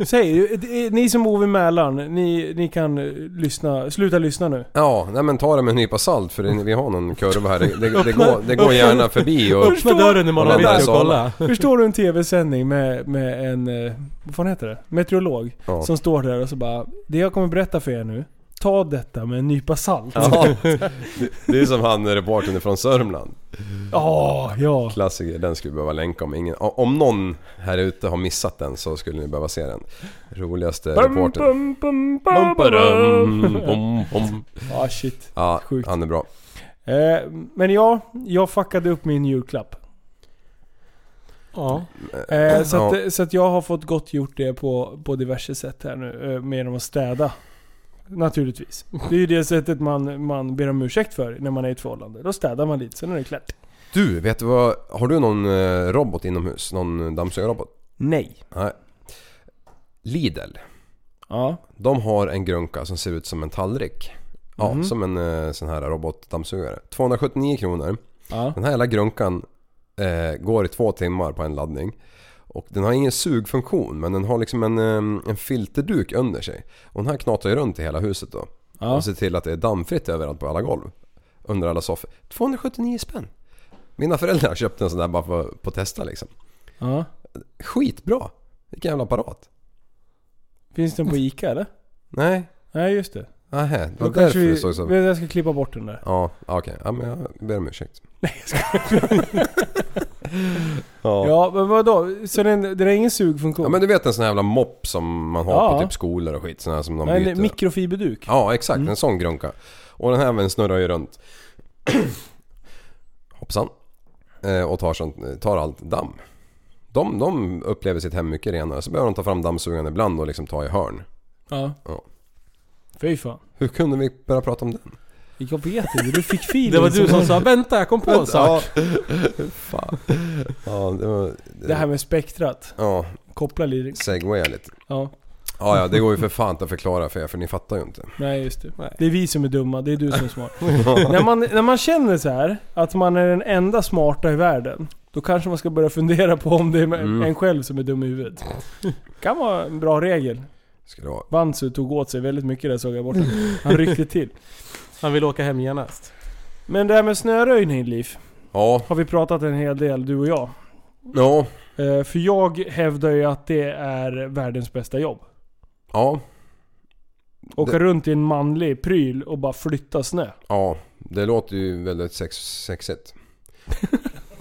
Speaker 2: Säg, det är ni som bor vid Mälaren, ni, ni kan eh, lyssna, sluta lyssna nu.
Speaker 3: Ja, nej men ta det med en nypa salt för det, vi har någon kurva här. Det, det, det, går, det går gärna förbi och...
Speaker 4: Öppna dörren imorgon
Speaker 3: Ja,
Speaker 4: bitti
Speaker 3: där
Speaker 4: och
Speaker 3: sa man.
Speaker 4: kolla.
Speaker 2: Förstår du en TV-sändning med, med en, eh, vad fan heter det? Meteorolog.
Speaker 3: Ja.
Speaker 2: Som står där och så bara, det jag kommer berätta för er nu, ta detta med en nypa salt. Ja,
Speaker 3: Ja, det- det är som han reportern från Sörmland.
Speaker 2: ja.
Speaker 3: Klassiker, den skulle vi behöva länka om ingen... Om någon här ute har missat den så skulle ni behöva se den. Roligaste
Speaker 2: Bum,
Speaker 3: reportern.
Speaker 2: bum, bum, bum,
Speaker 3: Bum-ba-dum,
Speaker 2: bum.
Speaker 3: bum, bum.
Speaker 2: Ja, shit.
Speaker 3: Ja,
Speaker 2: Sjukt.
Speaker 3: han är bra.
Speaker 2: Eh, men ja, jag fuckade upp min julklapp.
Speaker 4: Ja.
Speaker 2: Eh, så, att,
Speaker 3: Ja.
Speaker 2: eh, så att jag har fått gott gjort det på, på diverse sätt här nu. eh, Med genom att städa. Naturligtvis. Det är ju det sättet man, man ber om ursäkt för när man är i ett förhållande. Då städar man lite, sen är det klart.
Speaker 3: Du, vet du vad? Har du någon eh, robot inomhus? Någon dammsugarrobot?
Speaker 2: Nej.
Speaker 3: Nej. Lidl.
Speaker 2: Ja.
Speaker 3: De har en grunka som ser ut som en tallrik. Ja,
Speaker 2: Mhm.
Speaker 3: som en eh, sån här robotdammsugare. 279 kronor.
Speaker 2: Ja.
Speaker 3: Den här jävla grunkan eh, går i två timmar på en laddning. Och den har ingen sugfunktion men den har liksom en, eh, en filterduk under sig. Och den här knatar ju runt i hela huset då.
Speaker 2: Ja.
Speaker 3: Och ser till att det är dammfritt överallt på alla golv. Under alla soffor. 279 spänn. Mina föräldrar köpte en sån där bara för på att testa liksom.
Speaker 2: ja.
Speaker 3: Skitbra! Vilken jävla apparat.
Speaker 2: Finns den på Ica eller?
Speaker 3: Nej,
Speaker 2: Nej just det.
Speaker 3: nähä. Det
Speaker 2: Då
Speaker 3: var
Speaker 2: kanske
Speaker 3: därför
Speaker 2: vi...
Speaker 3: det såg så...
Speaker 2: Jag ska klippa bort den där.
Speaker 3: Ja, ja, okej. Ja, men jag ber om ursäkt.
Speaker 2: Nej jag ska...
Speaker 3: Ja. ja.
Speaker 2: Ja men vadå? Så den, den har ingen sugfunktion?
Speaker 3: men du vet en sån här jävla mopp som man har
Speaker 2: Ja.
Speaker 3: på typ skolor och skit. Sån här som de
Speaker 2: Nej,
Speaker 3: byter.
Speaker 2: en mikrofiberduk?
Speaker 3: Ja, exakt. En sån grunka. Och den här även snurrar ju runt. Hoppsan. Eh, och tar, sånt, tar allt damm. De, de upplever sitt hem mycket renare. Så behöver de ta fram dammsugaren ibland och liksom ta i hörn.
Speaker 2: Ja.
Speaker 3: Ja.
Speaker 2: Fy fan.
Speaker 3: Hur kunde vi börja prata om den?
Speaker 2: Jag vet inte, du fick feeling.
Speaker 4: Det var du som sa 'Vänta, jag kom på en sak'
Speaker 3: Fan. Ja, det var...
Speaker 2: Det här med spektrat.
Speaker 3: Ja,
Speaker 2: Koppla lite.
Speaker 3: segwaya lite.
Speaker 2: Ja.
Speaker 3: Ja, ja, det går ju för fan inte att förklara för er för ni fattar ju inte.
Speaker 2: Nej just det.
Speaker 4: Nej.
Speaker 2: Det är vi som är dumma, det är du som är smart. när, man, när man känner så här att man är den enda smarta i världen. Då kanske man ska börja fundera på om det är
Speaker 3: Mm.
Speaker 2: en själv som är dum i huvudet. kan vara en bra regel.
Speaker 3: Ska det vara.
Speaker 2: Bansu tog åt sig väldigt mycket där såg jag borta. Han ryckte till.
Speaker 4: Han vill åka hem genast.
Speaker 2: Men det här med snöröjning Liv,
Speaker 3: Ja,
Speaker 2: har vi pratat en hel del du och jag.
Speaker 3: ja,
Speaker 2: Eh, för jag hävdar ju att det är världens bästa jobb.
Speaker 3: ja,
Speaker 2: Åka runt i en manlig pryl och bara flytta snö.
Speaker 3: ja. Det låter ju väldigt sex, sexigt.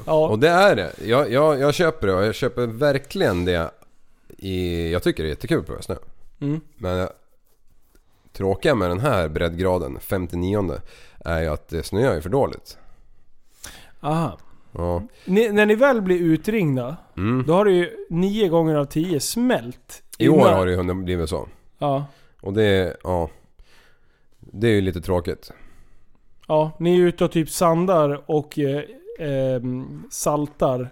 Speaker 2: Ja,
Speaker 3: Och det är det. Jag, jag, jag köper det och jag köper verkligen det. I, jag tycker det är jättekul att prova snö.
Speaker 2: Mm.
Speaker 3: Men jag, tråkiga med den här breddgraden, 59 är ju att det snöar ju för dåligt.
Speaker 2: aha.
Speaker 3: Ja.
Speaker 2: Ni, när ni väl blir utringda,
Speaker 3: Mm.
Speaker 2: då har det ju nio gånger av tio smält.
Speaker 3: I år har det ju hunnit blivit så.
Speaker 2: Ja.
Speaker 3: Och det, ja. Det är ju lite tråkigt.
Speaker 2: Ja, ni är ute och typ sandar och eh, ehm, saltar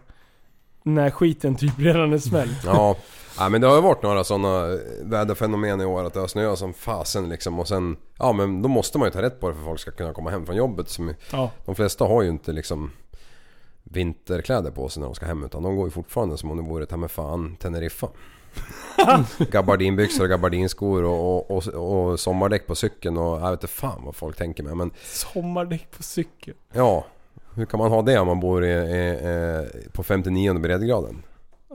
Speaker 2: när skiten typ redan är smält.
Speaker 3: Ja. ja, men det har ju varit några sådana väderfenomen i år att det har snöat som fasen liksom och sen... Ja men då måste man ju ta rätt på det för folk ska kunna komma hem från jobbet. Som,
Speaker 2: Ja.
Speaker 3: de flesta har ju inte liksom vinterkläder på sig när de ska hem utan de går ju fortfarande som om det vore ta mig fan Teneriffa. Gabardinbyxor och gabardinskor och, och, och, och sommardäck på cykeln och jag vet inte fan vad folk tänker med men
Speaker 2: Sommardäck på cykel.
Speaker 3: ja. Hur kan man ha det om man bor i, i, i, på 59 breddgraden?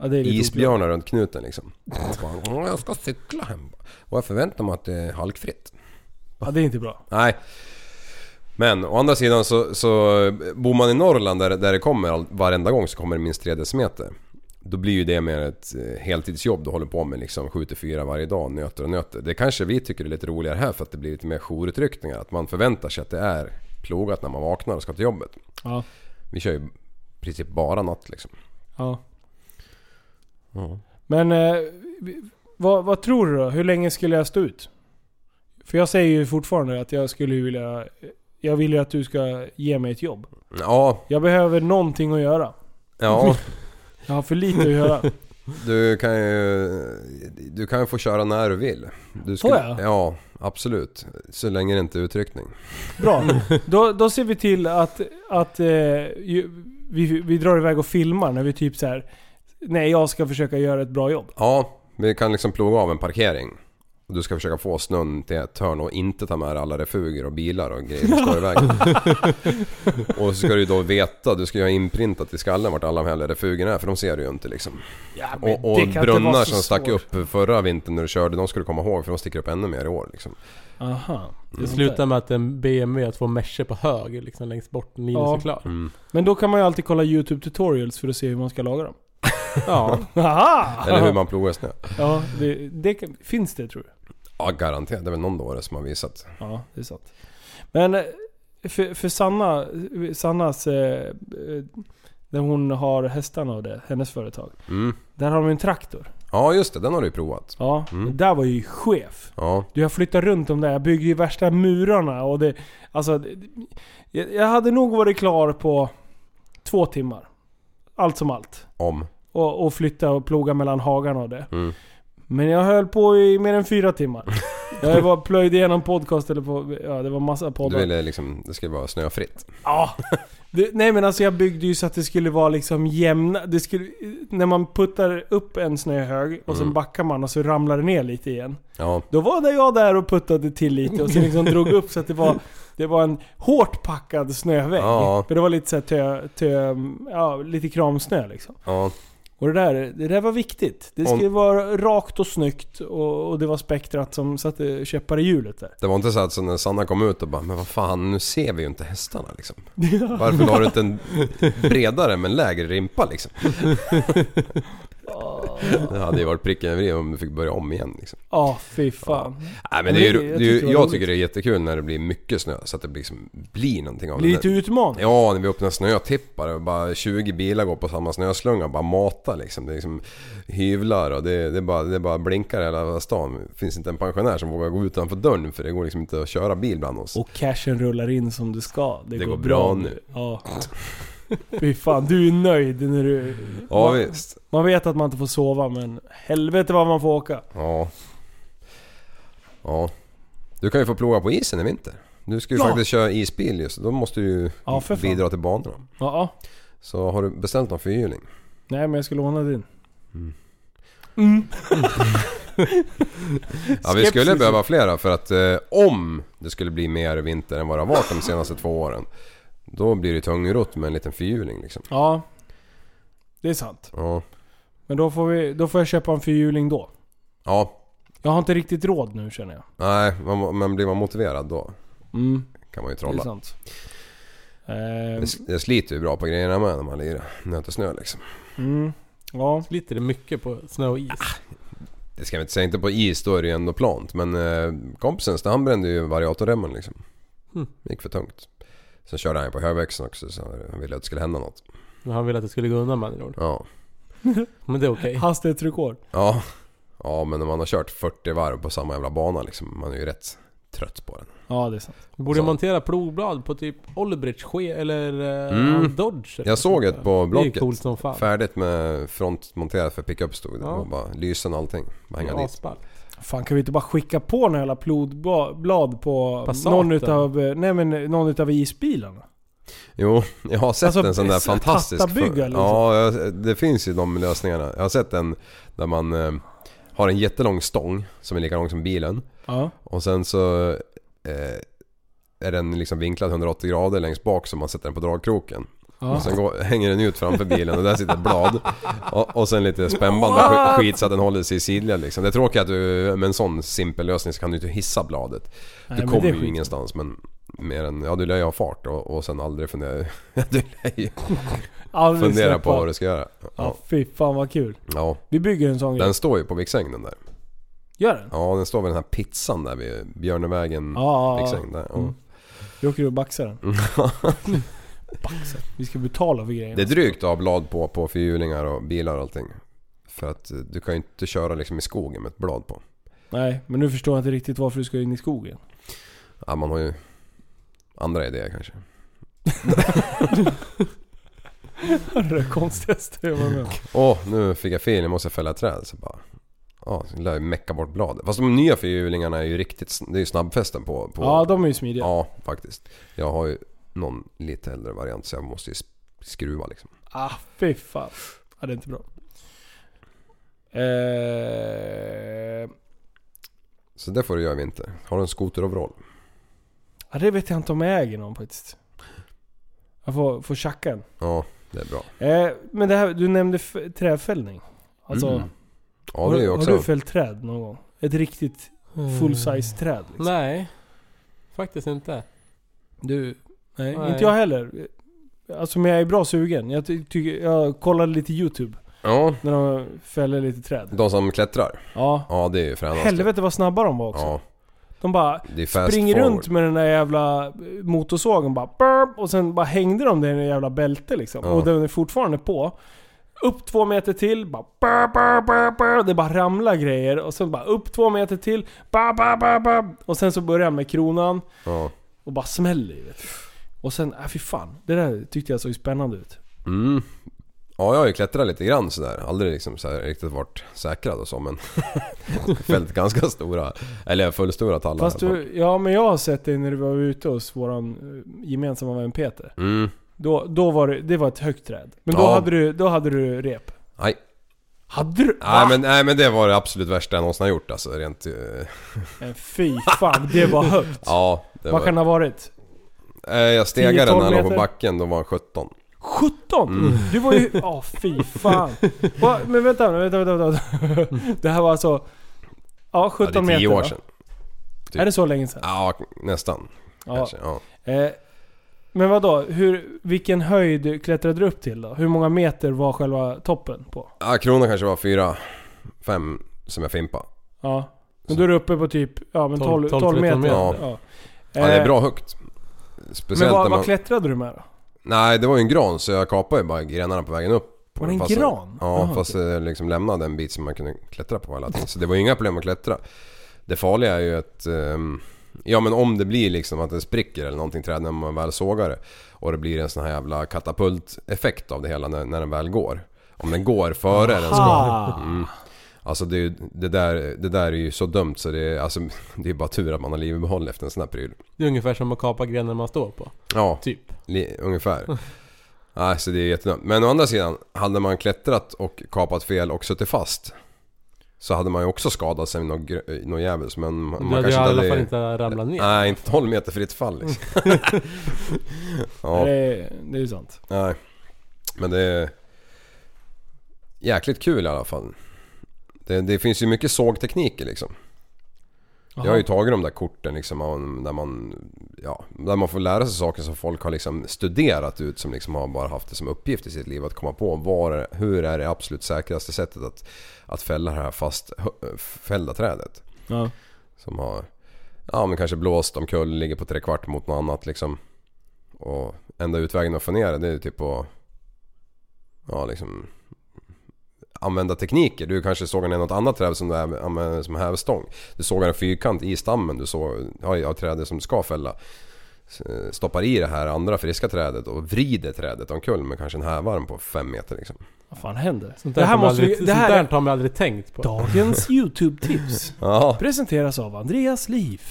Speaker 2: Ja, det är lite oklart.
Speaker 3: Isbjörnar runt knuten liksom. Och bara, "Åh, Jag ska cykla hem. Och jag förväntar mig att det är halkfritt.
Speaker 2: Ja, det är inte bra.
Speaker 3: Nej. Men å andra sidan så, så bor man i Norrland där, där det kommer all- varenda gång så kommer det minst 3 decimeter. Då blir ju det mer ett eh, heltidsjobb du håller på med liksom 7-4 varje dag, nöter och nöter. Det kanske vi tycker är lite roligare här för att det blir lite mer jourutryckningar. Att man förväntar sig att det är plogat när man vaknar och ska till jobbet.
Speaker 2: Ja.
Speaker 3: Vi kör ju i princip bara natt liksom.
Speaker 2: ja. Men eh, vi- vad, vad tror du då? Hur länge skulle jag stå ut? För jag säger ju fortfarande att jag skulle ju vilja... Jag vill ju att du ska ge mig ett jobb.
Speaker 3: Ja,
Speaker 2: Jag behöver någonting att göra.
Speaker 3: ja.
Speaker 2: Jag har för lite att göra.
Speaker 3: Du kan ju... Du kan ju få köra när du vill. Du
Speaker 2: Får jag?
Speaker 3: Ja, absolut. Så länge det inte är utryckning.
Speaker 2: Bra. Då, då ser vi till att, att eh, ju, vi, vi drar iväg och filmar när vi typ så här. Nej, jag ska försöka göra ett bra jobb.
Speaker 3: Ja, vi kan liksom ploga av en parkering. Och du ska försöka få snön till ett hörn och inte ta med alla refuger och bilar och grejer som står i vägen. och så ska du ju då veta, du ska ju ha inprintat i skallen vart alla de här refugerna är för de ser du ju inte liksom.
Speaker 2: Ja,
Speaker 3: Och, och brunnar som stack upp förra vintern när du körde, de ska du komma ihåg för de sticker upp ännu mer i år liksom.
Speaker 2: Aha. Mm.
Speaker 4: Det slutar med att en BMW har två mesher på höger liksom längst bort, Linus
Speaker 2: Ja.
Speaker 4: är klar.
Speaker 3: Mm.
Speaker 2: Men då kan man ju alltid kolla YouTube tutorials för att se hur man ska laga dem.
Speaker 4: Ja.
Speaker 2: Aha!
Speaker 3: Eller hur man plogar snö.
Speaker 2: Ja, det, det kan, finns det tror jag.
Speaker 3: Ja garanterat, det är väl någon dåre som har visat.
Speaker 2: Ja, det är sant. Men eh, för, för Sanna, Sannas... Eh, eh, där hon har hästarna och det, hennes företag.
Speaker 3: Mm.
Speaker 2: Där har de en traktor.
Speaker 3: Ja just det, den har du ju provat.
Speaker 2: Ja,
Speaker 3: Mm.
Speaker 2: där var ju chef.
Speaker 3: Ja.
Speaker 2: Du, jag flyttade runt dem där. Jag byggde ju värsta murarna och det... Alltså... det- Jag, jag hade nog varit klar på två timmar. Allt som allt.
Speaker 3: Om.
Speaker 2: Och, och flytta och ploga mellan hagarna och det.
Speaker 3: Mm.
Speaker 2: Men jag höll på i mer än fyra timmar. Jag var, plöjde igenom podcast eller på... Ja, det var massa
Speaker 3: Du
Speaker 2: poddar.
Speaker 3: ville liksom, det ska vara snöfritt.
Speaker 2: Ja. Det, nej men alltså jag byggde ju så att det skulle vara liksom jämna... Det skulle, när man puttar upp en snöhög och sen
Speaker 3: Mm.
Speaker 2: backar man och så ramlar det ner lite igen.
Speaker 3: Ja.
Speaker 2: Då var det jag där och puttade till lite och sen liksom drog upp så att det var, det var en hårt packad snövägg.
Speaker 3: Ja.
Speaker 2: För det var lite så här tö, tö, ja, lite kramsnö liksom.
Speaker 3: Ja.
Speaker 2: Och det där, det där var viktigt. Det skulle vara rakt och snyggt och, och det var spektrat som satte käppar i hjulet där.
Speaker 3: Det var inte så att så när Sanna kom ut och bara Men vad fan, nu ser vi ju inte hästarna liksom. Varför la du inte en bredare men lägre rimpa liksom? Det hade ju varit pricken över i om du fick börja om igen liksom.
Speaker 2: Ja, fy fan.
Speaker 3: Nej
Speaker 2: men
Speaker 3: men det är,
Speaker 2: det-
Speaker 3: ju-
Speaker 2: jag
Speaker 3: det
Speaker 2: tyckte
Speaker 3: är,
Speaker 2: det
Speaker 3: ju-
Speaker 2: var
Speaker 3: jag
Speaker 2: roligt.
Speaker 3: tycker det är jättekul när det blir mycket snö så att det liksom blir någonting av
Speaker 2: Blir
Speaker 3: det.
Speaker 2: lite utmaning.
Speaker 3: Ja, när vi öppnar snötippar och bara 20 bilar går på samma snöslunga och bara matar liksom. Det är liksom hyvlar och det, det, bara, det bara blinkar i hela stan. Det finns inte en pensionär som vågar gå utanför dörren för det går liksom inte att köra bil bland oss.
Speaker 2: Och cashen rullar in som det ska. Det,
Speaker 3: Det
Speaker 2: går,
Speaker 3: går
Speaker 2: bra
Speaker 3: bra
Speaker 2: nu. Ja. Fy fan, du är nöjd när du...
Speaker 3: Ja,
Speaker 2: man,
Speaker 3: visst.
Speaker 2: man vet att man inte får sova men helvete vad man får åka.
Speaker 3: Ja. Ja. Du kan ju få ploga på isen i vinter. Du ska ju
Speaker 2: Ja.
Speaker 3: faktiskt köra isbil just då måste du ju
Speaker 2: Ja, för fan.
Speaker 3: bidra till banorna.
Speaker 2: Ja, ja.
Speaker 3: Så har du beställt någon fyrhjuling?
Speaker 2: Nej men jag ska låna din.
Speaker 3: Ja vi
Speaker 2: Skepsis.
Speaker 3: skulle behöva flera för att eh, om det skulle bli mer vinter än vad det har varit de senaste två åren. Då blir det tungrott med en liten fyrhjuling liksom.
Speaker 2: Ja. Det är sant.
Speaker 3: Ja.
Speaker 2: Men då får, vi, då får jag köpa en fyrhjuling då.
Speaker 3: Ja.
Speaker 2: Jag har inte riktigt råd nu känner jag.
Speaker 3: Nej, man, men blir man motiverad då
Speaker 2: Mm,
Speaker 3: kan man ju
Speaker 2: det är
Speaker 3: trolla.
Speaker 2: sant. Ehm,
Speaker 3: Det, det sliter ju bra på grejerna med när man lirar nöter snö liksom.
Speaker 2: mm, ja.
Speaker 4: Sliter det mycket på snö och is?
Speaker 3: Det ska vi inte säga, inte på is då är det ju ändå plant. Men eh, kompisen så han brände ju variatorremmen liksom.
Speaker 2: Hm.
Speaker 4: Mm.
Speaker 3: Gick för tungt. Sen körde han ju på högväxeln också så han ville att det skulle hända något.
Speaker 4: Men Han ville att det skulle gå undan med andra ord.
Speaker 3: Ja.
Speaker 2: Eh.
Speaker 4: Men det är okej.
Speaker 2: Hastighetsrekord.
Speaker 3: Ja. Ja men när man har kört 40 varv på samma jävla bana liksom, man är ju rätt trött på den.
Speaker 2: Ja, det är sant.
Speaker 4: Du borde
Speaker 3: Så.
Speaker 4: montera plogblad på typ Olbrich ske- eller eh,
Speaker 3: Mm.
Speaker 4: Dodge. eller
Speaker 3: Jag
Speaker 4: något
Speaker 3: såg
Speaker 4: sånt
Speaker 3: ett
Speaker 4: där.
Speaker 3: på
Speaker 4: Det är
Speaker 3: Blocket.
Speaker 4: coolt som fan.
Speaker 3: Färdigt med frontmonterat för pickup stod det.
Speaker 4: Ja.
Speaker 3: Och bara lysen och allting. Bara hänga dit.
Speaker 4: Asballt.
Speaker 2: Fan kan vi inte bara skicka på några jävla plodblad på
Speaker 4: Passaten.
Speaker 2: någon utav, eh, nej men eh, någon utav isbilarna?
Speaker 3: Jo, jag har sett
Speaker 2: Alltså,
Speaker 3: en sån där
Speaker 2: så här
Speaker 3: fantastisk...
Speaker 2: tattabygga, liksom.
Speaker 3: Ja, jag- det finns ju de lösningarna. Jag har sett en där man eh, har en jättelång stång som är lika lång som bilen.
Speaker 2: Ja.
Speaker 3: Och sen så eh, är den liksom vinklad 180 grader längst bak så man sätter den på dragkroken.
Speaker 2: Ja.
Speaker 3: Och sen går, hänger den ut framför bilen och där sitter ett blad. Och, och sen lite spännband och sk- skit så att den håller sig i sidled liksom. Det tråkiga är att du med en sån simpel lösning så kan du inte hissa bladet.
Speaker 2: Nej,
Speaker 3: Du
Speaker 2: men
Speaker 3: kommer
Speaker 2: det är
Speaker 3: ju
Speaker 2: skit.
Speaker 3: ingenstans men mer än, ja du lär ju ha fart och, och sen aldrig fundera, du lär ju
Speaker 2: Aldrig
Speaker 3: fundera
Speaker 2: släppa.
Speaker 3: på vad du ska göra.
Speaker 2: Ja
Speaker 3: Ja,
Speaker 2: fy fan vad kul.
Speaker 3: ja.
Speaker 2: Vi bygger en sån grej.
Speaker 3: Den står ju på Viksäng den där.
Speaker 2: Gör den?
Speaker 3: Ja den står vid den här pizzan där vid Björnevägen.
Speaker 2: Ja, ja, ja.
Speaker 3: Viksäng där.
Speaker 2: Mm.
Speaker 3: Ja.
Speaker 2: Vi åker och baxar den. baxar. Vi ska betala för grejerna.
Speaker 3: Det är drygt att ha blad på på fyrhjulingar och bilar och allting. För att eh, du kan ju inte köra liksom i skogen med ett blad på.
Speaker 2: Nej, men nu förstår jag inte riktigt varför du ska in i skogen.
Speaker 3: Ja, man har ju andra idéer kanske.
Speaker 2: Det är det konstigaste jag var med om.
Speaker 3: Åh, nu fick jag fel. Nu måste jag fälla ett träd. Så bara... Ja, så lär jag mecka bort bladet. Fast de nya fyrhjulingarna är ju riktigt... sn- Det är ju snabbfästen på... på
Speaker 2: Ja, de är ju smidiga.
Speaker 3: ja, faktiskt. Jag har ju någon lite äldre variant så jag måste ju sk- skruva liksom.
Speaker 2: Ah, fy fan. Ja, det är inte bra. Eh,
Speaker 3: Så det får du göra i vinter. Har du en skoteroverall?
Speaker 2: ja, det vet jag inte om jag äger någon faktiskt. Jag får, får tjacka en.
Speaker 3: Ja, det är bra.
Speaker 2: Eh, men det här, du nämnde f- trädfällning. Alltså,
Speaker 3: Mm. Ja, det är ju
Speaker 2: har,
Speaker 3: också...
Speaker 2: har du fällt träd någon gång? Ett riktigt full-size träd liksom.
Speaker 4: Mm. Nej. Faktiskt inte.
Speaker 2: Du, nej,
Speaker 4: Nej.
Speaker 2: inte jag heller. Alltså men jag är bra sugen. Jag, ty- tycker- jag kollade lite YouTube
Speaker 3: Ja,
Speaker 2: när de fäller lite träd.
Speaker 3: de som klättrar.
Speaker 2: Ja.
Speaker 3: Ja, det är ju fränast.
Speaker 2: Helvete vad snabba de var också.
Speaker 3: Ja,
Speaker 2: De bara
Speaker 3: det är fast
Speaker 2: springer
Speaker 3: forward.
Speaker 2: runt med den där jävla eh, motorsågen bara burp, och sen bara hängde de den i jävla bälte liksom.
Speaker 3: Ja.
Speaker 2: Och den är fortfarande på. Upp två meter till, bara burp, burp, burp, burp. Det bara ramlar grejer. Och sen bara upp två meter till, ba, ba, ba, ba. Och sen så börjar han med kronan.
Speaker 3: Ja.
Speaker 2: Och bara smäller ju, vet du. Och sen, äh, fy fan. Det där tyckte jag såg spännande ut.
Speaker 3: Mm. Ja, jag har ju klättrat lite grann sådär. Aldrig liksom så här riktigt varit säkrad och så men... fällt ganska stora, eller fullstora tallar.
Speaker 2: Fast du, ja men jag har sett dig när du var ute hos våran eh, gemensamma vän Peter.
Speaker 3: Mm.
Speaker 2: Då, då var det, det var ett högt träd. Men då,
Speaker 3: Ja.
Speaker 2: hade, du, då hade du rep.
Speaker 3: Nej.
Speaker 2: Hade du?
Speaker 3: Nej, men, nej men det var det absolut värsta jag någonsin har gjort alltså. Rent... eh,
Speaker 2: Men fy fan, det var högt.
Speaker 3: Ja, det
Speaker 2: Vad
Speaker 3: var...
Speaker 2: kan det ha varit?
Speaker 3: Eh, jag stegade
Speaker 2: 10-12
Speaker 3: när han låg på
Speaker 2: meter?
Speaker 3: backen, då var han 17.
Speaker 2: 17?
Speaker 3: Mm.
Speaker 2: Du var ju... Ja, fy fan. Va, men vänta, vänta, vänta, vänta. Det här var alltså... Ja, 17
Speaker 3: ja, det är
Speaker 2: meter
Speaker 3: tio
Speaker 2: va?
Speaker 3: år sedan. typ.
Speaker 2: Är det så länge sedan?
Speaker 3: Ja, nästan.
Speaker 2: Ja.
Speaker 3: Kanske. Ja.
Speaker 2: Eh, men vad då? Hur, vilken höjd klättrade du upp till då? Hur många meter var själva toppen på?
Speaker 3: ja, kronan kanske var fyra, fem som jag fimpa.
Speaker 2: Ja. Men då är du uppe på typ ja, men 12, 12, 12 meter.
Speaker 4: meter.
Speaker 2: Ja.
Speaker 3: Ja, det är
Speaker 2: Eh,
Speaker 3: bra högt.
Speaker 2: Men
Speaker 3: Speciellt
Speaker 2: vad,
Speaker 3: när man...
Speaker 2: vad klättrade du med då?
Speaker 3: Nej, det var ju en gran så jag kapade ju bara grenarna på vägen upp.
Speaker 2: Var det en
Speaker 3: Fast-
Speaker 2: gran?
Speaker 3: Ja,
Speaker 2: Jaha,
Speaker 3: fast jag liksom lämnade en bit som man kunde klättra på hela tiden. Så det var ju inga problem att klättra. Det farliga är ju att... ehm, Ja men om det blir liksom att det spricker eller någonting träd när man väl sågar det. Och det blir en sån här jävla katapulteffekt av det hela när, när den väl går. Om den går före den ska.
Speaker 2: Ah.
Speaker 3: Mm. Alltså det, är ju- det, där, det där är ju så dumt så det är, alltså, det är bara tur att man har livet i behåll efter en sån här pryl.
Speaker 4: Det är ungefär som att kapa grenen man står på.
Speaker 3: Ja,
Speaker 4: Typ.
Speaker 3: Li, ungefär. Nej, så det är jättedumt. Men å andra sidan, hade man klättrat och kapat fel och suttit fast så hade man ju också skadat sig något gr- eh, något jävels. Men man,
Speaker 4: Du
Speaker 3: man
Speaker 4: hade ju i
Speaker 3: kanske
Speaker 4: alla
Speaker 3: inte
Speaker 4: fall
Speaker 3: hade...
Speaker 4: inte ramlat ner.
Speaker 3: Nej, inte 12 meter fritt fall liksom.
Speaker 2: Det,
Speaker 3: ja,
Speaker 2: är- det är ju sant.
Speaker 3: nej. Men det är jäkligt kul i alla fall. Det, det finns ju mycket sågtekniker liksom. Jag har ju tagit de där korten liksom, av- där, man, ja, där man får lära sig saker som folk har liksom studerat ut som liksom har bara haft det som uppgift i sitt liv att komma på var, hur är det absolut säkraste sättet att, att fälla det här fast hö- fällda trädet.
Speaker 2: Ja.
Speaker 3: Som har ja, men kanske blåst omkull, ligger på tre kvart mot något annat liksom. Och enda utvägen att få ner det, det är typ att ja, liksom, använda tekniker. Du kanske sågar ner något annat träd som du även använder som hävstång. Du sågar en fyrkant i stammen du såg, har, har trädet som du ska fälla. S- eh, Stoppar i det här andra friska trädet och vrider trädet omkull med kanske en hävarm på 5 meter liksom.
Speaker 2: Vad fan händer?
Speaker 4: Sånt där,
Speaker 2: Det här måste
Speaker 4: aldrig,
Speaker 2: vi... Det här
Speaker 4: sånt
Speaker 2: är
Speaker 4: där har man aldrig tänkt på.
Speaker 2: dagens YouTube-tips.
Speaker 3: Ja,
Speaker 2: Presenteras av Andreas Liv.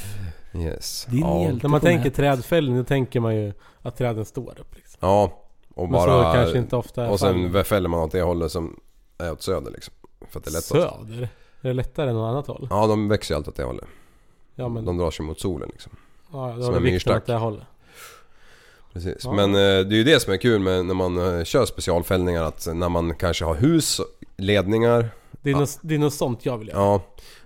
Speaker 3: yes.
Speaker 2: Din
Speaker 3: ja.
Speaker 2: hjälte
Speaker 4: När man
Speaker 2: på
Speaker 4: tänker
Speaker 2: nätet.
Speaker 4: trädfällning, då tänker man ju att träden står upp liksom.
Speaker 3: Ja, och
Speaker 4: Men så
Speaker 3: bara...
Speaker 4: kanske inte ofta är
Speaker 3: och
Speaker 4: fallet.
Speaker 3: sen fäller man åt det hållet som är åt söder liksom. För att det är lättast.
Speaker 4: Söder? Är det lättare än något annat håll?
Speaker 3: Ja, de växer ju alltid åt det hållet.
Speaker 4: Ja men...
Speaker 3: De drar sig mot solen liksom.
Speaker 4: ja, då
Speaker 3: som
Speaker 4: har
Speaker 3: en
Speaker 4: du vikten
Speaker 3: myrstack.
Speaker 4: åt det hållet.
Speaker 3: Precis.
Speaker 4: Ja.
Speaker 3: Men eh, det är ju det som är kul med när man eh, kör specialfällningar att när man kanske har hus, ledningar,
Speaker 4: Det är,
Speaker 3: Ja.
Speaker 4: något, det är något sånt jag vill göra.
Speaker 3: ja,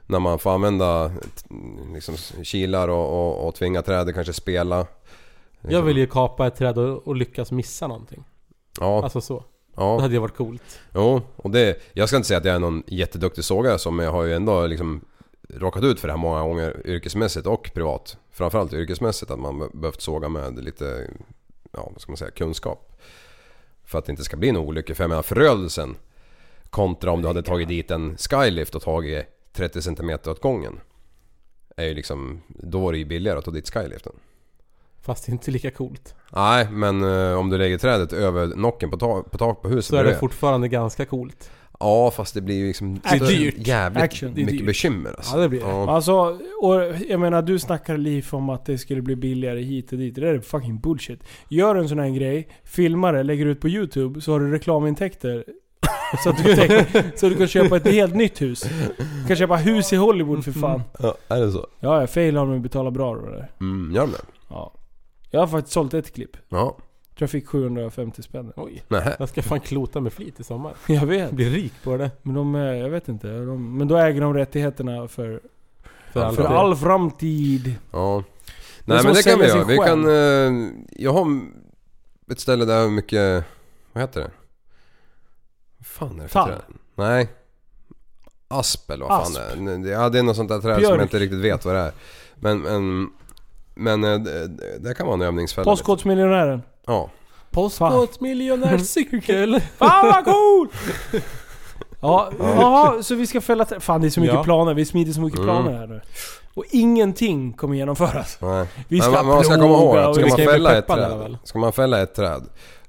Speaker 3: när man får använda t- liksom, kilar och, och, och tvinga trädet kanske spela.
Speaker 4: Jag vill ju kapa ett träd och, och lyckas missa någonting.
Speaker 3: Ja,
Speaker 4: Alltså så. Det
Speaker 3: ja.
Speaker 4: hade ju varit coolt.
Speaker 3: Jo, och det, jag ska inte säga att jag är någon jätteduktig sågare som jag har ju ändå liksom råkat ut för det här många gånger yrkesmässigt och privat. Framförallt yrkesmässigt att man be- behövt såga med lite, ja vad ska man säga, kunskap. För att det inte ska bli någon olycka. För jag menar förödelsen kontra om du hade tagit dit en skylift och tagit 30 cm åt gången. Är ju liksom, då var det ju billigare att ta dit skyliften.
Speaker 4: Fast det är inte lika coolt.
Speaker 3: Nej, men eh, om du lägger trädet över nocken på, ta- på tak på huset
Speaker 4: Så är det
Speaker 3: bredvid.
Speaker 4: fortfarande ganska coolt.
Speaker 3: Ja fast det blir ju liksom
Speaker 2: Det är
Speaker 3: större-
Speaker 4: dyrt.
Speaker 3: jävligt
Speaker 2: Action.
Speaker 4: Det är
Speaker 3: mycket
Speaker 4: dyrt.
Speaker 3: bekymmer alltså.
Speaker 4: Ja, det blir det.
Speaker 3: Ja.
Speaker 2: Alltså, och jag menar du snackar Liv om att det skulle bli billigare hit och dit. Det där är fucking bullshit. Gör en sån här grej, filmar det, lägger ut på YouTube så har du reklamintäkter. Så att du kan, tänka, så du kan köpa ett helt nytt hus. Du kan köpa hus i Hollywood
Speaker 3: Mm.
Speaker 2: för fan.
Speaker 3: Ja, är det så?
Speaker 2: Ja, jag failar men betalar bra då det.
Speaker 3: Mm, gör de det?
Speaker 2: Ja. Jag har faktiskt sålt ett klipp.
Speaker 3: Ja.
Speaker 2: Tror jag fick 750 spänn.
Speaker 4: Oj.
Speaker 3: Nähä.
Speaker 4: Jag ska fan klota med flit i sommar.
Speaker 2: Jag vet.
Speaker 4: Jag blir rik på det.
Speaker 2: Men de, eh, jag vet inte. De, men då äger de rättigheterna för,
Speaker 4: För,
Speaker 3: Ja,
Speaker 4: all
Speaker 2: för
Speaker 4: framtid.
Speaker 2: all framtid.
Speaker 3: Ja.
Speaker 2: Det är
Speaker 3: Nej
Speaker 2: som
Speaker 3: men
Speaker 2: att
Speaker 3: det kan vi
Speaker 2: sälja sin
Speaker 3: göra. Vi
Speaker 2: själ.
Speaker 3: kan... Eh, jag har ett ställe där jag har mycket... Vad heter det? Vad fan är det för
Speaker 2: Tall.
Speaker 3: träd? Nej. Aspel, vad fan
Speaker 2: Asp.
Speaker 3: det är. Det- Ja det är något sånt där träd som
Speaker 2: Björk.
Speaker 3: jag inte riktigt vet vad det är. Men... men men eh, det det kan vara en övningsfälla.
Speaker 2: Postkodsmiljonären.
Speaker 3: Ja.
Speaker 4: Postkodmiljonärscykel!
Speaker 2: Fan vad cool! Ja, jaha, så vi ska fälla trä- Fan det är så mycket
Speaker 4: Ja.
Speaker 2: planer, vi smider så mycket
Speaker 3: Mm.
Speaker 2: planer här nu. Och ingenting kommer genomföras.
Speaker 3: Nej.
Speaker 2: Vi ska
Speaker 3: men, man ska komma
Speaker 2: plåga
Speaker 3: ihåg
Speaker 2: och
Speaker 3: att ska
Speaker 4: vi
Speaker 2: vi
Speaker 3: man,
Speaker 4: kan ju
Speaker 3: fälla
Speaker 4: bli
Speaker 3: ett
Speaker 4: peppade
Speaker 3: träd,
Speaker 4: väl? Mm.
Speaker 3: ska man fälla ett träd,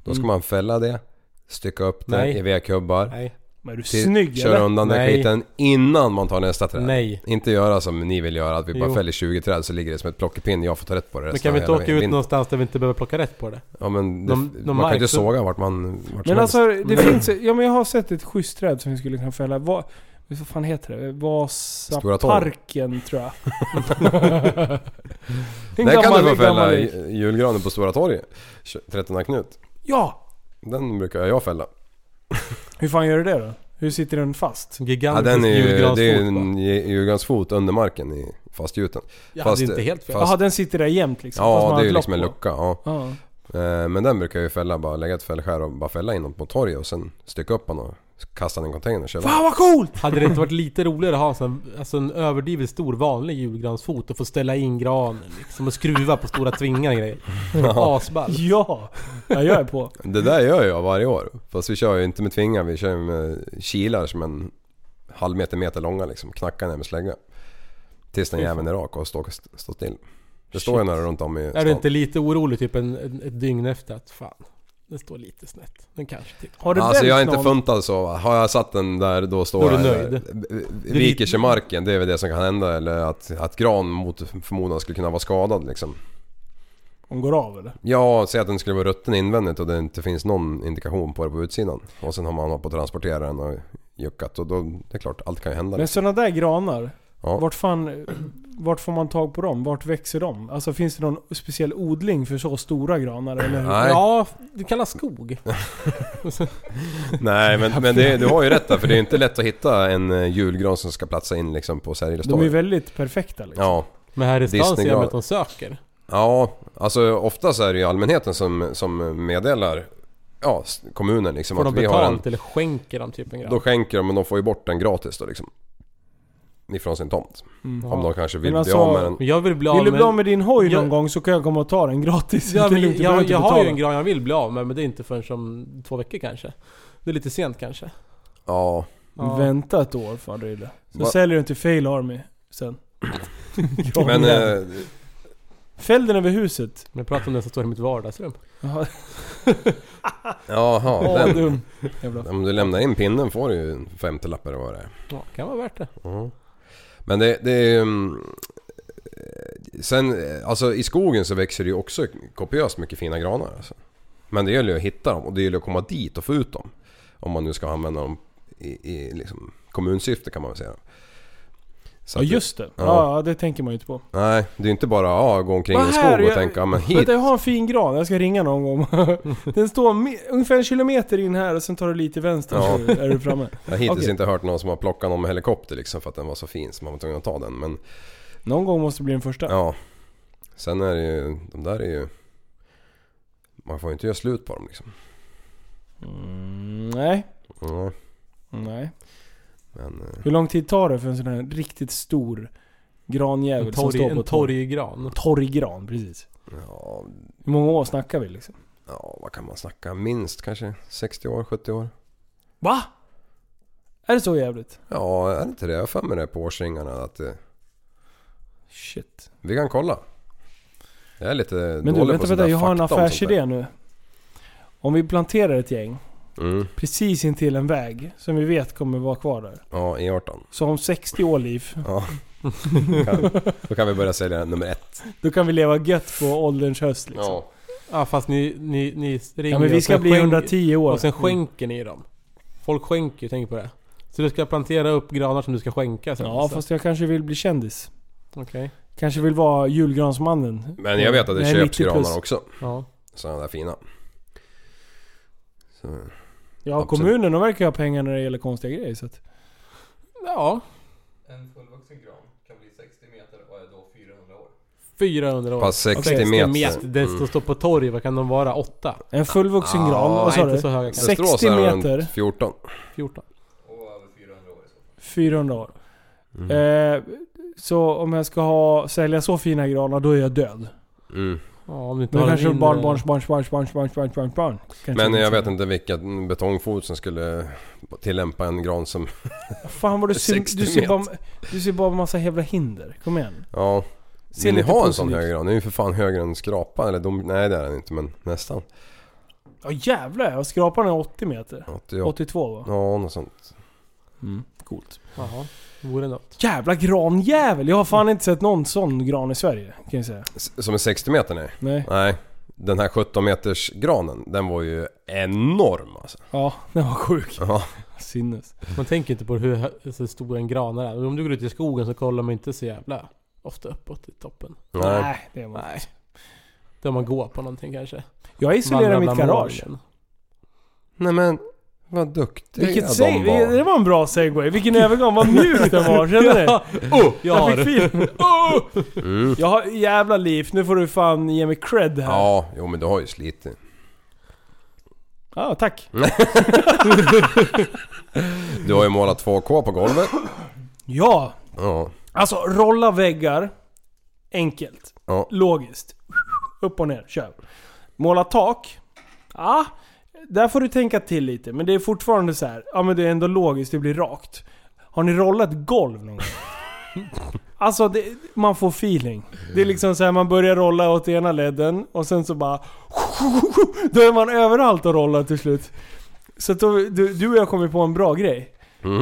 Speaker 3: då ska man fälla det, stycka upp det
Speaker 4: Nej.
Speaker 3: i vedkubbar,
Speaker 4: Nej.
Speaker 2: Men är du
Speaker 3: till-
Speaker 2: snygg
Speaker 3: köra
Speaker 2: eller?
Speaker 3: undan den
Speaker 4: Nej.
Speaker 3: skiten innan man tar nästa träd.
Speaker 4: Nej.
Speaker 3: Inte göra som ni vill göra, att vi bara
Speaker 4: Jo.
Speaker 3: fäller 20 träd så ligger det som ett plockepinn, jag får ta rätt på det
Speaker 4: Men
Speaker 3: resten
Speaker 4: kan vi
Speaker 3: av
Speaker 4: inte
Speaker 3: hela
Speaker 4: åka ut
Speaker 3: vintern.
Speaker 4: någonstans där vi inte behöver plocka rätt på det?
Speaker 3: Ja men det,
Speaker 4: någon-
Speaker 3: man
Speaker 4: någon
Speaker 3: kan ju
Speaker 4: mark
Speaker 3: inte
Speaker 4: så-
Speaker 3: såga vart man... Vart
Speaker 2: Men
Speaker 3: som helst.
Speaker 2: alltså det
Speaker 3: Mm.
Speaker 2: finns... Ja men jag har sett ett schysst träd som vi skulle kunna fälla. Vad, vad fan heter det?
Speaker 3: Stora torv.
Speaker 2: Vasaparken tror jag. En
Speaker 3: Där kan du
Speaker 2: gammal-
Speaker 3: få fälla
Speaker 2: gammal-
Speaker 3: ju- julgranen på Stora torget. 13 Knut.
Speaker 2: Ja!
Speaker 3: Den brukar jag fälla.
Speaker 2: Hur fan gör du det då? Hur sitter den fast?
Speaker 4: En
Speaker 3: Ja,
Speaker 4: gigantisk
Speaker 3: den är ju, det är ju
Speaker 4: julgransfot bara.
Speaker 3: en ju- julgransfot under marken i fastgjuten.
Speaker 4: Jag
Speaker 3: fast-
Speaker 4: hade inte helt fel.
Speaker 3: fast-
Speaker 2: Jaha, den sitter där jämt liksom? fast man
Speaker 3: Ja
Speaker 2: har
Speaker 3: det är
Speaker 2: ett
Speaker 3: ju
Speaker 2: lock
Speaker 3: liksom en
Speaker 2: på.
Speaker 3: lucka. Ja.
Speaker 2: Ja.
Speaker 3: Eh, Men den brukar jag ju fälla, bara lägga ett fällskär och bara fälla in dem på torget och sen stycka upp honom och kasta den i en container och köra.
Speaker 2: Fan vad coolt!
Speaker 4: Hade det inte varit lite roligare att ha en, sån, alltså en överdrivet stor vanlig julgransfot och få ställa in granen liksom och skruva på stora tvingar och grejer? Asball.
Speaker 2: Ja! ja jag är på.
Speaker 3: Det där gör jag varje år. Fast vi kör ju inte med tvingar, vi kör ju med kilar som en halv meter, meter långa liksom. Knackar ner med slägga. Tills den jäveln är rak och står, står still. Det står ju några runt om i
Speaker 4: Är du
Speaker 3: stan.
Speaker 4: inte lite orolig typ en, en, ett dygn efter att fan, den står lite snett. Den kanske tittar.
Speaker 2: Har det
Speaker 3: Alltså
Speaker 2: vänt
Speaker 3: jag är inte
Speaker 2: någon?
Speaker 3: funtad så. Har jag satt den där då står
Speaker 4: Då är du
Speaker 3: jag- Eh,
Speaker 4: nöjd.
Speaker 3: Viker sig marken, det är väl det som kan hända. Eller att, att gran mot förmodan skulle kunna vara skadad liksom.
Speaker 2: Hon går av eller?
Speaker 3: Ja, säg att den skulle vara rutten invändigt och det inte finns någon indikation på det på utsidan. Och sen har man hållit på att transportera den och juckat och då, det är klart, allt kan ju hända.
Speaker 2: Men sådana där granar,
Speaker 3: Ja.
Speaker 2: vart fan... Vart får man tag på dem? Vart växer de? Alltså finns det någon speciell odling för så stora granar eller? hur?
Speaker 3: Nej.
Speaker 4: Ja, du kan ha skog.
Speaker 3: Nej men, men det, du har ju rätt där för det är inte lätt att hitta en eh, julgran som ska platsa in liksom på Sergels
Speaker 2: De är ju
Speaker 3: torg.
Speaker 2: väldigt perfekta liksom.
Speaker 3: Ja.
Speaker 4: Men här i stan ser jag
Speaker 3: Disneygran.
Speaker 4: att de söker.
Speaker 3: ja, alltså oftast är det ju allmänheten som, som meddelar ja, s- kommunen liksom
Speaker 4: Får de
Speaker 3: att vi har en...
Speaker 4: betalt eller skänker de typ en gran?
Speaker 3: Då skänker de men de får ju bort den gratis då liksom. Ifrån sin tomt.
Speaker 2: Mm.
Speaker 3: Om de kanske vill
Speaker 2: Men
Speaker 3: bli
Speaker 2: alltså,
Speaker 3: av med den.
Speaker 4: Men jag vill bli av
Speaker 2: Vill du bli av
Speaker 4: med...
Speaker 2: med din hoj någon
Speaker 4: Jag-
Speaker 2: gång så kan jag komma och ta den gratis.
Speaker 4: Ja,
Speaker 2: Det är
Speaker 4: men
Speaker 2: lugnt,
Speaker 4: jag,
Speaker 2: du behöver
Speaker 4: jag,
Speaker 2: inte
Speaker 4: har ju
Speaker 2: betala.
Speaker 4: en gran jag vill bli av med men det är inte förrän om två veckor kanske. Det är lite sent kanske.
Speaker 3: Ja,
Speaker 4: Ja.
Speaker 2: Vänta ett år för Drille. Så
Speaker 3: Va-
Speaker 2: säljer du den till Fail Army sen.
Speaker 3: Men eh,
Speaker 2: Fäll den över huset.
Speaker 4: Men jag pratar om den som står i mitt vardagsrum.
Speaker 2: Jaha,
Speaker 3: jaha,
Speaker 2: ja,
Speaker 3: den.
Speaker 2: dum. Jävla
Speaker 3: Om du lämnar in pinnen får du ju en 50-lapp eller vad det är.
Speaker 4: Ja, kan vara värt det.
Speaker 2: Mm.
Speaker 3: Ja. Men det, det är... mm, eh, Sen, eh, alltså i skogen så växer det ju också kopiöst mycket fina granar. Alltså. Men det gäller ju att hitta dem och det gäller att komma dit och få ut dem. Om man nu ska använda dem i, i liksom, kommunsyfte kan man väl säga. Så
Speaker 2: Ja
Speaker 3: att det-
Speaker 2: just det.
Speaker 3: Ja.
Speaker 2: Ja. ja, det tänker man ju inte på.
Speaker 3: Nej, det är ju inte bara ja, gå omkring i en
Speaker 2: Vad
Speaker 3: skog
Speaker 2: här,
Speaker 3: och
Speaker 2: jag-
Speaker 3: tänka ja, men hit.
Speaker 2: Vänta, jag har en fin gran. Jag ska ringa någon gång. Den står mi- ungefär en kilometer in här och sen tar du lite vänster
Speaker 3: Ja.
Speaker 2: så är du framme.
Speaker 3: Jag har hittills
Speaker 2: Okej.
Speaker 3: inte hört någon som har plockat någon med helikopter liksom för att den var så fin så man var tvungen att ta den. Men
Speaker 2: Någon gång måste det bli den första.
Speaker 3: ja. Sen är det ju, de där är ju... Man får ju inte göra slut på dem liksom.
Speaker 2: Mm, nej.
Speaker 3: Ja,
Speaker 2: Nej.
Speaker 3: men... eh,
Speaker 2: Hur lång tid tar det för en sån här riktigt stor
Speaker 4: En,
Speaker 2: granjävel som
Speaker 4: torg,
Speaker 2: står på
Speaker 4: en
Speaker 2: ett torg?
Speaker 4: torggran.
Speaker 2: Torggran, precis.
Speaker 3: Ja,
Speaker 2: Hur många år snackar vi liksom?
Speaker 3: ja, vad kan man snacka? Minst kanske 60 år, 70 år?
Speaker 2: Va? Är det så jävligt?
Speaker 3: Ja, är det inte det? Jag har för mig det på årsringarna att... eh,
Speaker 2: Shit.
Speaker 3: Vi kan kolla. Jag är lite
Speaker 2: Men du,
Speaker 3: dålig
Speaker 2: vänta,
Speaker 3: på sådär
Speaker 2: vänta. Jag har en
Speaker 3: fakta om sånt där.
Speaker 2: affärsidé nu. Om vi planterar ett gäng
Speaker 3: Mm,
Speaker 2: precis intill en väg som vi vet kommer vara kvar där.
Speaker 3: ja, E18.
Speaker 2: Så om 60 år liv,
Speaker 3: Ja. Då kan, då kan vi börja sälja nummer ett.
Speaker 2: då kan vi leva gött på ålderns höst liksom. Ja,
Speaker 4: Ja fast ni, ni, ni ringer
Speaker 2: men vi
Speaker 4: och
Speaker 2: ska
Speaker 4: sen
Speaker 2: bli
Speaker 4: skänk-
Speaker 2: 110 år.
Speaker 4: Och sen skänker ni dem. Folk skänker ju, tänk på det. Så du ska plantera upp granar som du ska skänka sen?
Speaker 2: Ja,
Speaker 4: alltså.
Speaker 2: fast jag kanske vill bli kändis.
Speaker 4: Okej.
Speaker 2: Kanske vill vara julgransmannen.
Speaker 3: Men jag vet att det
Speaker 2: Nej,
Speaker 3: köps
Speaker 2: 90 plus.
Speaker 3: granar också.
Speaker 4: Ja.
Speaker 3: Sådana där fina. Så,
Speaker 2: Ja,
Speaker 3: Absolut.
Speaker 2: kommunen de verkar ju ha pengar när det gäller konstiga grejer så att...
Speaker 4: Ja.
Speaker 6: En fullvuxen gran kan bli 60 meter och är då 400 år.
Speaker 4: 400 år.
Speaker 3: pass 60
Speaker 4: Okej,
Speaker 3: meter.
Speaker 4: Det mm. står på torg, vad kan de vara? 8?
Speaker 2: En fullvuxen
Speaker 3: Ah,
Speaker 2: gran, vad sa
Speaker 4: Nej, inte
Speaker 2: du?
Speaker 4: så höga kanske.
Speaker 2: Se- 60
Speaker 3: Västerås är runt
Speaker 2: meter.
Speaker 3: 14.
Speaker 4: 14.
Speaker 6: Och över 400 år i så fall.
Speaker 2: 400 år.
Speaker 3: Mm.
Speaker 2: Eh, så om jag ska ha, sälja så fina granar, då är jag död.
Speaker 3: Mm.
Speaker 4: Ja, om du inte
Speaker 2: Då
Speaker 4: har
Speaker 2: kanske
Speaker 4: en inre-
Speaker 2: barnbarns, barns, barns, barns, barns, barns, barns, barn.
Speaker 3: eh. Men jag vet inte vilken betongfot som skulle tillämpa en gran som...
Speaker 2: Fan vad du ser,
Speaker 3: 60
Speaker 2: du ser, bara,
Speaker 3: meter.
Speaker 2: du ser bara massa jävla hinder. Kom igen.
Speaker 3: Ja,
Speaker 2: Se
Speaker 3: vill ni
Speaker 2: lite
Speaker 3: ha en sån
Speaker 2: positivt.
Speaker 3: hög gran? Den är ju för fan högre än skrapa eller dom... Nej det är den inte men nästan.
Speaker 2: Ja jävlar, jag skrapar den 80 meter.
Speaker 3: 88.
Speaker 2: 82 va?
Speaker 3: Ja, något sånt.
Speaker 2: Mm, coolt.
Speaker 4: Jaha. Vore något.
Speaker 2: Jävla granjävel! Jag har fan inte sett någon sån gran i Sverige, kan jag säga.
Speaker 3: S- Som är 60 meter nej.
Speaker 2: Nej.
Speaker 3: Nej. Den här 17 meters granen, den var ju enorm alltså.
Speaker 2: Ja, den var sjuk.
Speaker 3: Ja.
Speaker 2: Sinnes.
Speaker 4: Man tänker inte på hur hö- så stor en gran är. Om du går ut i skogen så kollar man inte så jävla ofta uppåt i toppen.
Speaker 3: Nej.
Speaker 2: Nej, det var
Speaker 4: Nej. Där man går på någonting kanske.
Speaker 2: Jag isolerar
Speaker 4: Vandrar
Speaker 2: mitt
Speaker 4: bland
Speaker 2: garage.
Speaker 4: molnen.
Speaker 3: Nej men, vad duktiga
Speaker 2: Vilket
Speaker 3: de
Speaker 2: seg-
Speaker 3: var.
Speaker 2: Det var en bra segway. Vilken övergång. Vad mjuk den var. Känner ni?
Speaker 4: Ja. Oh, jag
Speaker 2: Jag
Speaker 4: har.
Speaker 2: fick fil. Oh!
Speaker 3: Mm.
Speaker 2: Jag har jävla liv. Nu får du fan ge mig cred här. Ja,
Speaker 3: Ja, jo men du har ju slitit.
Speaker 2: ah, tack.
Speaker 3: Du har ju målat 2K på golvet.
Speaker 2: Ja,
Speaker 3: Ja.
Speaker 2: alltså rolla väggar. Enkelt.
Speaker 3: Ja.
Speaker 2: Logiskt. Upp och ner. Kör. Måla tak. Ja, där får du tänka till lite. Men det är fortfarande så här. Ja, men det är ändå logiskt. Det blir rakt. Har ni rollat golv någon gång? Alltså, det, man får feeling. Det är liksom så här, man börjar rolla åt ena ledden och sen så bara... Då är man överallt och rollar till slut. Så att då, du, du och jag kommer på en bra grej.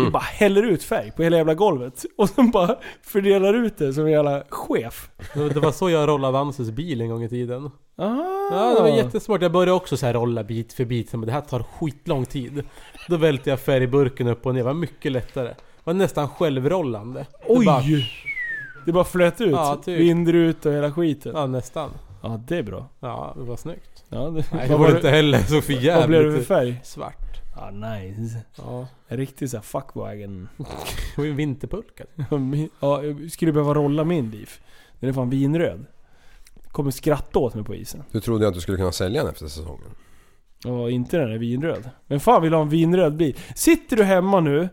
Speaker 2: Vi bara häller ut färg på hela jävla golvet. Och sen bara fördelar ut det som en jävla chef.
Speaker 4: Det det var så jag rollade Anses bil en gång i tiden.
Speaker 2: Ah.
Speaker 4: Ja, det var jättesmart. Jag började också så här rolla bit för bit, men det här tar skitlång tid. Då välte jag färgburken upp och ner, det var mycket lättare. Det var nästan självrollande. Det
Speaker 2: Oj!
Speaker 4: bara-
Speaker 2: Det bara flöt ut.
Speaker 4: Ja, typ.
Speaker 2: Vindruta och hela skiten. Ja.
Speaker 4: Ja, nästan.
Speaker 2: det är bra.
Speaker 4: Ja, det var snyggt.
Speaker 2: Ja, det,
Speaker 4: Nej, det
Speaker 2: vad,
Speaker 4: var det
Speaker 2: var-
Speaker 4: inte heller. Så för jävligt
Speaker 2: vad blev det för färg?
Speaker 4: Svart.
Speaker 2: Ja, nice.
Speaker 4: Ja.
Speaker 2: En riktig såhär fuckwagen.
Speaker 4: Det var ju alltså. vinterpulka.
Speaker 2: ja, jag skulle behöva rolla min liv. Den är fan vinröd. Kommer skratta åt mig på isen.
Speaker 3: Du trodde ju att du skulle kunna sälja den efter säsongen.
Speaker 2: Ja, inte den är vinröd. Men fan vill ha en vinröd bil? Sitter du hemma nu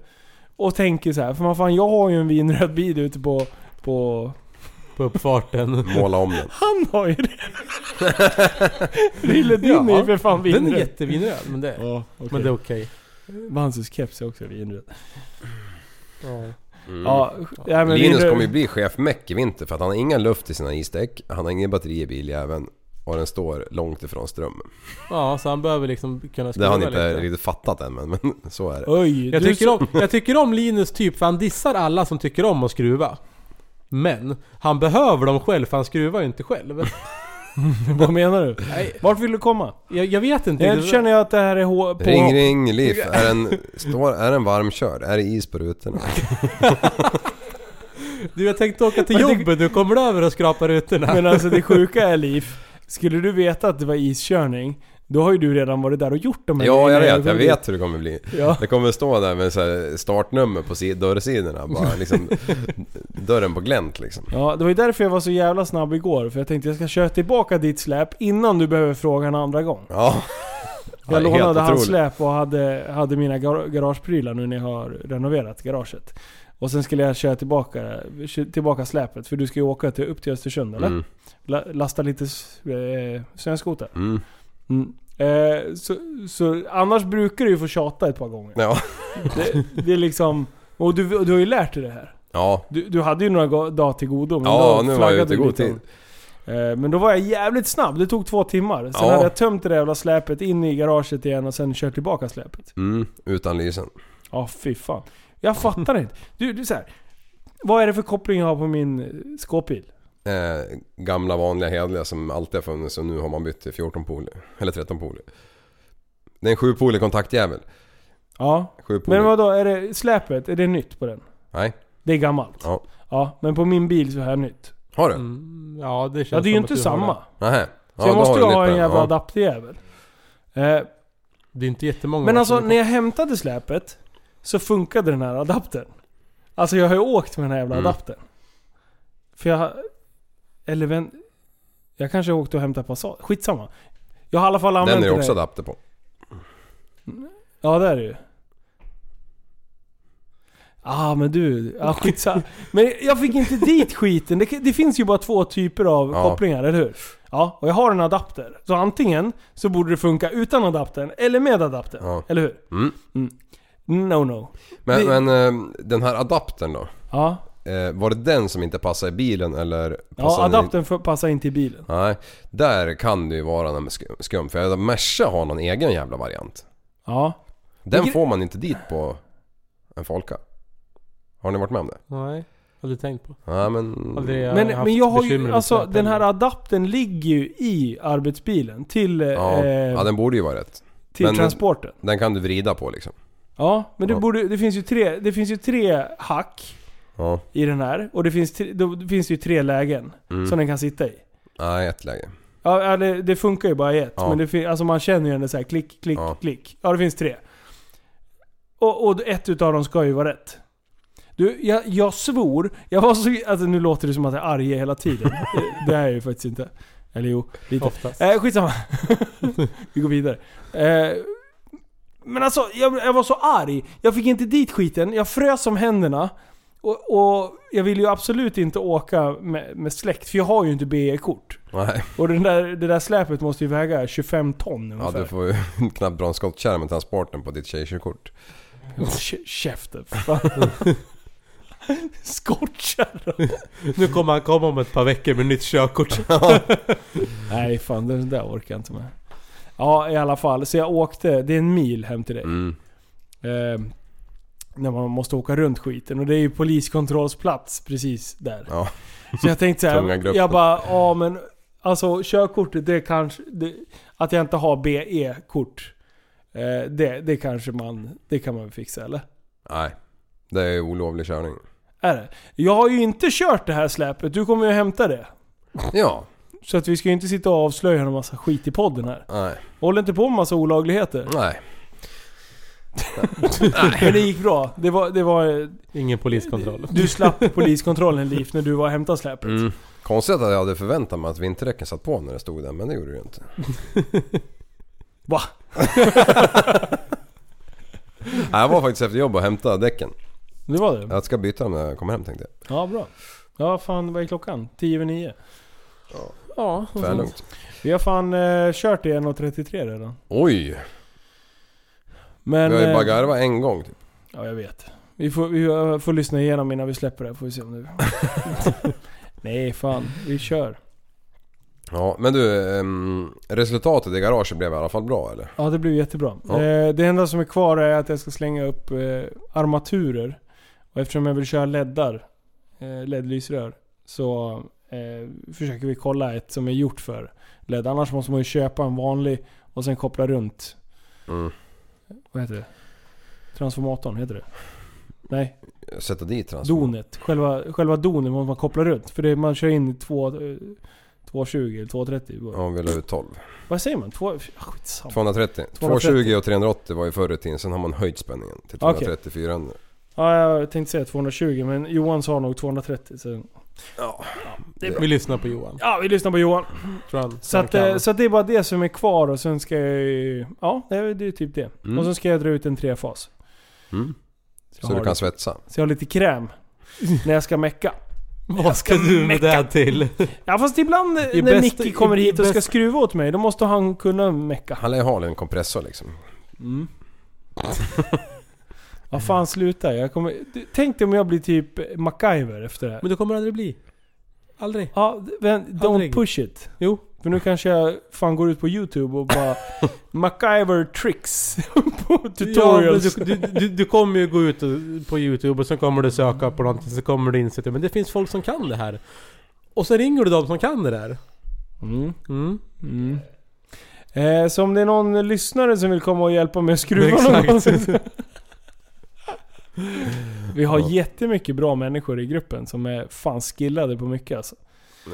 Speaker 2: och tänker så här, för man fan jag har ju en vinröd bil ute på... på
Speaker 4: På uppfarten.
Speaker 3: Måla om den.
Speaker 2: han har ju det! Rille din är ju för fan
Speaker 4: Den är
Speaker 2: vinröd.
Speaker 4: jättevinröd, men det,
Speaker 2: Ja, okej.
Speaker 4: men det är okej.
Speaker 2: Vansus keps är också vidrigt.
Speaker 4: Ja.
Speaker 3: Mm.
Speaker 2: Ja, ja, men
Speaker 3: Linus
Speaker 2: vi-
Speaker 3: kommer ju bli chef Meck i vinter för att han har ingen luft i sina isdäck, han har ingen batteri i biljäveln och den står långt ifrån strömmen.
Speaker 4: ja, så han behöver liksom kunna
Speaker 3: Det
Speaker 4: skruva
Speaker 3: har han inte
Speaker 4: lite.
Speaker 3: riktigt fattat än men, men så är det.
Speaker 2: Oj,
Speaker 4: Jag
Speaker 2: du
Speaker 4: tycker, om, jag tycker om Linus typ, för han dissar alla som tycker om att skruva. Men, han behöver dem själv för han skruvar ju inte själv.
Speaker 2: Vad menar du? Vart vill du komma?
Speaker 4: Jag, jag vet inte.
Speaker 2: Jag känner jag att det här är hå- på...
Speaker 3: Ring ring Liv, är den, står, är den varmkörd? Är det is på rutorna?
Speaker 4: Du, jag tänkte åka till
Speaker 2: Men det-
Speaker 4: jobbet nu. Kommer du över och skrapa rutorna?
Speaker 2: Men alltså det sjuka är Liv, skulle du veta att det var iskörning, då har ju du redan varit där och gjort de här
Speaker 3: Ja jag
Speaker 2: grejerna.
Speaker 3: vet, jag vet hur det kommer bli.
Speaker 2: Ja.
Speaker 3: Det kommer stå där med så här startnummer på si- dörrsidorna bara liksom. Dörren på glänt liksom.
Speaker 2: Ja, det var ju därför jag var så jävla snabb igår. För jag tänkte jag ska köra tillbaka ditt släp innan du behöver fråga en andra gång.
Speaker 3: Ja. Ja,
Speaker 2: Jag
Speaker 3: helt
Speaker 2: lånade hans
Speaker 3: otroligt.
Speaker 2: släp och hade, hade mina gar- garageprylar nu när jag har renoverat garaget. Och sen skulle jag köra tillbaka, kö- tillbaka släpet för du ska ju åka till, upp till Östersund eller?
Speaker 3: Mm.
Speaker 2: La, lasta lite s- eh, snöskoter.
Speaker 3: Mm.
Speaker 2: Mm. Eh, så, så annars brukar du ju få tjata ett par gånger.
Speaker 3: Ja.
Speaker 2: Det, det är liksom... Och du, och du har ju lärt dig det här.
Speaker 3: ja,
Speaker 2: Du, du hade ju några go- dagar till godo. Men
Speaker 3: Ja,
Speaker 2: då
Speaker 3: nu var jag
Speaker 2: flaggade
Speaker 3: ute i
Speaker 2: du
Speaker 3: god
Speaker 2: lite om- Eh, Men då var jag jävligt snabb. Det tog två timmar. Sen
Speaker 3: Ja.
Speaker 2: hade jag tömt det där jävla släpet in i garaget igen och sen kört tillbaka släpet.
Speaker 3: mm. utan lysen.
Speaker 2: Ja, fy fan. Jag fattar inte. Du, du så här. Vad är det för koppling jag har på min eh, skåpbil?
Speaker 3: Eh, gamla vanliga hederliga som alltid har funnits och nu har man bytt till 14 poler. Eller 13 poler. Det är en 7 poler kontaktjävel.
Speaker 2: Ja.
Speaker 3: 7 poler.
Speaker 2: Men vadå, är det släpet? Är det nytt på den?
Speaker 3: Nej.
Speaker 2: Det är gammalt?
Speaker 3: Ja.
Speaker 2: Ja, men på min bil så är det nytt.
Speaker 3: Har du?
Speaker 4: Mm, ja, det känns
Speaker 2: Ja, det är ju
Speaker 4: som att
Speaker 2: inte
Speaker 4: du har
Speaker 2: samma.
Speaker 4: det.
Speaker 3: Nähä. Ja,
Speaker 2: Så jag
Speaker 3: då
Speaker 2: måste ju
Speaker 3: har du nytt
Speaker 2: ha
Speaker 3: på
Speaker 2: en
Speaker 3: den.
Speaker 2: jävla
Speaker 3: Ja. Mm,
Speaker 2: adapterjävel. Eh,
Speaker 4: Det är inte jättemånga
Speaker 2: Men
Speaker 4: år
Speaker 2: alltså
Speaker 4: sedan.
Speaker 2: när jag hämtade släpet så funkade den här adaptern. Alltså jag har ju åkt med den här jävla
Speaker 3: Mm.
Speaker 2: adaptern. För jag... Eller vem... Jag kanske åkte och hämtade passat. Skitsamma. Jag har i alla fall använt
Speaker 3: Den är ju också
Speaker 2: där.
Speaker 3: adapter på.
Speaker 2: Ja det är det ju. Ah men du, ah, skitsamma. men jag fick inte dit skiten. Det, det finns ju bara två typer av
Speaker 3: Ja.
Speaker 2: kopplingar, eller hur? Ja, och jag har en adapter. Så antingen så borde det funka utan adaptern eller med adaptern.
Speaker 3: Ja.
Speaker 2: Eller hur? Mm.
Speaker 3: Mm.
Speaker 2: No no.
Speaker 3: Men,
Speaker 2: Vi-
Speaker 3: men eh, den här adaptern då?
Speaker 2: Ja,
Speaker 3: Eh, var det den som inte passar i bilen eller?
Speaker 2: ja
Speaker 3: passar den i-
Speaker 2: adaptern får passa in till bilen.
Speaker 3: Nej, där kan det ju vara någon sk- skum. För jag vet att Merca har någon egen jävla variant.
Speaker 2: Ja.
Speaker 3: Den
Speaker 2: Vilket-
Speaker 3: får man inte dit på en Folka. Har ni varit med om det?
Speaker 4: Nej, aldrig tänkt på.
Speaker 3: Nej men...
Speaker 4: Aldrig jag
Speaker 2: Mm. Men,
Speaker 4: haft
Speaker 2: men jag har
Speaker 4: bekymmer
Speaker 2: ju,
Speaker 4: med
Speaker 2: alltså
Speaker 4: släpen.
Speaker 2: den här adaptern ligger ju i arbetsbilen till,
Speaker 3: Ja.
Speaker 2: eh,
Speaker 3: ja, den borde ju vara rätt.
Speaker 2: till
Speaker 3: men-
Speaker 2: transporten.
Speaker 3: Den kan du vrida på liksom.
Speaker 2: Ja, men det,
Speaker 3: Ja.
Speaker 2: borde, det, finns ju tre, det finns ju tre hack
Speaker 3: Ja.
Speaker 2: i den här. Och det finns, tre, då finns det ju tre lägen
Speaker 3: Mm.
Speaker 2: som den kan sitta i.
Speaker 3: Nej, ett läge.
Speaker 2: Ja, ja, det, det funkar ju bara i ett.
Speaker 3: Ja.
Speaker 2: Men det fin, alltså man känner ju den så här klick, klick,
Speaker 3: Ja.
Speaker 2: klick. Ja, det finns tre. Och, och ett utav dem ska ju vara rätt. Du, jag, jag svor. Jag var så... Alltså nu låter det som att jag är arg hela tiden. Det- det är jag ju faktiskt inte. Eller jo, lite.
Speaker 4: Oftast.
Speaker 2: Eh, skitsamma. Vi går vidare. Eh, men alltså, jag, jag var så arg. Jag fick inte dit skiten. Jag frös om händerna. Och, och jag ville ju absolut inte åka med, med släkt, för jag har ju inte BE-kort.
Speaker 3: Nej,
Speaker 2: Och den där, det där släpet måste ju väga 25 ton
Speaker 3: ja,
Speaker 2: ungefär.
Speaker 3: du får ju knappt dra en skottkärra med transporten på ditt tjejkörkort.
Speaker 2: Kä- Käften, fan. Skottkärra.
Speaker 4: Nu kommer han komma om ett par veckor med nytt körkort.
Speaker 2: Nej fan, den där orkar jag inte med. Ja, i alla fall. Så jag åkte, det är en mil hem till dig.
Speaker 3: Mm.
Speaker 2: Eh, när man måste åka runt skiten. Och det är ju poliskontrollsplats precis där.
Speaker 3: Ja.
Speaker 2: Så jag tänkte så
Speaker 3: Tunga
Speaker 2: här,
Speaker 3: gruppen.
Speaker 2: jag bara, ja men alltså körkortet det kanske, det, att jag inte har BE-kort. Eh, det, det kanske man, det kan man fixa eller?
Speaker 3: Nej, det är ju olovlig körning.
Speaker 2: Är det? Jag har ju inte kört det här släpet, du kommer ju hämta det.
Speaker 3: Ja,
Speaker 2: Så att vi ska ju inte sitta och avslöja en massa skit i podden här.
Speaker 3: nej,
Speaker 2: Håll inte på med massa olagligheter.
Speaker 3: nej.
Speaker 2: Men det gick bra. Det var, det var,
Speaker 4: Ingen poliskontroll.
Speaker 2: du slapp poliskontrollen Liv när du var och hämtade släpet.
Speaker 3: Mm. Konstigt att jag hade förväntat mig att vinterdäcken satt på när det stod där, men det gjorde det ju inte.
Speaker 2: Va?
Speaker 3: Nej, jag var faktiskt efter jobb och hämtade däcken.
Speaker 2: Det var det?
Speaker 3: Jag ska byta dem när jag kommer hem tänkte jag.
Speaker 2: Ja, bra. Ja, fan vad är klockan? 10 över 9. Ja, och sånt.
Speaker 3: Tvärlugnt.
Speaker 2: Vi har fan eh, kört i 1.33 redan.
Speaker 3: Oj!
Speaker 2: Men...
Speaker 3: Vi har ju
Speaker 2: eh,
Speaker 3: bara garvat en gång typ.
Speaker 2: Ja, jag vet. Vi får, vi eh, får lyssna igenom innan vi släpper det här, får vi se om det... Nej, fan. Vi kör.
Speaker 3: Ja, men du. ehm, resultatet i garaget blev i alla fall bra eller?
Speaker 2: Ja, det blir jättebra.
Speaker 3: Ja.
Speaker 2: Eh, det enda som är kvar är att jag ska slänga upp eh, armaturer. Och eftersom jag vill köra leddar, eh, LED-lysrör, så eh, försöker vi kolla ett som är gjort för LED. Annars måste man ju köpa en vanlig och sen koppla runt,
Speaker 3: Mm.
Speaker 2: vad heter det? Transformatorn, heter det? Nej,
Speaker 3: Sätta dit transform.
Speaker 2: donet. Själva, själva donet måste man koppla runt. För det, man kör in två, eh, 220 eller 230.
Speaker 3: Ja, vi la ut 12.
Speaker 2: Vad säger man? Två, ah, skitsamma.
Speaker 3: 230. 220 och 380 var ju förr i tiden. Sen har man höjt spänningen till
Speaker 2: Okej.
Speaker 3: 230, 400.
Speaker 2: Ja, jag tänkte säga 220 men Johan sa nog 230. Så...
Speaker 4: Vi lyssnar på Johan.
Speaker 2: Ja, vi lyssnar på Johan.
Speaker 4: Tror han,
Speaker 2: Så, att, eh, så att det är bara det som är kvar och sen ska jag ju- Ja, det är det är ju typ det.
Speaker 3: Mm.
Speaker 2: Och sen ska jag dra ut en trefas.
Speaker 3: Mm.
Speaker 2: Så,
Speaker 3: Så
Speaker 2: jag
Speaker 3: du
Speaker 2: har
Speaker 3: kan
Speaker 2: lite,
Speaker 3: svetsa.
Speaker 2: så jag har lite kräm. när jag ska mecka.
Speaker 4: Vad ska du med det här till?
Speaker 2: Ja fast ibland eh,
Speaker 4: I
Speaker 2: när
Speaker 4: bäst-
Speaker 2: Micke kommer
Speaker 4: i- i
Speaker 2: hit och ska
Speaker 4: bäst-
Speaker 2: skruva åt mig, då måste han kunna mecka.
Speaker 3: Han lär ju ha en kompressor liksom.
Speaker 4: Mm.
Speaker 2: Ja fan sluta. Jag kommer... du, Tänk dig om jag blir typ MacGyver efter det här.
Speaker 4: Men du kommer aldrig bli. Aldrig.
Speaker 2: Ja, men don't
Speaker 4: Aldrig.
Speaker 2: push it.
Speaker 4: Jo.
Speaker 2: För nu kanske jag fan går ut på YouTube och bara MacGyver tricks på tutorials.
Speaker 4: Ja, men du, du, du, du kommer ju gå ut och- på YouTube och så kommer du söka på någonting så kommer du inse att men det finns folk som kan det här. Och så ringer du dem som kan det där.
Speaker 2: Mm.
Speaker 4: Mm.
Speaker 2: Mm. Eh, så om det är någon lyssnare som vill komma och hjälpa mig att skruva
Speaker 4: Exakt.
Speaker 2: någonting. Vi har
Speaker 3: Ja.
Speaker 2: jättemycket bra människor i gruppen som är fan skillade på mycket alltså.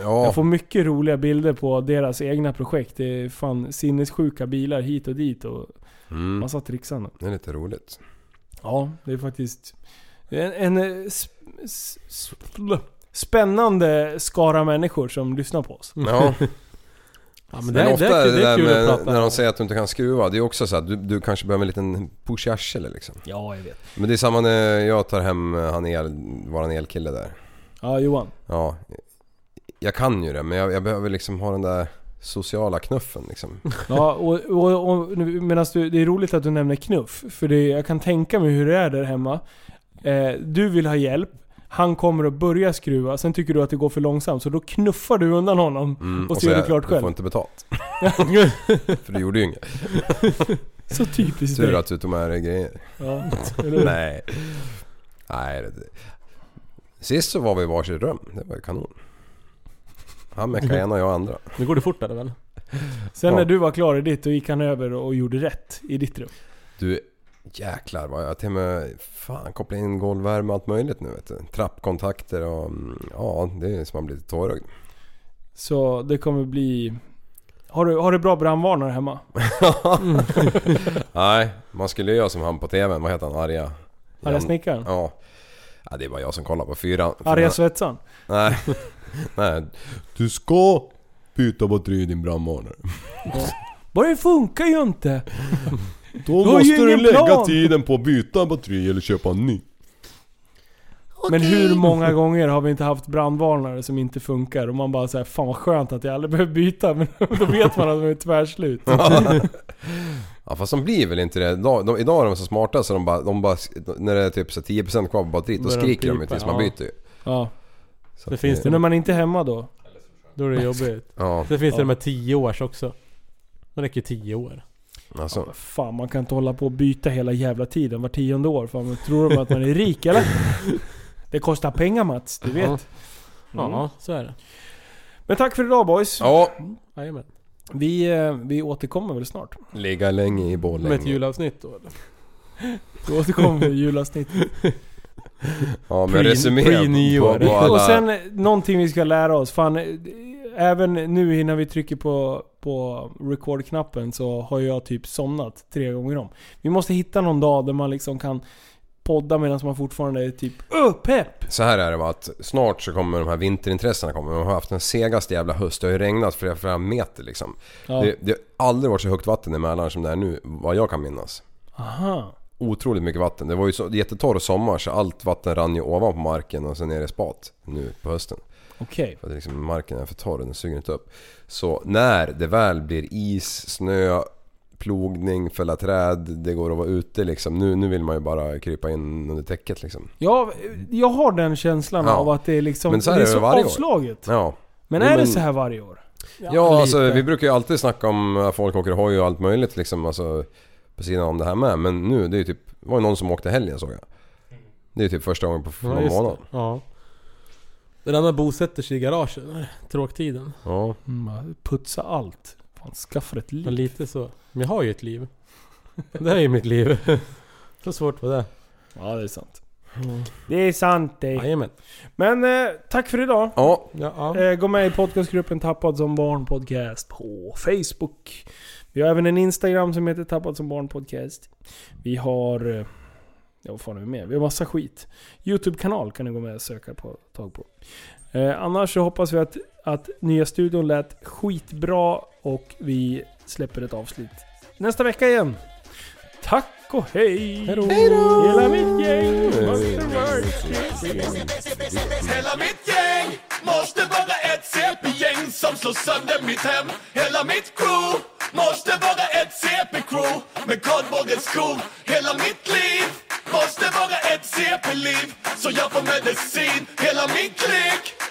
Speaker 3: Ja,
Speaker 2: Jag får mycket roliga bilder på deras egna projekt. Det är fan sinnessjuka bilar hit och dit och
Speaker 3: mm.
Speaker 2: massa trixande.
Speaker 3: det är lite roligt.
Speaker 2: Ja, det är faktiskt en, en eh, sp- s- sp- spännande skara människor som lyssnar på oss.
Speaker 3: Ja,
Speaker 4: Ja, men det,
Speaker 3: men
Speaker 4: är-
Speaker 3: ofta
Speaker 4: det, är- det, är
Speaker 3: där
Speaker 4: kul
Speaker 3: med,
Speaker 4: att prata
Speaker 3: när de
Speaker 4: om.
Speaker 3: säger att du inte kan skruva. Det är också så att du, du kanske behöver en liten push i arslet liksom.
Speaker 2: Ja, jag vet.
Speaker 3: Men det är samma när jag tar hem eh, han el, våran elkille där.
Speaker 2: Ja, Johan.
Speaker 3: Ja, jag kan ju det men jag, jag behöver liksom ha den där sociala knuffen liksom.
Speaker 2: Ja, och, och, och nu- medans du, det är roligt att du nämner knuff. För det, jag kan tänka mig hur det är där hemma. Eh, du vill ha hjälp. Han kommer att börja skruva, sen tycker du att det går för långsamt, så då knuffar du undan honom.
Speaker 3: Mm,
Speaker 2: Och så gör
Speaker 3: säger
Speaker 2: du klart
Speaker 3: Du
Speaker 2: själv."
Speaker 3: får inte betalt. För du gjorde ju inget.
Speaker 2: Så typiskt
Speaker 3: Tur
Speaker 2: dig.
Speaker 3: att du tog med dig grejer.
Speaker 2: Ja, eller hur?
Speaker 3: Nej. Nej. det- det- Sist så var vi i varsitt rum. Det var ju kanon.
Speaker 2: Mhm.
Speaker 3: Han meckade ena och jag andra.
Speaker 4: Nu går det fortare väl?
Speaker 2: Sen när
Speaker 3: Ja.
Speaker 2: du var klar i ditt, då gick han över och gjorde rätt i ditt rum.
Speaker 3: Du jäklar vad jag till och med fan koppla in golvvärme och allt möjligt nu vet du. Trappkontakter och mm, ja det är som man blir lite tårögd.
Speaker 2: Så det kommer bli... Har du, har du bra brandvarnare hemma? Mm.
Speaker 3: Nej, man skulle göra som han på TVn. Vad heter han? Arga?
Speaker 2: Arga snickaren?
Speaker 3: Ja. ja. Det är bara jag som kollar på fyran.
Speaker 2: Arga svetsaren?
Speaker 3: Nej. Nej. Du ska byta batteri i din brandvarnare.
Speaker 2: Bara det funkar ju inte! har
Speaker 3: Då
Speaker 2: ju
Speaker 3: måste du
Speaker 2: ingen
Speaker 3: lägga
Speaker 2: plan.
Speaker 3: tiden på att byta batteri eller köpa en ny.
Speaker 2: Men hur många gånger har vi inte haft brandvarnare som inte funkar och man bara säger fan vad skönt att jag aldrig behöver byta men då vet man att de är tvärslut.
Speaker 3: Ja fast de blir väl inte det. Idag, de, idag är de så smarta så de bara, de bara när det är typ så 10% kvar på batteriet då
Speaker 4: Börjar de
Speaker 3: skriker de ju
Speaker 4: pipa,
Speaker 3: tills man
Speaker 4: ja.
Speaker 3: byter ju.
Speaker 2: Ja.
Speaker 3: Så
Speaker 4: Det
Speaker 3: att
Speaker 4: finns
Speaker 2: Så när man inte är hemma då?
Speaker 4: Då är det jobbigt.
Speaker 3: Ja,
Speaker 4: Det finns
Speaker 2: Ja.
Speaker 4: det de här 10 års också. Det räcker ju 10 år.
Speaker 3: alltså.
Speaker 2: Fan man kan inte hålla på och byta hela jävla tiden var tionde år. Fan, men tror de att man är rik eller? Det kostar pengar Mats, du vet. Mm.
Speaker 4: Ja, Mm. så är det.
Speaker 2: Men tack för idag boys.
Speaker 3: Ja,
Speaker 4: Jajamän.
Speaker 2: Vi, eh, vi återkommer väl snart.
Speaker 3: ligga länge i bollen.
Speaker 4: Med ett julavsnitt då eller?
Speaker 2: Vi återkommer i julavsnitt.
Speaker 3: Ja men
Speaker 4: Pre-
Speaker 3: resumé
Speaker 4: pre-nyår.
Speaker 3: på, på alla...
Speaker 2: Och sen eh, någonting vi ska lära oss. Fan, eh, även nu innan vi trycker på, på record-knappen så har jag typ somnat tre gånger om. Vi måste hitta någon dag där man liksom kan podda medan man fortfarande är typ Öh, pepp!
Speaker 3: Så här är det va, att snart så kommer de här vinterintressena komma. De har haft den segaste jävla höst. Det har ju regnat flera, flera meter liksom.
Speaker 2: Ja.
Speaker 3: Det, det har aldrig varit så högt vatten i Mälaren som det är nu, vad jag kan minnas.
Speaker 2: Aha.
Speaker 3: Otroligt mycket vatten. Det var ju så jättetorr sommar så allt vatten rann ju ovanpå marken och sen ner i spat nu på hösten.
Speaker 2: Okej.
Speaker 3: För att liksom marken är för torr, den suger inte upp. Så när det väl blir is, snö, plogning, fälla träd, det går att vara ute liksom. Nu, nu vill man ju bara krypa in under täcket liksom.
Speaker 2: Ja, jag har den känslan
Speaker 3: Ja.
Speaker 2: av att det är liksom...
Speaker 3: Men så här
Speaker 2: det är
Speaker 3: är det
Speaker 2: så
Speaker 3: varje år.
Speaker 2: avslaget.
Speaker 3: Ja.
Speaker 2: Men
Speaker 3: Jo,
Speaker 2: är det
Speaker 3: men-
Speaker 2: så här varje år?
Speaker 3: Ja, alltså vi brukar ju alltid snacka om att folk åker hoj och allt möjligt liksom. Alltså, på sidan om det här med. Men nu, det är ju typ... Det var ju någon som åkte helgen såg jag. Det är ju typ första gången på f-
Speaker 4: Ja,
Speaker 3: någon
Speaker 4: just det.
Speaker 3: månad.
Speaker 4: Ja. Den andra bosätter sig i garaget. Nej, Tråktiden.
Speaker 3: Ja.
Speaker 2: Mm, putsa allt. Fan, skaffa ett
Speaker 4: Men
Speaker 2: liv.
Speaker 4: lite så. Men jag har ju ett liv. Det här är ju mitt liv. Så svårt var det.
Speaker 2: Ja, det är sant. Det är sant det.
Speaker 4: Jajamän.
Speaker 2: Men eh, tack för idag.
Speaker 3: Ja,
Speaker 4: Ja, ja.
Speaker 2: Eh, gå med i podcastgruppen Tappad som barn podcast på Facebook. Vi har även en Instagram som heter Tappad som barn podcast. Vi har... eh, Ja, vad fan är vi med? Vi har massa skit. Youtube-kanal kan ni gå med och söka på tag på. Eh, annars så hoppas vi att, att nya studion lät skitbra och vi släpper ett avslut nästa vecka igen. Tack och hej!
Speaker 4: Hejdå!
Speaker 2: Hela mitt gäng!
Speaker 1: Hela mitt gäng måste vara ett CP-gäng som slår sönder mitt hem Hela mitt crew måste vara ett CP-crew med kardborrens skor Hela mitt liv måste vara ett CP-liv så jag får medicin Hela min klick